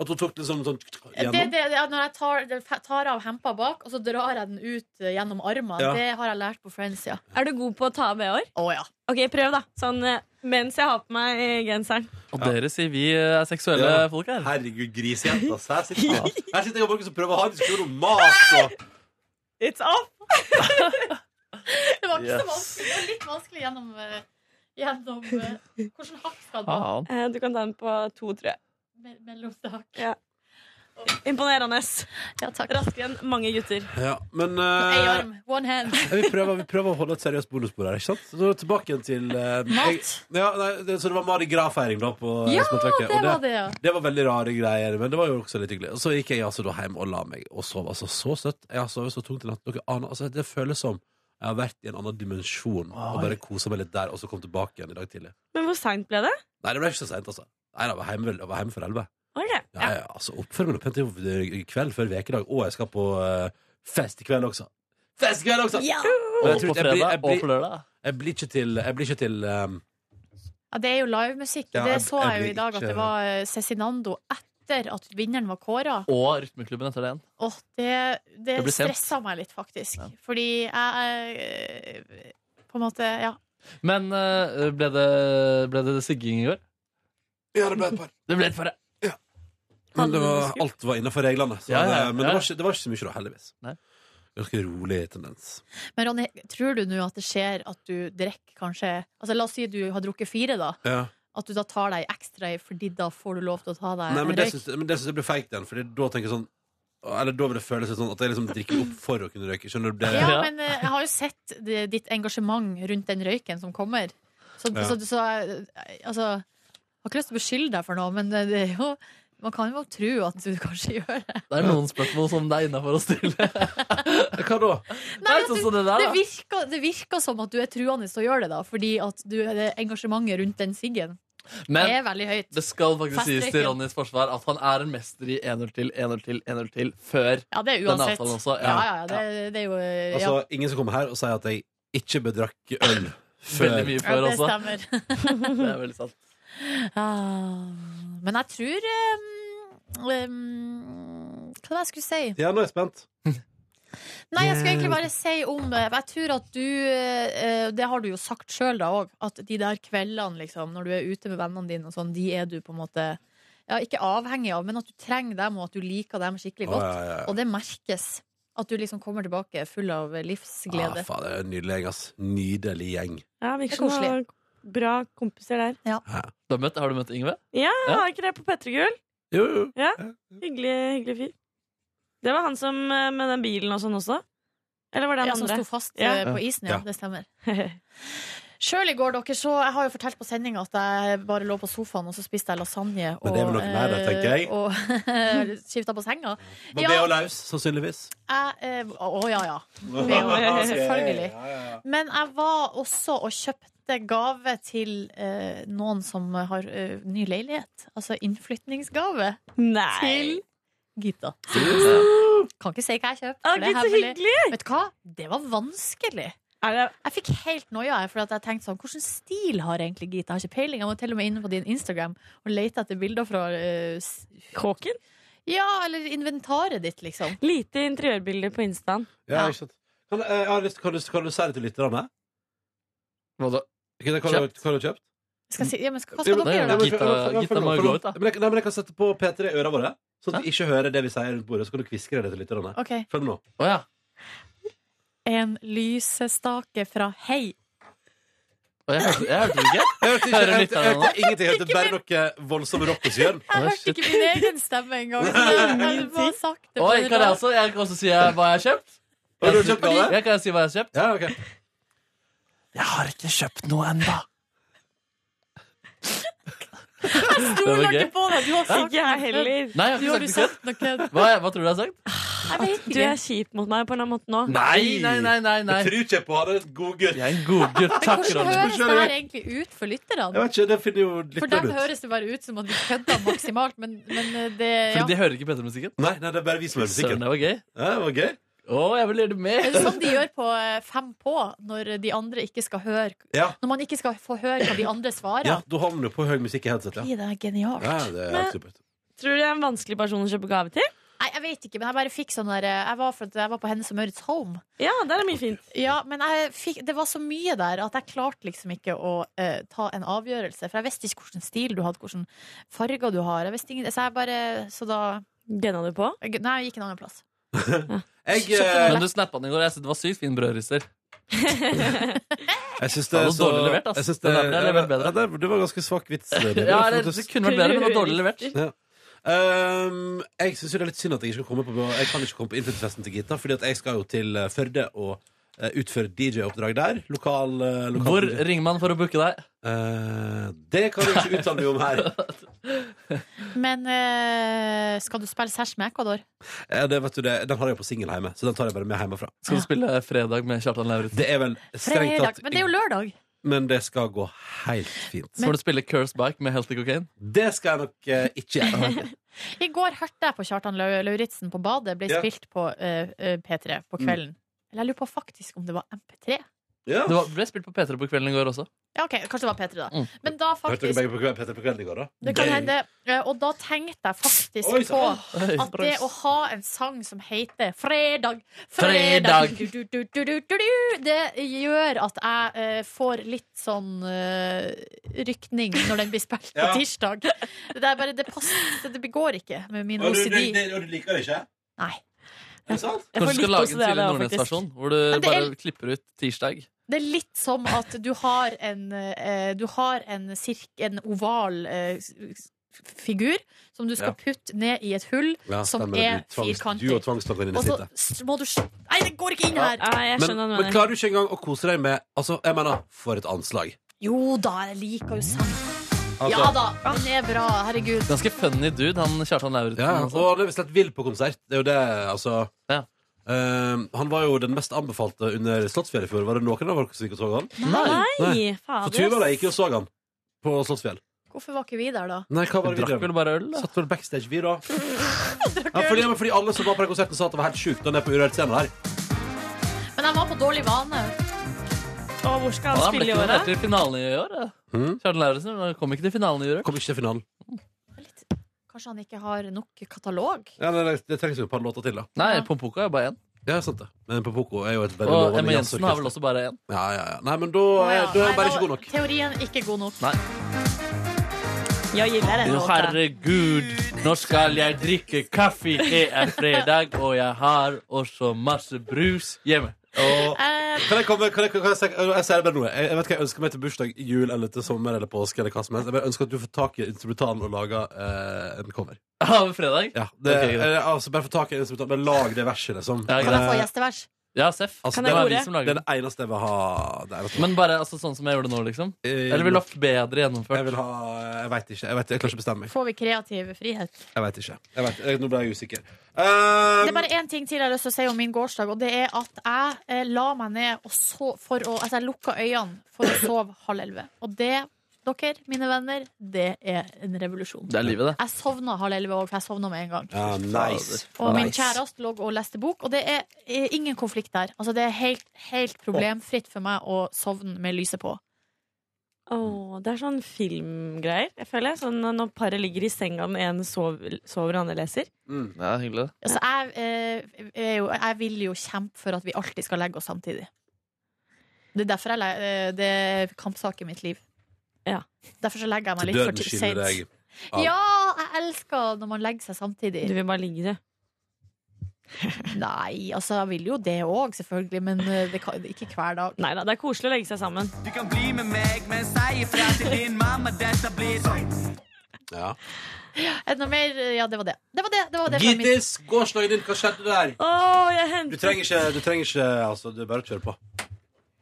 Speaker 2: At hun tok liksom sånn
Speaker 4: Det,
Speaker 2: gjennom?
Speaker 4: det, det, er når jeg tar, det- tar av hempa bak, og så drar jeg den ut eh, gjennom armene.
Speaker 2: Ja.
Speaker 4: Det har jeg lært på Friends, ja.
Speaker 13: Er du god på å ta av BH-er?
Speaker 4: Å ja.
Speaker 13: Ok, prøv, da. Sånn eh, mens jeg har på meg eh, genseren.
Speaker 3: Og dere sier vi eh, er seksuelle
Speaker 2: Ja.
Speaker 3: folk her.
Speaker 2: Herregud, grisejenta. ass. Her sitter, her sitter jeg og folk som prøver å ha en diskusjon om mat og
Speaker 13: It's off!
Speaker 4: Det var ikke så
Speaker 2: Yes.
Speaker 4: vanskelig. Det var litt vanskelig gjennom, eh, gjennom eh, Hvordan hakk skal
Speaker 2: Ah.
Speaker 4: den ha?
Speaker 13: Eh, Du kan ta den på to, tror jeg.
Speaker 4: Me mellomstak.
Speaker 13: Ja. Imponerende.
Speaker 4: takk.
Speaker 13: Raskere enn mange gutter.
Speaker 2: Ja, men
Speaker 4: Ei
Speaker 2: eh,
Speaker 4: arm, one hand.
Speaker 2: vi, prøver, vi prøver å holde et seriøst bonusbord her, ikke sant? Så da tilbake igjen til eh,
Speaker 4: Mat.
Speaker 2: jeg- ja, nei, det, så det var Mari Gras-feiring da på eh,
Speaker 4: Ja,
Speaker 2: Smeltverket,
Speaker 4: det
Speaker 2: og
Speaker 4: var det, ja.
Speaker 2: Det var veldig rare greier, men det var jo også litt hyggelig. Og så gikk jeg altså da hjem og la meg og sov altså så søtt. Jeg har sovet så tungt i natt. Dere aner, altså, det føles som jeg har vært i en annen dimensjon og bare kosa meg litt der, og så kom tilbake igjen i dag tidlig.
Speaker 13: Men hvor seint ble det?
Speaker 2: Nei, det ble ikke så seint, altså. Nei, da, jeg var hjemme, vel- jeg var hjemme for elleve.
Speaker 13: Ok.
Speaker 2: Ja, ja, altså oppfør meg nå pent Det er jo kveld før vekedag, og jeg skal på eh, fest i kveld også. Fest i kveld også!
Speaker 4: Ja.
Speaker 2: Og jeg tror- jeg blir-
Speaker 3: Og på fredag,
Speaker 2: jeg blir-
Speaker 3: og på lørdag.
Speaker 2: Jeg blir ikke til, jeg blir ikke til um,
Speaker 4: Ja, det er jo livemusikk.
Speaker 2: Ja,
Speaker 4: det
Speaker 2: jeg-
Speaker 4: så
Speaker 2: jeg
Speaker 4: jeg jo
Speaker 2: blir
Speaker 4: i dag, at
Speaker 2: ikke-
Speaker 4: det var eh, Cezinando etter at vinneren var kåra.
Speaker 3: Og Rytmeklubben etter den.
Speaker 4: Åh, det det,
Speaker 3: Det blir sent.
Speaker 4: stressa meg litt, faktisk. Fordi jeg eh, På en måte, ja.
Speaker 3: Men eh, ble det, ble det sigging i går?
Speaker 2: Ja, det ble et par.
Speaker 3: Det ble et par, ja.
Speaker 2: Men det var, alt var innafor reglene. Så,
Speaker 3: Ja, ja,
Speaker 2: det- Men det
Speaker 3: ja.
Speaker 2: var, ikke, det var ikke så mye da, heldigvis. Ganske rolig tendens.
Speaker 4: Men Ronny, tror du nå at det skjer at du drikker kanskje Altså La oss si du har drukket fire, da.
Speaker 2: Ja.
Speaker 4: At du da tar deg ekstra i, fordi da får du lov til å ta deg
Speaker 2: Nei, men
Speaker 4: en
Speaker 2: det
Speaker 4: røyk.
Speaker 2: syns men det syns jeg blir feigt igjen, Fordi da tenker jeg sånn Eller da vil det føles litt sånn at jeg liksom drikker opp for å kunne røyke. Skjønner du? Det,
Speaker 4: Ja, men eh, jeg har jo sett det, ditt engasjement rundt den røyken som kommer. Så,
Speaker 2: Ja.
Speaker 4: så, så, eh, altså Jeg har ikke lyst til å beskylde deg for noe, men det er jo man kan jo tro at du kanskje gjør det.
Speaker 3: Det er noen spørsmål som det er innafor å stille.
Speaker 2: Hva da?
Speaker 3: det
Speaker 4: Nei,
Speaker 3: er sånn som det der,
Speaker 4: Det
Speaker 3: da.
Speaker 4: virker, det virker som at du er truende til å gjøre det, da, fordi at du, det engasjementet rundt den siggen
Speaker 3: Men
Speaker 4: er veldig høyt.
Speaker 3: det skal faktisk
Speaker 4: Fast
Speaker 3: sies
Speaker 4: røyken.
Speaker 3: til Ronnys forsvar at han er en mester i 1-0 til, 1-0 til, 1-0 til før
Speaker 4: Ja, det er
Speaker 3: denne
Speaker 4: uansett.
Speaker 3: avtalen også.
Speaker 4: Ja, ja, ja, det, det er jo ja.
Speaker 2: Altså, ingen som kommer her og sier at jeg ikke bedrakk øl før
Speaker 3: Veldig mye før
Speaker 4: ja, det
Speaker 3: også.
Speaker 4: stemmer.
Speaker 3: Det er veldig sant.
Speaker 4: Ah, men jeg tror um, um, Hva var det jeg skulle si?
Speaker 2: Ja, nå er jeg spent.
Speaker 4: Nei, jeg skulle egentlig bare si om eh, Jeg tror at du eh, Det har du jo sagt sjøl da òg, at de der kveldene, liksom, når du er ute med vennene dine og sånn, de er du på en måte ja, ikke avhengig av, men at du trenger dem, og at du liker dem skikkelig
Speaker 2: Å,
Speaker 4: godt.
Speaker 2: ja, ja, ja.
Speaker 4: Og det merkes. At du liksom kommer tilbake full av livsglede.
Speaker 2: Ah, faen, det er en nydelig gjeng, ass. Nydelig gjeng.
Speaker 13: Ja,
Speaker 4: Det er
Speaker 13: virker som du har
Speaker 4: koselig.
Speaker 13: bra kompiser der.
Speaker 4: Ja,
Speaker 3: Du har, møtt, har du møtt Ingve? Ja.
Speaker 13: har ikke det på Petregull?
Speaker 2: Jo, jo.
Speaker 13: Ja. Hyggelig, hyggelig fyr. Det var han som eh, med den bilen og sånn også? Eller var det han
Speaker 4: Ja, som
Speaker 13: andre?
Speaker 4: sto fast eh, på isen, ja. Det stemmer. Sjøl i går, dere, så Jeg har jo fortalt på sendinga at jeg bare lå på sofaen og så spiste jeg lasagne. eh,
Speaker 2: Men det er vel noe mer, det, tenker jeg.
Speaker 4: Og skifta på senga.
Speaker 2: Var
Speaker 4: Ja,
Speaker 2: det og laus, sannsynligvis.
Speaker 4: jeg, eh, å ja, ja. Det er jo- Selvfølgelig. Men jeg var også og kjøpte gave til eh, noen som har eh, ny leilighet. Altså innflytningsgave
Speaker 13: Nei.
Speaker 4: til Gita. Kan ikke si hva jeg kjøpte.
Speaker 13: Å,
Speaker 4: for det er
Speaker 13: Gud, så
Speaker 4: hemmelig.
Speaker 13: hyggelig!
Speaker 4: Vet du hva? Det var vanskelig. Jeg fikk helt noia, jeg, for at jeg tenkte sånn Hvilken stil har egentlig Gita? Jeg har ikke peiling. Jeg var til og med inne på din Instagram og lete etter bilder fra eh,
Speaker 13: Kåken?
Speaker 4: Ja, eller inventaret ditt, liksom.
Speaker 13: Lite interiørbilder på Instaen.
Speaker 2: Ja, ikke sant. Kan, eh, jeg har lyst, kan, du, kan du si det til lytterne?
Speaker 3: Hva da?
Speaker 2: Hva har du- hva har du kjøpt?
Speaker 4: Skal jeg si, ja, men skal, hva skal dere gjøre,
Speaker 2: Nei, men-
Speaker 4: da?
Speaker 3: Gitta-
Speaker 2: men-
Speaker 3: Gitta må jo
Speaker 2: men-
Speaker 3: gå ut, da.
Speaker 2: Men jeg, nei, men jeg kan sette på P3 i ørene våre, sånn at de ikke hører det vi sier rundt bordet. Så kan du kviskre det til lytterne.
Speaker 4: Ok.
Speaker 2: Følg med nå.
Speaker 4: En lysestake fra Hei.
Speaker 3: Jeg hørte, jeg hørte det ikke.
Speaker 2: Jeg hørte, ikke, jeg
Speaker 3: Hører
Speaker 2: hørte, jeg
Speaker 3: lytterne nå?
Speaker 2: hørte ingenting. Jeg hørte bare noe voldsom rockesgjørn.
Speaker 4: Jeg hørte ikke min egen stemme engang. så Jeg jeg må ha sagt det. på
Speaker 3: Oi,
Speaker 4: det
Speaker 3: kan jeg
Speaker 4: rare.
Speaker 3: også, jeg kan også si eh, hva jeg har kjøpt?
Speaker 2: Har du kjøpt gave?
Speaker 3: Jeg kan si hva jeg har kjøpt.
Speaker 2: Ja, ok
Speaker 3: Jeg har ikke kjøpt noe ennå.
Speaker 4: Jeg
Speaker 3: Det
Speaker 4: stoler
Speaker 3: var gøy.
Speaker 4: ikke på deg. Du har sagt
Speaker 13: Ikke jeg
Speaker 4: noe kødd.
Speaker 13: heller.
Speaker 3: Nei, jeg har
Speaker 4: Du
Speaker 3: ikke
Speaker 4: har jo
Speaker 3: sagt
Speaker 4: sagt noe kødd.
Speaker 3: Hva, hva tror du jeg har sagt?
Speaker 4: Jeg vet
Speaker 13: Du er kjip mot meg på en eller annen måte nå.
Speaker 3: Nei, nei, nei, nei, nei.
Speaker 2: Jeg tror ikke jeg på han er en god gutt.
Speaker 3: Jeg er en god gutt. Takk,
Speaker 4: Hvordan
Speaker 3: Ronny.
Speaker 4: høres det her egentlig ut for lytterne?
Speaker 2: Jeg vet ikke, det finner jo
Speaker 4: For
Speaker 2: lytterne
Speaker 4: dem
Speaker 2: ut.
Speaker 4: høres det bare ut som at vi kødder maksimalt, men, men eh, det ja.
Speaker 3: Fordi de hører ikke Petter-musikken?
Speaker 2: Nei, nei, det er bare vi som hører musikken.
Speaker 3: Søren, det var gøy.
Speaker 2: Ja, det var gøy.
Speaker 3: Å, jeg vil gjøre det
Speaker 4: Er
Speaker 3: mer.
Speaker 4: det sånn de gjør på eh, Fem på, når de andre ikke skal høre
Speaker 2: Ja.
Speaker 4: Når man ikke skal få høre hva de andre svarer?
Speaker 2: Ja, da havner du på høy musikk i headset, ja.
Speaker 4: Fy, Det er genialt.
Speaker 2: ja det er helt supert.
Speaker 13: Tror du jeg er en vanskelig person å kjøpe gave til?
Speaker 4: Nei, jeg vet ikke, men jeg bare fikk sånn der eh, Jeg var, for, at jeg var på Hennes og Maurits Home.
Speaker 13: Ja, der er mye fint.
Speaker 4: Ja, men jeg fikk, det var så mye der at jeg klarte liksom ikke å eh, ta en avgjørelse. For jeg visste ikke hvilken stil du hadde, hvilken farger du har. Jeg visste ingen, så jeg bare Så da
Speaker 13: Gønna du på?
Speaker 4: Nei, jeg gikk en annen plass.
Speaker 2: Jeg, eh,
Speaker 3: Men du snappa den i går. Jeg synes det var sykt fin brødrister.
Speaker 2: Jeg syns det
Speaker 3: Ja,
Speaker 2: er
Speaker 3: det var
Speaker 2: så
Speaker 3: dårlig levert, ass.
Speaker 2: jeg synes
Speaker 3: Den der ble levert bedre.
Speaker 2: Ja, det, det var ganske svak vits.
Speaker 3: Ja, det- det kunne vært bedre, men det var dårlig levert.
Speaker 2: Ja. Ehm, jeg syns det er litt synd at jeg ikke kan komme på Jeg kan ikke komme på innflytelsesfesten til Gita, Fordi at jeg skal jo til eh, Førde og eh, utføre DJ-oppdrag der. Lokal, eh, lokal
Speaker 3: Hvor
Speaker 2: DJ.
Speaker 3: ringer man for å booke deg?
Speaker 2: det kan du ikke uttale meg om her.
Speaker 4: Men eh, skal du spille Sæsj med Ecuador?
Speaker 2: Eh, det, vet du, det, den har jeg på singel hjemme, så den tar jeg bare med hjemmefra.
Speaker 3: Skal du spille Fredag med Kjartan Lauritz?
Speaker 2: Det er vel strengt
Speaker 4: Fredag.
Speaker 2: tatt
Speaker 4: Men det er jo lørdag.
Speaker 2: Men det skal gå helt fint.
Speaker 4: Skal Men- du
Speaker 2: spille Curse Bike med Healthy Cocaine? Det skal jeg nok eh, ikke gjøre.
Speaker 4: I går hørte jeg på Kjartan Lau- Lauritzen på badet. Ble
Speaker 2: Ja. Mm.
Speaker 4: spilt på eh, eh, P3 på kvelden. Eller jeg lurer på faktisk om det var MP3.
Speaker 3: Det var, ble spilt på P3 på kvelden i går også.
Speaker 4: Ja, ok, Kanskje det var P3, da.
Speaker 3: Mm.
Speaker 4: Men da
Speaker 2: Hørte dere
Speaker 4: faktisk
Speaker 2: begge på kveld- Petter på kvelden i går, da?
Speaker 4: Det kan hende. Eh, Og da tenkte jeg faktisk
Speaker 2: Oi,
Speaker 4: på
Speaker 2: sann. Oi,
Speaker 4: at det å ha en sang som heter 'Fredag, fredag',
Speaker 3: Fredag.
Speaker 4: du, du, du, du, du, du, du, det gjør at jeg eh, får litt sånn eh, rykning når den blir spilt på
Speaker 2: Ja.
Speaker 4: tirsdag. Det er bare, det passer, det går ikke med min
Speaker 2: Og du, du,
Speaker 4: OCD.
Speaker 2: det- og du liker det ikke?
Speaker 4: Nei.
Speaker 2: Er det sant?
Speaker 3: Kanskje du skal lage en
Speaker 13: sånn
Speaker 3: tidlig Nordnes-versjon, hvor du
Speaker 4: Men det er-
Speaker 3: bare klipper ut tirsdag.
Speaker 4: Det er litt som at du har en, eh, du har en, sirk, en oval eh, s- f- figur som du skal
Speaker 2: Ja.
Speaker 4: putte ned i et hull
Speaker 2: Ja,
Speaker 4: som
Speaker 2: stemmer det.
Speaker 4: er
Speaker 2: Du tvangs-
Speaker 4: firkantig.
Speaker 2: du og tvangstanken din i
Speaker 4: Og så
Speaker 2: snittet.
Speaker 4: s- må du s- Nei, det går ikke inn her!
Speaker 2: Men, men klarer du ikke engang å kose deg med Altså, jeg mener, for et anslag.
Speaker 4: Jo da, jeg liker jo sang.
Speaker 2: Altså-
Speaker 4: Ja da, den er bra. Herregud.
Speaker 3: Ganske funny dude, han Kjartan Lauritz.
Speaker 2: Ja, og han er slett vill på konsert. Det er jo det, altså. Ehm, han var jo den mest anbefalte under Slottsfjell i fjor. Var det noen av dere som gikk og så han?
Speaker 4: Nei.
Speaker 13: Nei,
Speaker 2: For
Speaker 13: fader,
Speaker 2: Tuva og jeg gikk jo og så han på Slottsfjell.
Speaker 4: Hvorfor var ikke vi der, da?
Speaker 2: Nei, hva var det vi drev med? Satt vel backstage, vi, da. Ja, fordi, men fordi alle som var på den konserten, sa at det var helt sjukt. Han er på urørt scene der.
Speaker 4: Men jeg var på dårlig vane.
Speaker 13: Og hvor skal
Speaker 3: Han ble ikke nominert til finalen i år. da.
Speaker 2: Hmm?
Speaker 3: Kjartan Lauritsen han kom ikke til finalen i år.
Speaker 2: Kom ikke til finalen.
Speaker 4: Kanskje han ikke har nok katalog?
Speaker 2: Ja, nei, nei, det trengs jo et par låter til, da.
Speaker 3: Nei, Pompoka er bare én.
Speaker 2: Ja, sant det. Men Popoko er jo et veldig
Speaker 3: Og
Speaker 2: lovende
Speaker 3: Emma Jensen har
Speaker 2: jazzorkester.
Speaker 3: vel også bare én.
Speaker 2: Ja, ja, ja. Nei, men da,
Speaker 4: Å ja,
Speaker 2: er- da er
Speaker 4: nei,
Speaker 2: han bare
Speaker 4: da-
Speaker 2: ikke god nok.
Speaker 4: Teorien ikke god nok.
Speaker 3: Nei.
Speaker 13: Jeg gillar den
Speaker 3: Jo,
Speaker 13: låten.
Speaker 3: herregud, nå skal jeg drikke kaffe. Det er fredag, og jeg har også masse brus hjemme.
Speaker 2: Og,
Speaker 4: Eh,
Speaker 2: kan jeg komme kan jeg, kan jeg, si- jeg sier det bare nå. Jeg, jeg vet ikke, jeg ønsker meg til bursdag, jul eller til sommer eller påske. eller hva som helst Jeg bare ønsker at du får tak i instrumentalen og lager eh, en cover.
Speaker 3: Av fredag?
Speaker 2: Ja, det,
Speaker 3: Ok, greit.
Speaker 2: eh, altså Bare få tak i instrumentalen. Bare lag det verset, liksom.
Speaker 3: Ja,
Speaker 4: Kan jeg få
Speaker 2: Eh,
Speaker 4: gjestevers?
Speaker 3: Ja, Seff.
Speaker 2: altså,
Speaker 3: Kan
Speaker 2: det
Speaker 3: jeg
Speaker 2: er-
Speaker 3: gjøre det?
Speaker 2: det er det eneste jeg vil ha. Det eneste jeg vil ha.
Speaker 3: Men bare altså, sånn som jeg gjorde nå, liksom?
Speaker 2: Eh,
Speaker 3: Eller vil du ha bedre gjennomført?
Speaker 2: Jeg vil ha eh, Jeg veit ikke. Jeg, vet, jeg klarer ikke å bestemme meg.
Speaker 4: Får vi kreativ frihet?
Speaker 2: Jeg vet ikke. Jeg vet, jeg, nå ble jeg usikker. Um,
Speaker 4: Det er bare én ting til jeg har lyst til å si om min gårsdag, og det er at jeg eh, la meg ned og så for å Altså, jeg lukka øynene for å sove halv elleve. Og det, dere, mine venner, det er en revolusjon.
Speaker 3: Det er livet, det.
Speaker 4: Jeg sovna halv elleve òg, for jeg sovna med en gang.
Speaker 2: Eh, Ja, nice.
Speaker 4: Og min
Speaker 2: Nice.
Speaker 4: kjæreste lå og leste bok, og det er eh, ingen konflikt der. Altså, det er helt, helt problemfritt for meg å sovne med lyset på.
Speaker 13: Åh, det er sånn filmgreier, jeg føler. Sånn når- når paret ligger i senga, den ene sover, sover og den andre leser.
Speaker 3: Ja, hyggelig.
Speaker 4: Altså, jeg, eh, er jo, jeg vil jo kjempe for at vi alltid skal legge oss samtidig. Det er derfor jeg, le- eh, det er kampsak i mitt liv. Derfor så legger jeg meg litt for
Speaker 2: Døden
Speaker 4: ti-
Speaker 2: skiller deg.
Speaker 4: sent. Ja, jeg elsker når man legger seg samtidig.
Speaker 13: Du vil bare ligge, du.
Speaker 4: Nei, altså jeg vil jo det òg, selvfølgelig, men eh, det kan, ikke hver dag.
Speaker 13: Nei da, det er koselig å legge seg sammen.
Speaker 14: Du kan bli med meg, men si ifra til din mamma. Dette blir
Speaker 2: Ja.
Speaker 4: Er det noe mer? Ja, det var det. Det var det, det, var det fra min-
Speaker 2: Gittis, gårsdagen din, hva skjedde der?
Speaker 13: Åh, jeg
Speaker 2: Du
Speaker 13: hentet
Speaker 2: trenger ikke, du trenger ikke altså, du bare kjør på.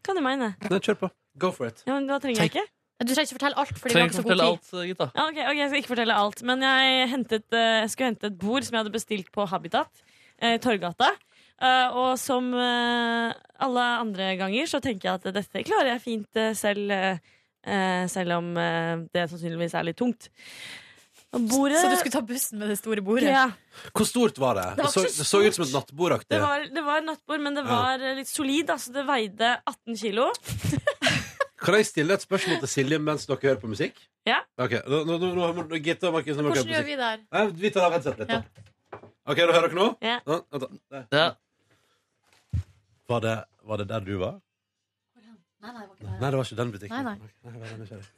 Speaker 13: Hva du mener?
Speaker 2: Nei, kjør på. Go for it.
Speaker 13: Ja, men da trenger jeg ikke.
Speaker 4: Du trenger ikke fortelle alt,
Speaker 3: fordi vi Trenger har ikke ikke så god fortelle tid. alt, eh, gitt da.
Speaker 13: Ja, ok, ok, jeg skal ikke fortelle alt. Men jeg, hentet, eh, jeg skulle hente et bord som jeg hadde bestilt på Habitat, eh, i Torgata. Eh, og som eh, alle andre ganger så tenker jeg at dette klarer jeg fint eh, selv, eh, eh, selv om eh, det sannsynligvis er litt tungt. Og bordet
Speaker 4: Så du skulle ta bussen med det store bordet?
Speaker 13: Ja.
Speaker 2: Hvor stort var det?
Speaker 13: Det
Speaker 2: Det,
Speaker 13: var
Speaker 2: så,
Speaker 13: ikke så
Speaker 2: det så ut som et nattbordaktig.
Speaker 13: Det var, det var nattbord, men det
Speaker 2: Ja.
Speaker 13: var eh, litt solid. Altså, det veide 18 kilo.
Speaker 2: Kan jeg stille et spørsmål til Silje mens dere hører på musikk?
Speaker 13: Ja.
Speaker 2: Ok, nå, nå, nå, nå, nå Gitte og Markus, nå må dere
Speaker 4: Hvordan
Speaker 2: høre
Speaker 4: gjør
Speaker 2: på
Speaker 4: vi
Speaker 2: musikk.
Speaker 4: det her?
Speaker 2: Nei, vi tar av headsetet litt, da. Ok, da hører dere nå?
Speaker 13: Ja.
Speaker 2: Nå, vent da. Der. Var, det, var det der du var?
Speaker 4: Nei, nei, det var ikke
Speaker 2: Nei, det var ikke den butikken.
Speaker 4: Nei, nei.
Speaker 2: Ok, nei, jeg var nysgjerrig.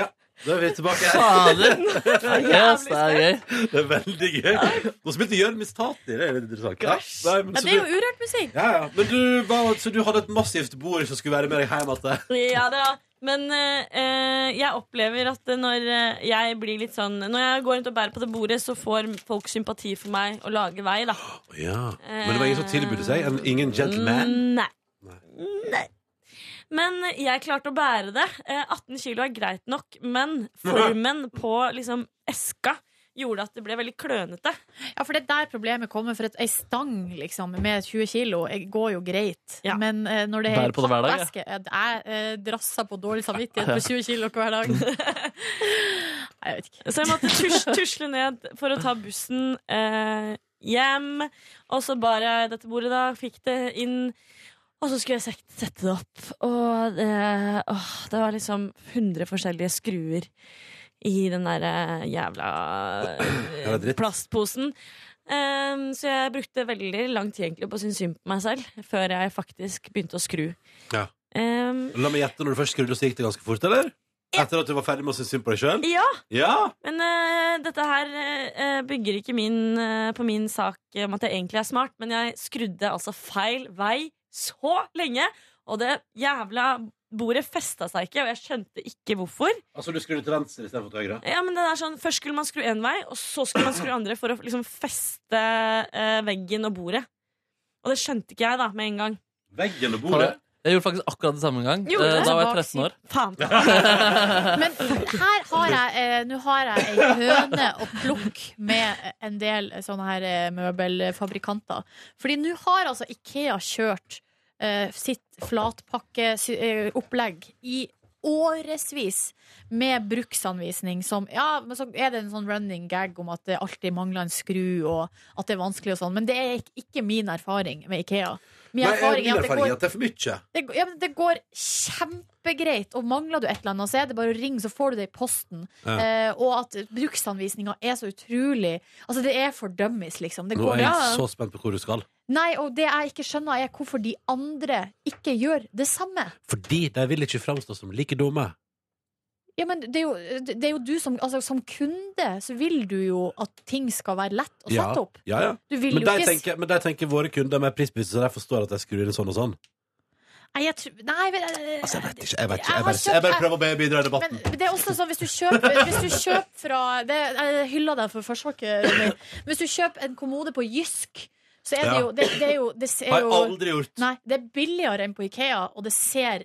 Speaker 2: Ja, Da er vi tilbake her.
Speaker 3: Fader. Yes, det er gøy.
Speaker 2: Det er veldig gøy. Nå spilte Jørmis Tati. Det er litt interessant. Ja, nei, men så
Speaker 4: Ja, det er
Speaker 2: du-
Speaker 4: jo urørt musikk.
Speaker 2: ja, ja. Men du, hva- så du hadde et massivt bord som skulle være med deg hjem igjen?
Speaker 13: Ja da. Men eh, eh, jeg opplever at eh, når eh, jeg blir litt sånn Når jeg går rundt og bærer på det bordet, så får folk sympati for meg og lager vei, da.
Speaker 2: Ja. Men det var ingen som tilbød seg? En, ingen gentleman?
Speaker 13: Mm, Nei. Nei. Men jeg klarte å bære det. Eh, 18 kilo er greit nok, men formen på liksom eska gjorde at det ble veldig klønete.
Speaker 4: Ja, for det er der problemet kommer. For at ei stang liksom, med 20 kilo eh, går jo greit. Men eh, når det er
Speaker 3: Bærer på det hver dag,
Speaker 4: pappeske ja. Jeg eh, drasser på dårlig samvittighet på 20 kilo hver dag. Nei, jeg vet ikke.
Speaker 13: Så jeg måtte tus tusle ned for å ta bussen eh, hjem. Og så bar jeg dette bordet, da. Fikk det inn. Og så skulle jeg sek- sette det opp. Og det, åh, det var liksom 100 forskjellige skruer i den derre jævla
Speaker 2: Ja, det er dritt.
Speaker 13: plastposen. Em, så jeg brukte veldig lang tid egentlig på å synes synd på meg selv før jeg faktisk begynte å skru. Ehm,
Speaker 2: Ja.
Speaker 13: Em,
Speaker 2: La meg gjette, når du først skrudde, så gikk det ganske fort, eller? Etter at du var ferdig med å synes synd på deg sjøl?
Speaker 13: ja,
Speaker 2: Ja!
Speaker 13: Men eh, dette her eh, bygger ikke min, eh, på min sak eh, om at jeg egentlig er smart, men jeg skrudde altså feil vei så lenge, og det jævla bordet festa seg ikke, og jeg skjønte ikke hvorfor.
Speaker 2: Altså, du skrudde til venstre istedenfor til høyre?
Speaker 13: Ja, men det er sånn, Først skulle man skru én vei, og så skulle man skru andre for å liksom feste eh, veggen og bordet. Og det skjønte ikke jeg da, med en gang.
Speaker 2: Veggen og
Speaker 3: bordet? Jeg gjorde faktisk akkurat det samme en gang.
Speaker 13: Gjorde
Speaker 3: Eh,
Speaker 13: du?
Speaker 3: Da var jeg 13 år.
Speaker 13: Faen.
Speaker 4: Men her har jeg eh, Nå har jeg ei høne å plukke med en del sånne her eh, møbelfabrikanter. Fordi nå har altså Ikea kjørt eh, sitt flatpakkeopplegg i årevis med bruksanvisning som Ja, men så er det en sånn running gag om at det alltid mangler en skru, og at det er vanskelig og sånn, men det er ikke- ikke min erfaring med Ikea. eh, Min
Speaker 2: Nei,
Speaker 4: erfaring er at det går
Speaker 2: at det er for mye.
Speaker 4: det, g- ja, men det går kjempegreit, og mangler du et eller annet, så er det bare å ringe, så får du det i posten.
Speaker 2: Ja.
Speaker 4: Eh, og at bruksanvisninga er så utrolig Altså, det er for dummies, liksom. Det
Speaker 2: Nå
Speaker 4: går,
Speaker 2: er jeg
Speaker 4: Ja.
Speaker 2: så spent på hvor du skal.
Speaker 4: Nei, og det jeg ikke skjønner, er hvorfor de andre ikke gjør det samme.
Speaker 2: Fordi de vil ikke framstå som like dumme.
Speaker 4: Ja, men det er jo, det er jo du som altså, Som kunde så vil du jo at ting skal være lett å
Speaker 2: Ja,
Speaker 4: sette opp.
Speaker 2: ja, ja.
Speaker 4: Du vil
Speaker 2: Men
Speaker 4: jo
Speaker 2: de
Speaker 4: ikke s-
Speaker 2: tenker, men de tenker våre kunder med prisbytte, så de forstår at jeg skrur inn sånn og sånn.
Speaker 4: Nei, jeg tror Nei, jeg, jeg,
Speaker 2: Altså, jeg vet ikke. Jeg, vet ikke.
Speaker 4: Jeg
Speaker 2: jeg,
Speaker 4: har
Speaker 2: bare,
Speaker 4: kjøpt-
Speaker 2: jeg bare prøver å be- bidra i debatten.
Speaker 4: Men det er også sånn hvis du kjøper, hvis du kjøper fra det, Jeg hyller deg for forsøket. Ronny. Men Hvis du kjøper en kommode på Jysk, så er det
Speaker 2: Ja.
Speaker 4: jo Det, det er jo, det er
Speaker 2: Har
Speaker 4: eh, jo
Speaker 2: jeg aldri gjort.
Speaker 4: Nei, det er billigere enn på Ikea, og det ser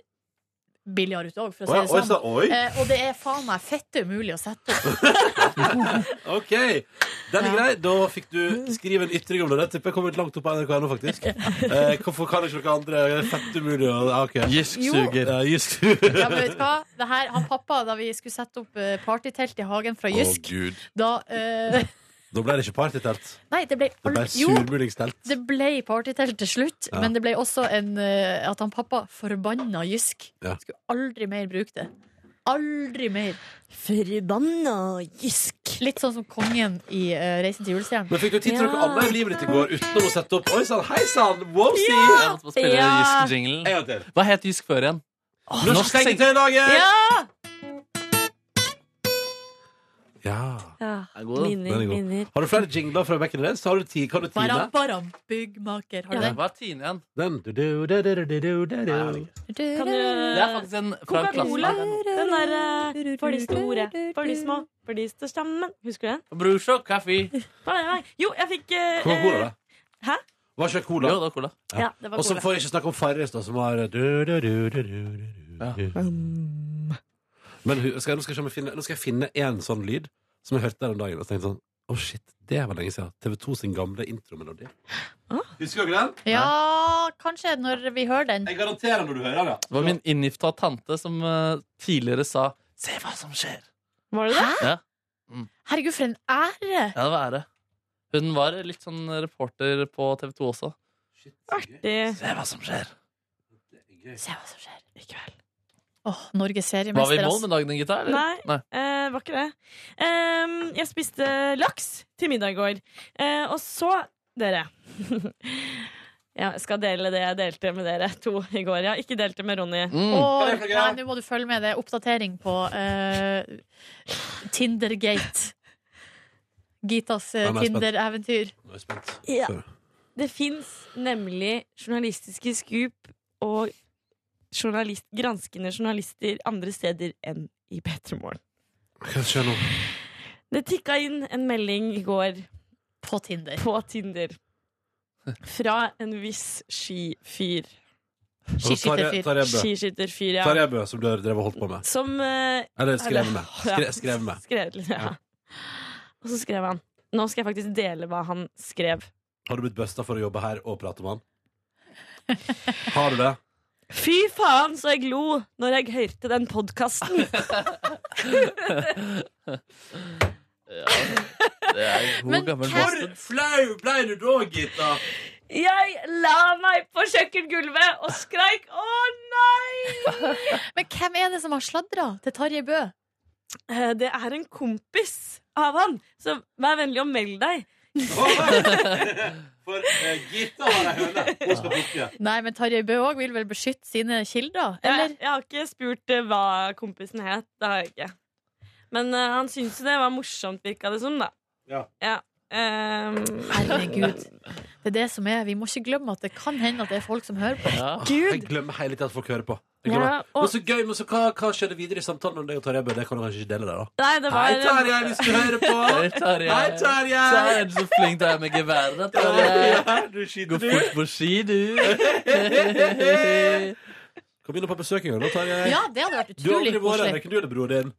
Speaker 4: billigere ut òg, for å si
Speaker 2: Å ja,
Speaker 4: det
Speaker 2: oi,
Speaker 4: sånn.
Speaker 2: så- oi.
Speaker 4: Eh, og det er faen meg fette umulig å sette opp.
Speaker 2: OK. Den er grei. Da fikk du skrive en ytring om det. Det tipper jeg kommer langt opp på NRK nå, faktisk. Eh, hvorfor kan ikke dere andre Det er Fett umulig å ja, ok.
Speaker 4: Jo. suger.
Speaker 2: Ja, jysk suger.
Speaker 4: Ja, men vet du hva? Det her, han pappa, da vi skulle sette opp eh, partytelt i hagen fra
Speaker 2: Å,
Speaker 4: Jysk,
Speaker 2: Gud.
Speaker 4: da eh,
Speaker 2: Da ble det ikke partytelt.
Speaker 4: Nei, det ble
Speaker 2: Det ble
Speaker 4: aldri- Jo,
Speaker 2: surmulingstelt.
Speaker 4: Det ble partytelt til slutt,
Speaker 2: Ja.
Speaker 4: men det ble også en, eh, at han pappa forbanna Jysk.
Speaker 2: Ja.
Speaker 4: Skulle aldri mer bruke det. Aldri mer.
Speaker 13: Forbanna Jysk.
Speaker 4: Litt sånn som kongen i eh, Reisen til julestjernen.
Speaker 2: Men fikk du tid til noe annet i livet ditt i går utenom å sette opp Oi sann, hei sann, wowsy!
Speaker 4: Ja.
Speaker 3: Så spiller jeg Jysk-jinglen. Hva het Jysk før igjen?
Speaker 2: Norsk sengetøylager!
Speaker 4: Ja!
Speaker 2: Ja.
Speaker 13: Ja.
Speaker 3: Er god, da.
Speaker 13: Minner,
Speaker 2: Den er god.
Speaker 13: minner.
Speaker 2: Har du flere jingler fra bekken deres? Har du ti? Kan du tine?
Speaker 4: Baram, baram, byggmaker. Har du
Speaker 3: Ja.
Speaker 4: den?
Speaker 3: Hva er Tine igjen?
Speaker 2: Den du, du, du, du, du, du, du.
Speaker 3: Kan du... Det er faktisk en fra en
Speaker 13: Coca-Cola.
Speaker 3: klasse.
Speaker 13: Den der eh, for de store, for de små, for de står sammen. Husker du den?
Speaker 3: Brusjok kaffe.
Speaker 13: Nei, nei. Jo, jeg fikk eh,
Speaker 2: Coca-Cola, da?
Speaker 13: Hæ?
Speaker 2: Var ikke det cola?
Speaker 3: Jo, det var cola.
Speaker 13: Ja, det var
Speaker 2: Og så
Speaker 13: cola.
Speaker 2: får jeg ikke snakke om Farris, da, som har du, du, du, du, du, du, du. Men hu- skal jeg, nå, skal jeg, se om jeg finne, nå skal jeg finne en sånn lyd som jeg hørte her om dagen. Og så tenkte jeg sånn Å, shit, det var lenge siden. TV2 sin gamle intromelodi. Husker dere den?
Speaker 4: Ja, kanskje når vi hører den.
Speaker 2: Jeg garanterer når du hører den.
Speaker 3: Det var min inngifta tante som eh, tidligere sa 'se hva som skjer'.
Speaker 13: Var det det?
Speaker 3: Ja,
Speaker 4: Herregud, for en ære!
Speaker 3: ja det var ære. Hun var litt sånn reporter på TV 2 også. Se hva som skjer.
Speaker 4: Se hva som skjer. I kveld. Åh, Norges seriemester.
Speaker 3: Var vi i mål
Speaker 4: ass.
Speaker 3: med dagen, Nikita? eller?
Speaker 13: Nei, eh, var ikke det. Ehm, jeg spiste laks til middag i går. Eh, og så, dere Ja, jeg skal dele det jeg delte med dere to i går. Jeg har ikke delt det med Ronny.
Speaker 3: Mm.
Speaker 2: Mm.
Speaker 4: Og, nei, nå må du følge med. Det er oppdatering på eh, Tindergate. Gitas eh,
Speaker 13: Nei, nei, spent.
Speaker 4: Tinder-eventyr.
Speaker 13: Ja. Det fins nemlig journalistiske scoop og journalist, granskende journalister andre steder enn i P3 Morgen.
Speaker 2: Hva skjer nå?
Speaker 13: Det tikka inn en melding i går.
Speaker 4: På Tinder.
Speaker 13: Fra en viss skifyr.
Speaker 2: Skiskytterfyr. Tarjei- Tarjei Bø.
Speaker 13: Skiskytterfyr, ja.
Speaker 2: Tarjei Bø, som du har drevet og holdt på med.
Speaker 13: Som eh,
Speaker 2: Eller skrev med.
Speaker 13: Ja.
Speaker 2: Skre, skrev med.
Speaker 13: Skrevet litt, ja. Og så skrev han Nå skal jeg faktisk dele hva han skrev.
Speaker 2: Har du blitt busta for å jobbe her og prate med han? Har du det?
Speaker 13: Fy faen, så jeg glo når jeg hørte den podkasten!
Speaker 3: Det er god
Speaker 13: Men
Speaker 3: gammel
Speaker 13: hvem-
Speaker 3: bastard.
Speaker 2: flau ble du da, Gitta?
Speaker 13: jeg la meg på kjøkkengulvet og skreik 'Å nei!'
Speaker 4: Men hvem er det som har sladra til Tarjei Bø?
Speaker 13: Eh, Det er en kompis av han, så vær vennlig og meld deg.
Speaker 15: For eh, Gitta har ei høne. Hun skal plukke.
Speaker 4: Nei, men Tarjei Bø òg vil vel beskytte sine kilder?
Speaker 13: Jeg, jeg har ikke spurt eh, hva kompisen het. Det har jeg ikke. Men eh, han syntes jo det var morsomt, virka det som, da. ehm,
Speaker 15: Ja.
Speaker 4: Herregud. Det er det som er. Vi må ikke glemme at det kan hende at det er folk som hører på.
Speaker 2: Ja. Jeg glemmer hele tiden at folk hører på. Jeg glemmer.
Speaker 4: Ja, og-
Speaker 2: Men så gøy, men så hva, hva skjedde videre i samtalen mellom deg og Tarjei Bø? Det kan du kanskje ikke dele der, da?
Speaker 13: Nei, det var
Speaker 2: Hei, Tarjei, hvis du hører på.
Speaker 3: Hei, Tarjei.
Speaker 2: Hei, Tarjei.
Speaker 3: Tarjei, du er så flink du er med geværet, da, Tarjei. Går fort på ski, du.
Speaker 2: Kom inn og på besøk en gang, da, Tarjei.
Speaker 4: Ja, det hadde vært
Speaker 2: Du har
Speaker 4: utrolig
Speaker 2: aldri vært her,
Speaker 4: koselig.
Speaker 2: kunne du det, bror din?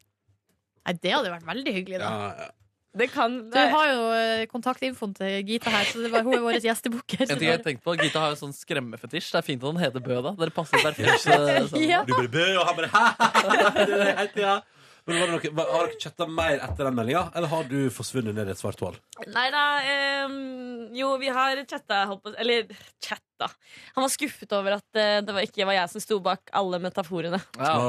Speaker 4: Nei, det hadde vært veldig hyggelig, da.
Speaker 2: Ja, ja.
Speaker 13: Det kan
Speaker 4: Du har jo eh, kontaktinfoen til Gita her, så det var, hun er vår gjestebukker.
Speaker 3: En ting jeg tenkte på, Gita har jo sånn skremmefetisj. Det er fint at han heter Bø, da. Dere passer perfekt. eh, sammen.
Speaker 4: Ja.
Speaker 2: Du bare bø, og han bare hæ? Det er helt, ja. Men var det noe, var- Har dere chatta mer etter den meldinga, eller har du forsvunnet ned i et svart hull?
Speaker 13: Nei da ehm, Jo, vi har chatta, holdt på Eller chatta. Han var skuffet over at eh, det var ikke var jeg som sto bak alle metaforene.
Speaker 2: Åh,
Speaker 13: ja.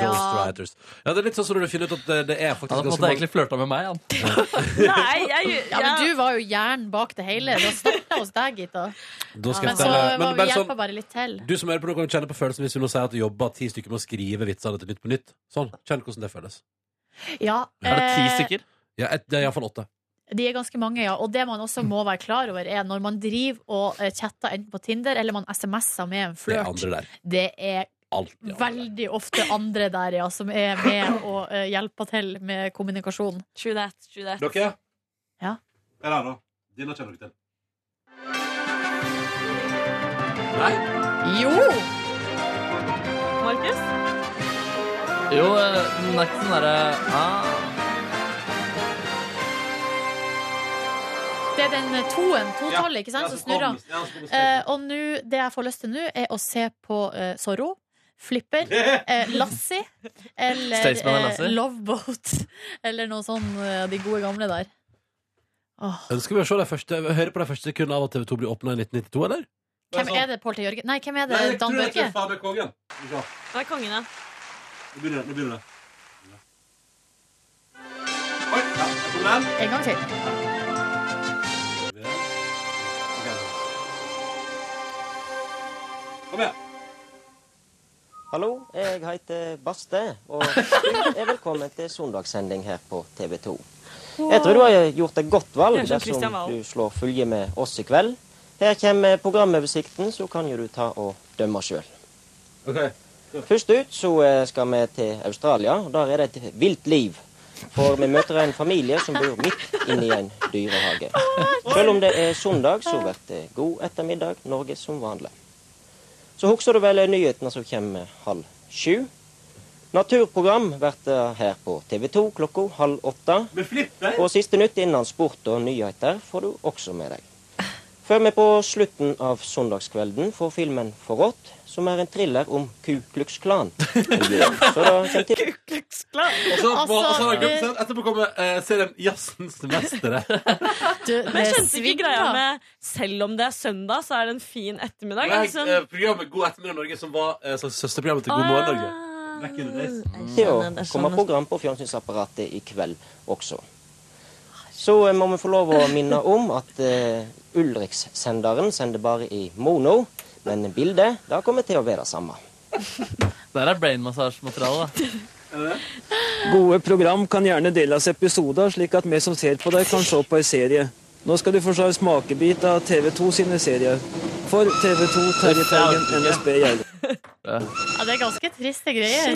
Speaker 2: Ghostwriters. Ja, det er litt sånn som når du finner ut at det, det er faktisk
Speaker 3: Han måtte egentlig flørta med meg, han.
Speaker 13: Nei, jeg
Speaker 4: Ja, men du var jo jern bak det hele. Det starta hos deg, Gita.
Speaker 2: Da skal jeg
Speaker 4: men så
Speaker 2: fortelle-
Speaker 4: var
Speaker 2: men
Speaker 4: vi
Speaker 2: bare
Speaker 4: hjelpa
Speaker 2: sånn-
Speaker 4: bare litt til.
Speaker 2: Du som hører på noe, kan kjenne på følelsen hvis vi nå sier at du jobber ti stykker med å skrive vitser til Nytt på Nytt. Sånn, Kjenn hvordan det føles.
Speaker 4: Ja, eh,
Speaker 2: Ja, et, det er iallfall åtte.
Speaker 4: De er ganske mange, ja. Og det man også må være klar over, er når man driver og eh, chatter enten på Tinder eller man SMS-er med en
Speaker 2: Det er
Speaker 4: flørt,
Speaker 2: andre der.
Speaker 4: det er
Speaker 2: Alt.
Speaker 4: veldig ofte andre der, ja, som er med og eh, hjelper til med kommunikasjon.
Speaker 13: True that, true that.
Speaker 2: Dere?
Speaker 4: Ja.
Speaker 2: Hva er det nå? Dine kjenner dere til. Nei?
Speaker 4: Jo!
Speaker 13: Markus?
Speaker 3: Jo, eh, den er ikke sånn derre ah.
Speaker 4: Det er den eh, toen, totallet, ikke sant, som snurrer. Eh, og nå, det jeg får lyst til nå, er å se på eh, Zorro, Flipper, eh, Lassie eller
Speaker 3: Staysman og Lassie.
Speaker 4: Loveboat. Eller noe sånn eh, de gode gamle der.
Speaker 2: Ønsker vi å se de første, høre på de første sekundene av at TV2 blir åpna i 1992, eller?
Speaker 4: Hvem
Speaker 13: sånn?
Speaker 4: er det, Pål T. Jørgen? Nei, hvem er det?
Speaker 2: Nei, jeg tror
Speaker 4: Dan
Speaker 2: jeg
Speaker 4: Børge?
Speaker 2: treffer Fader Kongen. Skal vi se.
Speaker 13: Det er kongen, ja.
Speaker 2: Nå begynner det. Nå begynner det.
Speaker 4: En gang til.
Speaker 2: Kom igjen.
Speaker 11: Hallo, jeg heter Baste, og du er velkommen til søndagssending her på TV 2. Jeg tror du har gjort et godt valg
Speaker 13: Det er som
Speaker 11: dersom
Speaker 13: Christian Wahl.
Speaker 11: du slår følge med oss i kveld. Her kommer programoversikten, så kan jo du ta og dømme sjøl. Først ut så eh, skal vi til Australia. og Der er det et vilt liv. For vi møter en familie som bor midt inne i en dyrehage. Selv om det er søndag, så blir det god ettermiddag Norge som vanlig. Så husker du vel nyhetene som kommer halv sju? Naturprogram blir her på TV 2 klokka halv åtte. Og siste nytt innen sport og nyheter får du også med deg. Før vi på slutten av søndagskvelden får filmen Forrådt, som er en thriller om Ku Klux Klan. Så da kommer til...
Speaker 2: Og så,
Speaker 11: Altså,
Speaker 2: og så har jeg glemt
Speaker 11: eh,
Speaker 2: det. Etterpå kommer eh, serien Jazzens mestere.
Speaker 13: Men jeg skjønte ikke
Speaker 4: svingte.
Speaker 13: greia med selv om det er søndag, så er det en fin ettermiddag.
Speaker 2: Nei,
Speaker 13: liksom.
Speaker 2: eh, Programmet God ettermiddag Norge, som var eh, slags søsterprogrammet til God morgen Norge. Back in the days.
Speaker 11: til å komme program på fjernsynsapparatet i kveld også.
Speaker 16: Så eh, må vi få lov å minne om at eh, Ulriks-senderen sender bare i mono, men bildet da kommer til å være det samme.
Speaker 3: Der er brainmassasjemateriale, da.
Speaker 17: Gode program kan gjerne deles i episoder, slik at vi som ser på dem, kan se på en serie. Nå skal du få se en smakebit av TV2 sine serier. For TV2, Terje Teigen, NSB Geilo.
Speaker 4: Ja, det er ganske triste greier.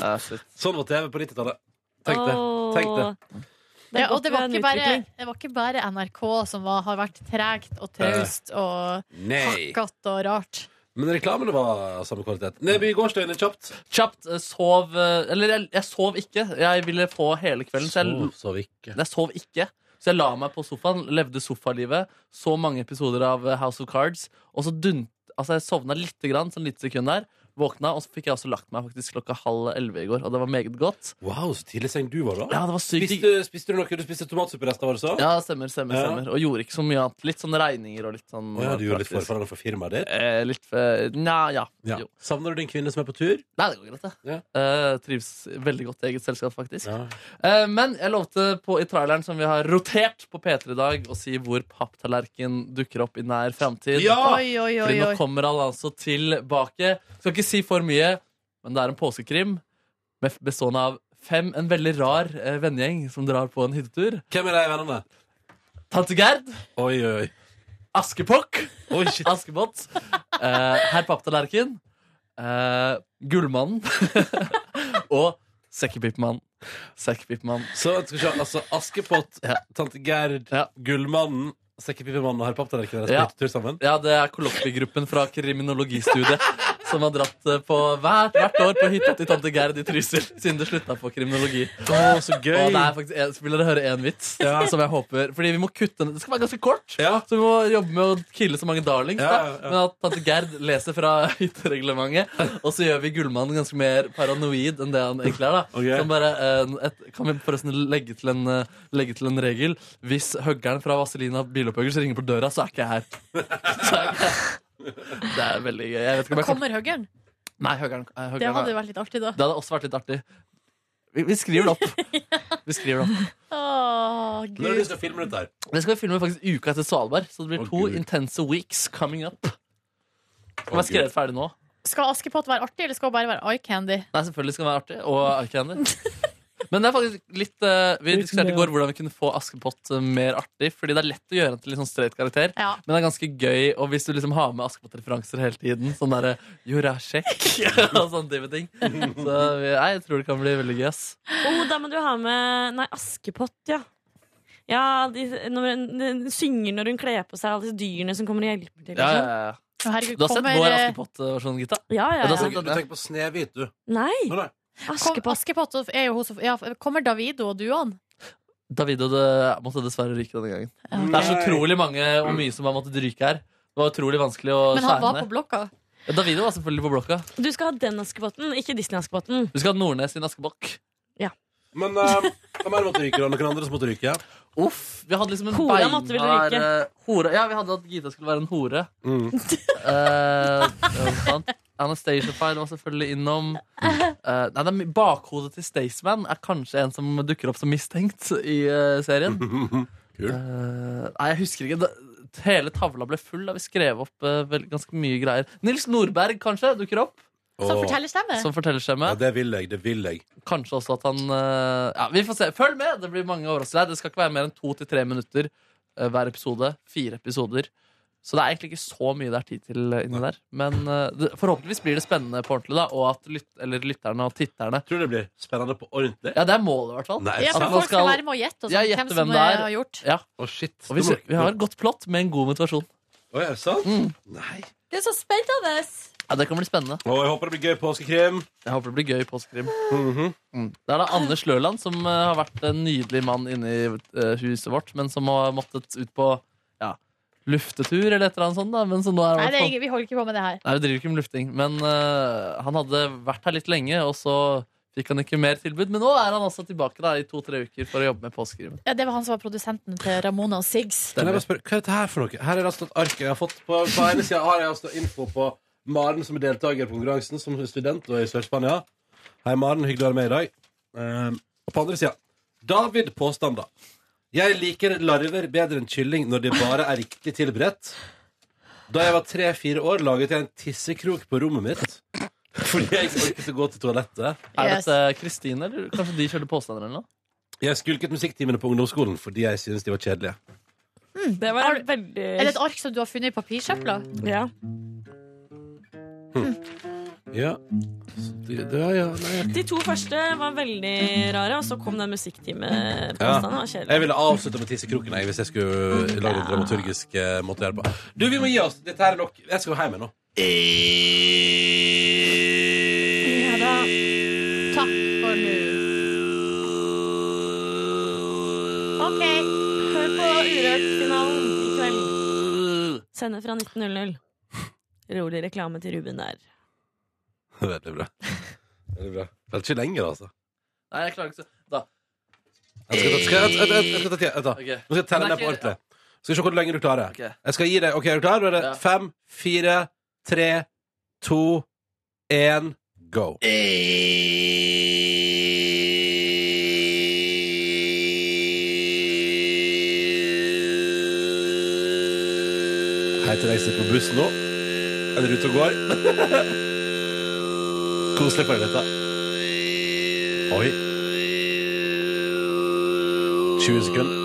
Speaker 2: Sånn var TV på 90-tallet. Tenk det.
Speaker 4: Åh.
Speaker 2: Tenk det.
Speaker 4: Ja, og
Speaker 13: godt
Speaker 4: det var,
Speaker 13: med en
Speaker 4: ikke bare,
Speaker 13: utvikling.
Speaker 4: det var ikke bare NRK som var, har vært tregt og traust og
Speaker 2: Nei.
Speaker 4: hakkete og rart.
Speaker 2: Men reklamene var av samme kvalitet. Neby Gårdstøyne, kjapt.
Speaker 3: Kjapt eh, sov eh, Eller jeg, jeg sov ikke. Jeg ville få hele kvelden. Så jeg,
Speaker 2: Sov, sov ikke.
Speaker 3: Jeg sov ikke. Så jeg la meg på sofaen, levde sofalivet, så mange episoder av eh, House of Cards, og så dunt Altså, jeg sovna lite grann, sånn lite sekund der, våkna, og så fikk jeg også lagt meg faktisk klokka halv elleve i går, og det var meget godt.
Speaker 2: Wow, så tidlig seng du var, da.
Speaker 3: Ja, det var sykt digg.
Speaker 2: Spiste, spiste du noe? Du spiste tomatsupperester, var det så?
Speaker 3: Ja, stemmer, stemmer,
Speaker 2: Ja.
Speaker 3: stemmer. Og gjorde ikke så mye annet. Litt sånn regninger og litt sånn
Speaker 2: Å ja, du gjorde litt
Speaker 3: praktisk.
Speaker 2: forfall for firmaet ditt?
Speaker 3: Eh, litt for Nja, ja.
Speaker 2: Ja.
Speaker 3: Jo.
Speaker 2: Savner du din kvinne som er på tur?
Speaker 3: Nei, det går greit, det. Eh, trives veldig godt i eget selskap, faktisk.
Speaker 2: Ja.
Speaker 3: Eh, men jeg lovte på, i traileren som vi har rotert på P3 i dag, å si hvor papptallerken dukker opp i nær framtid.
Speaker 4: Ja! Oi, oi, oi,
Speaker 3: Fordi nå
Speaker 4: oi.
Speaker 3: kommer han altså tilbake. Skal ikke si for mye, men det er en påskekrim med- bestående av fem, en veldig rar eh, vennegjeng som drar på en hyttetur.
Speaker 2: Hvem er de vennene?
Speaker 3: Tante Gerd.
Speaker 2: Oi, oi.
Speaker 3: Askepokk. Askepott. Eh, Herr Papptallerken. Eh, Gullmannen. og Sekkepipemannen. Sekkepipemannen.
Speaker 2: Så skal vi se, altså Askepott, Tante Gerd, Gullmannen, Sekkepipemannen og Herr Papptallerken deres
Speaker 3: Ja.
Speaker 2: ja. tur sammen?
Speaker 3: Ja, det er kollokviegruppen fra kriminologistudiet som har dratt eh, på hvert, hvert år på hytta til tante Gerd i Trysil siden det slutta på kriminologi.
Speaker 2: Å, så gøy.
Speaker 3: Og det er faktisk en, så vil dere høre én vits som jeg håper Fordi vi må kutte den. Det skal være ganske kort, så vi må jobbe med å kille så mange darlings.
Speaker 2: Ja, ja,
Speaker 3: Da. Men at tante Gerd leser fra hyttereglementet, og så gjør vi Gullmannen ganske mer paranoid enn det han egentlig er. da Som bare, eh, et, Kan vi forresten legge til en, eh, legge til en regel? Hvis høggeren fra Vazelina Bilopphøggers ringer på døra, så er ikke jeg her. Det er veldig gøy. Jeg vet ikke om jeg
Speaker 4: Kommer høggeren?
Speaker 3: Nei, høggeren, eh, høggeren
Speaker 4: Det hadde
Speaker 3: er-
Speaker 4: jo vært litt artig, da.
Speaker 3: Det hadde også vært litt artig. Vi, vi skriver det opp. Vi skriver det opp.
Speaker 4: Åh,
Speaker 2: Når har du lyst
Speaker 4: gud.
Speaker 2: til å filme dette her?
Speaker 3: Det skal vi filme faktisk uka etter Svalbard, så det blir to intense weeks coming up. Den er skrevet ferdig nå.
Speaker 4: Skal Askepott være artig, eller skal hun bare være eye candy?
Speaker 3: Nei, selvfølgelig skal den være artig. Og Arcander. Men det er faktisk litt eh, Vi diskuterte i går hvordan vi kunne få Askepott eh, mer artig. Fordi det er lett å gjøre den til litt sånn straight karakter,
Speaker 4: Ja.
Speaker 3: men det er ganske gøy. Og hvis du liksom har med Askepott-referanser hele tiden, sånn derre Jurasjek og sånne type ting. Så vi- nei, jeg tror det kan bli veldig gøy, ass.
Speaker 13: Oh, da må du ha med Nei, Askepott, ja. Ja, de, når hun, de synger når hun kler på seg, alle disse dyrene som kommer og hjelper til.
Speaker 3: Ja,
Speaker 13: liksom.
Speaker 3: ja, ja.
Speaker 13: Å, herregud,
Speaker 3: du har sett
Speaker 13: kommer- eh,
Speaker 3: vår
Speaker 4: eh,
Speaker 3: Askepott-versjon, Gita?
Speaker 13: Ja, ja, ja.
Speaker 3: Du, har
Speaker 13: Du
Speaker 3: sett
Speaker 13: tenker-
Speaker 3: den?
Speaker 2: Tenk på Snehvit, du.
Speaker 13: Nei!
Speaker 4: Askepott. Askepott er jo hun som ja, Kommer Davido og duoen?
Speaker 3: Davido det måtte dessverre ryke denne gangen. Mm. Det er så
Speaker 4: Nei.
Speaker 3: utrolig mange og mye som har måttet ryke her. Det var utrolig vanskelig å
Speaker 13: Men han
Speaker 3: skjære
Speaker 13: var
Speaker 3: ned.
Speaker 13: på blokka.
Speaker 3: Ja, Davido var selvfølgelig på blokka.
Speaker 13: Du skal ha den Askepotten, ikke Disney-Askepotten.
Speaker 3: Du skal ha Nordnes sin askebokk.
Speaker 2: Men eh, hvem er det måtte ryke? da? Noen andre som måtte ryke?
Speaker 3: Uff, vi hadde liksom en
Speaker 13: Hora måtte vel
Speaker 3: beinhard,
Speaker 13: ryke.
Speaker 3: eh, hore. Ja, vi hadde at Gita skulle være en hore.
Speaker 2: Mm.
Speaker 3: Eh, det var sant. Anastacia Fine var selvfølgelig innom. Eh, nei, det er my- Bakhodet til Staysman er kanskje en som dukker opp som mistenkt i eh, serien.
Speaker 2: Mm.
Speaker 3: Eh, nei, jeg husker ikke. Da- hele tavla ble full da vi skrev opp eh, vel, ganske mye greier. Nils Nordberg kanskje dukker opp.
Speaker 2: Som Åh. fortellerstemme.
Speaker 3: Som fortellerstemme.
Speaker 2: Ja, det vil jeg. Det vil jeg.
Speaker 3: Kanskje også at han eh, Ja, vi får se. Følg med! Det blir mange overraskelser. her. Det skal ikke være mer enn to til tre minutter eh, hver episode. Fire episoder. Så det er egentlig ikke så mye det er tid til eh, inni der. Men eh, det, forhåpentligvis blir det spennende på ordentlig, da. Og at lyt, eller lytterne og titterne
Speaker 2: Tror du det blir spennende på ordentlig?
Speaker 3: Ja, det er målet, i hvert fall.
Speaker 4: Ja, for folk skal være med og gjette og sånn,
Speaker 3: ja,
Speaker 4: hvem
Speaker 3: gjette
Speaker 4: som
Speaker 3: hvem det er.
Speaker 4: har gjort.
Speaker 3: Ja.
Speaker 2: Og
Speaker 3: vi,
Speaker 2: det må-
Speaker 3: vi har et godt plott med en god motivasjon.
Speaker 2: Oi, er det sant?
Speaker 4: Det er så spennende!
Speaker 3: Ja, Det kan bli spennende.
Speaker 2: Og jeg håper det blir gøy påskekrim.
Speaker 3: Jeg håper det blir gøy påskekrim.
Speaker 2: Mhm.
Speaker 3: Mm. Det er da Anders Løland som eh, har vært en nydelig mann inne i eh, huset vårt, men som har måttet ut på ja, luftetur eller et eller annet sånt. Da. Men så nå er han i
Speaker 4: Nei,
Speaker 3: hvert
Speaker 4: det er,
Speaker 3: fall-
Speaker 4: ingen- vi holder ikke på med det her.
Speaker 3: Nei, vi driver ikke med lufting, men eh, han hadde vært her litt lenge, og så fikk han ikke mer tilbud. Men nå er han altså tilbake da, i to-tre uker for å jobbe med påskekrim.
Speaker 4: Ja, det var han som var produsenten til Ramona og Siggs.
Speaker 2: Kan jeg bare spørre, Hva er dette her for noe? Her er altså et ark jeg har fått på, på ene siden har jeg altså info på Maren, som er deltaker på konkurransen, som er student og er i Sør-Spania. Hei, Maren. Hyggelig å være med i dag. Ehm, og på andre siden David Påstander. Jeg liker larver bedre enn kylling når de bare er riktig tilberedt. Da jeg var tre-fire år, laget jeg en tissekrok på rommet mitt. Fordi jeg ikke orket å gå til toalettet.
Speaker 3: Er dette Kristine, eller kanskje de kjørte påstander eller noe?
Speaker 2: Jeg skulket musikktimene på ungdomsskolen fordi jeg syntes de var kjedelige.
Speaker 13: Det var en veldig
Speaker 4: Er det et ark som du har funnet i papirsøpla?
Speaker 13: Ja.
Speaker 2: Ja. Så Det, det, ja, nei, ja.
Speaker 13: De to første var veldig rare, og så kom den musikktimepåstanden. Det var
Speaker 2: Ja.
Speaker 13: kjedelig.
Speaker 2: Jeg ville avslutta med tissekroken jeg, hvis jeg skulle lage en dramaturgisk eh, måte å gjøre det på. Du, vi må gi oss. Dette her er nok. Jeg skal hjem jeg, nå.
Speaker 4: Ja da. Takk for nå.
Speaker 13: OK. Hør på Urørt-finalen i kveld.
Speaker 3: Øh.
Speaker 13: Sender fra 19.00. Rolig reklame til Ruben der.
Speaker 2: Veldig bra. Veldig bra. Det er ikke lenger, altså.
Speaker 3: Nei, jeg klarer ikke så Da.
Speaker 2: Jeg skal ta- skal jeg- jeg- jeg- jeg skal ta tida. Vent da.
Speaker 3: Ok.
Speaker 2: Nå skal jeg telle
Speaker 3: Men
Speaker 2: ned
Speaker 3: det
Speaker 2: på
Speaker 3: er ikke-
Speaker 2: ordentlig. Skal vi se hvor lenge du klarer.
Speaker 3: Ok.
Speaker 2: Jeg skal gi deg OK, er du klar? Da er det fem, fire, tre, to, én, go. Hei til deg som sitter på bussen nå. Er dere ute og går? Koselig for dette. Oi. 20 sekunder.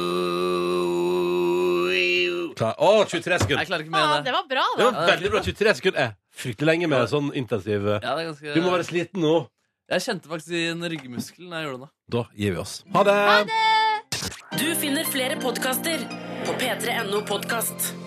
Speaker 2: Klar. Å, 23 sekunder.
Speaker 3: Jeg klarer ikke
Speaker 4: Ah,
Speaker 3: mer enn
Speaker 4: det
Speaker 3: det.
Speaker 4: var bra,
Speaker 2: Det
Speaker 4: da.
Speaker 2: var veldig bra. 23 sekunder er fryktelig lenge med sånn intensiv eh.
Speaker 3: Ja, det er ganske-
Speaker 2: Du må være sliten nå.
Speaker 3: Jeg kjente faktisk i en ryggmuskel når jeg gjorde det nå.
Speaker 2: Da gir vi oss. Ha det!
Speaker 18: Du finner flere podkaster på p3.no podkast.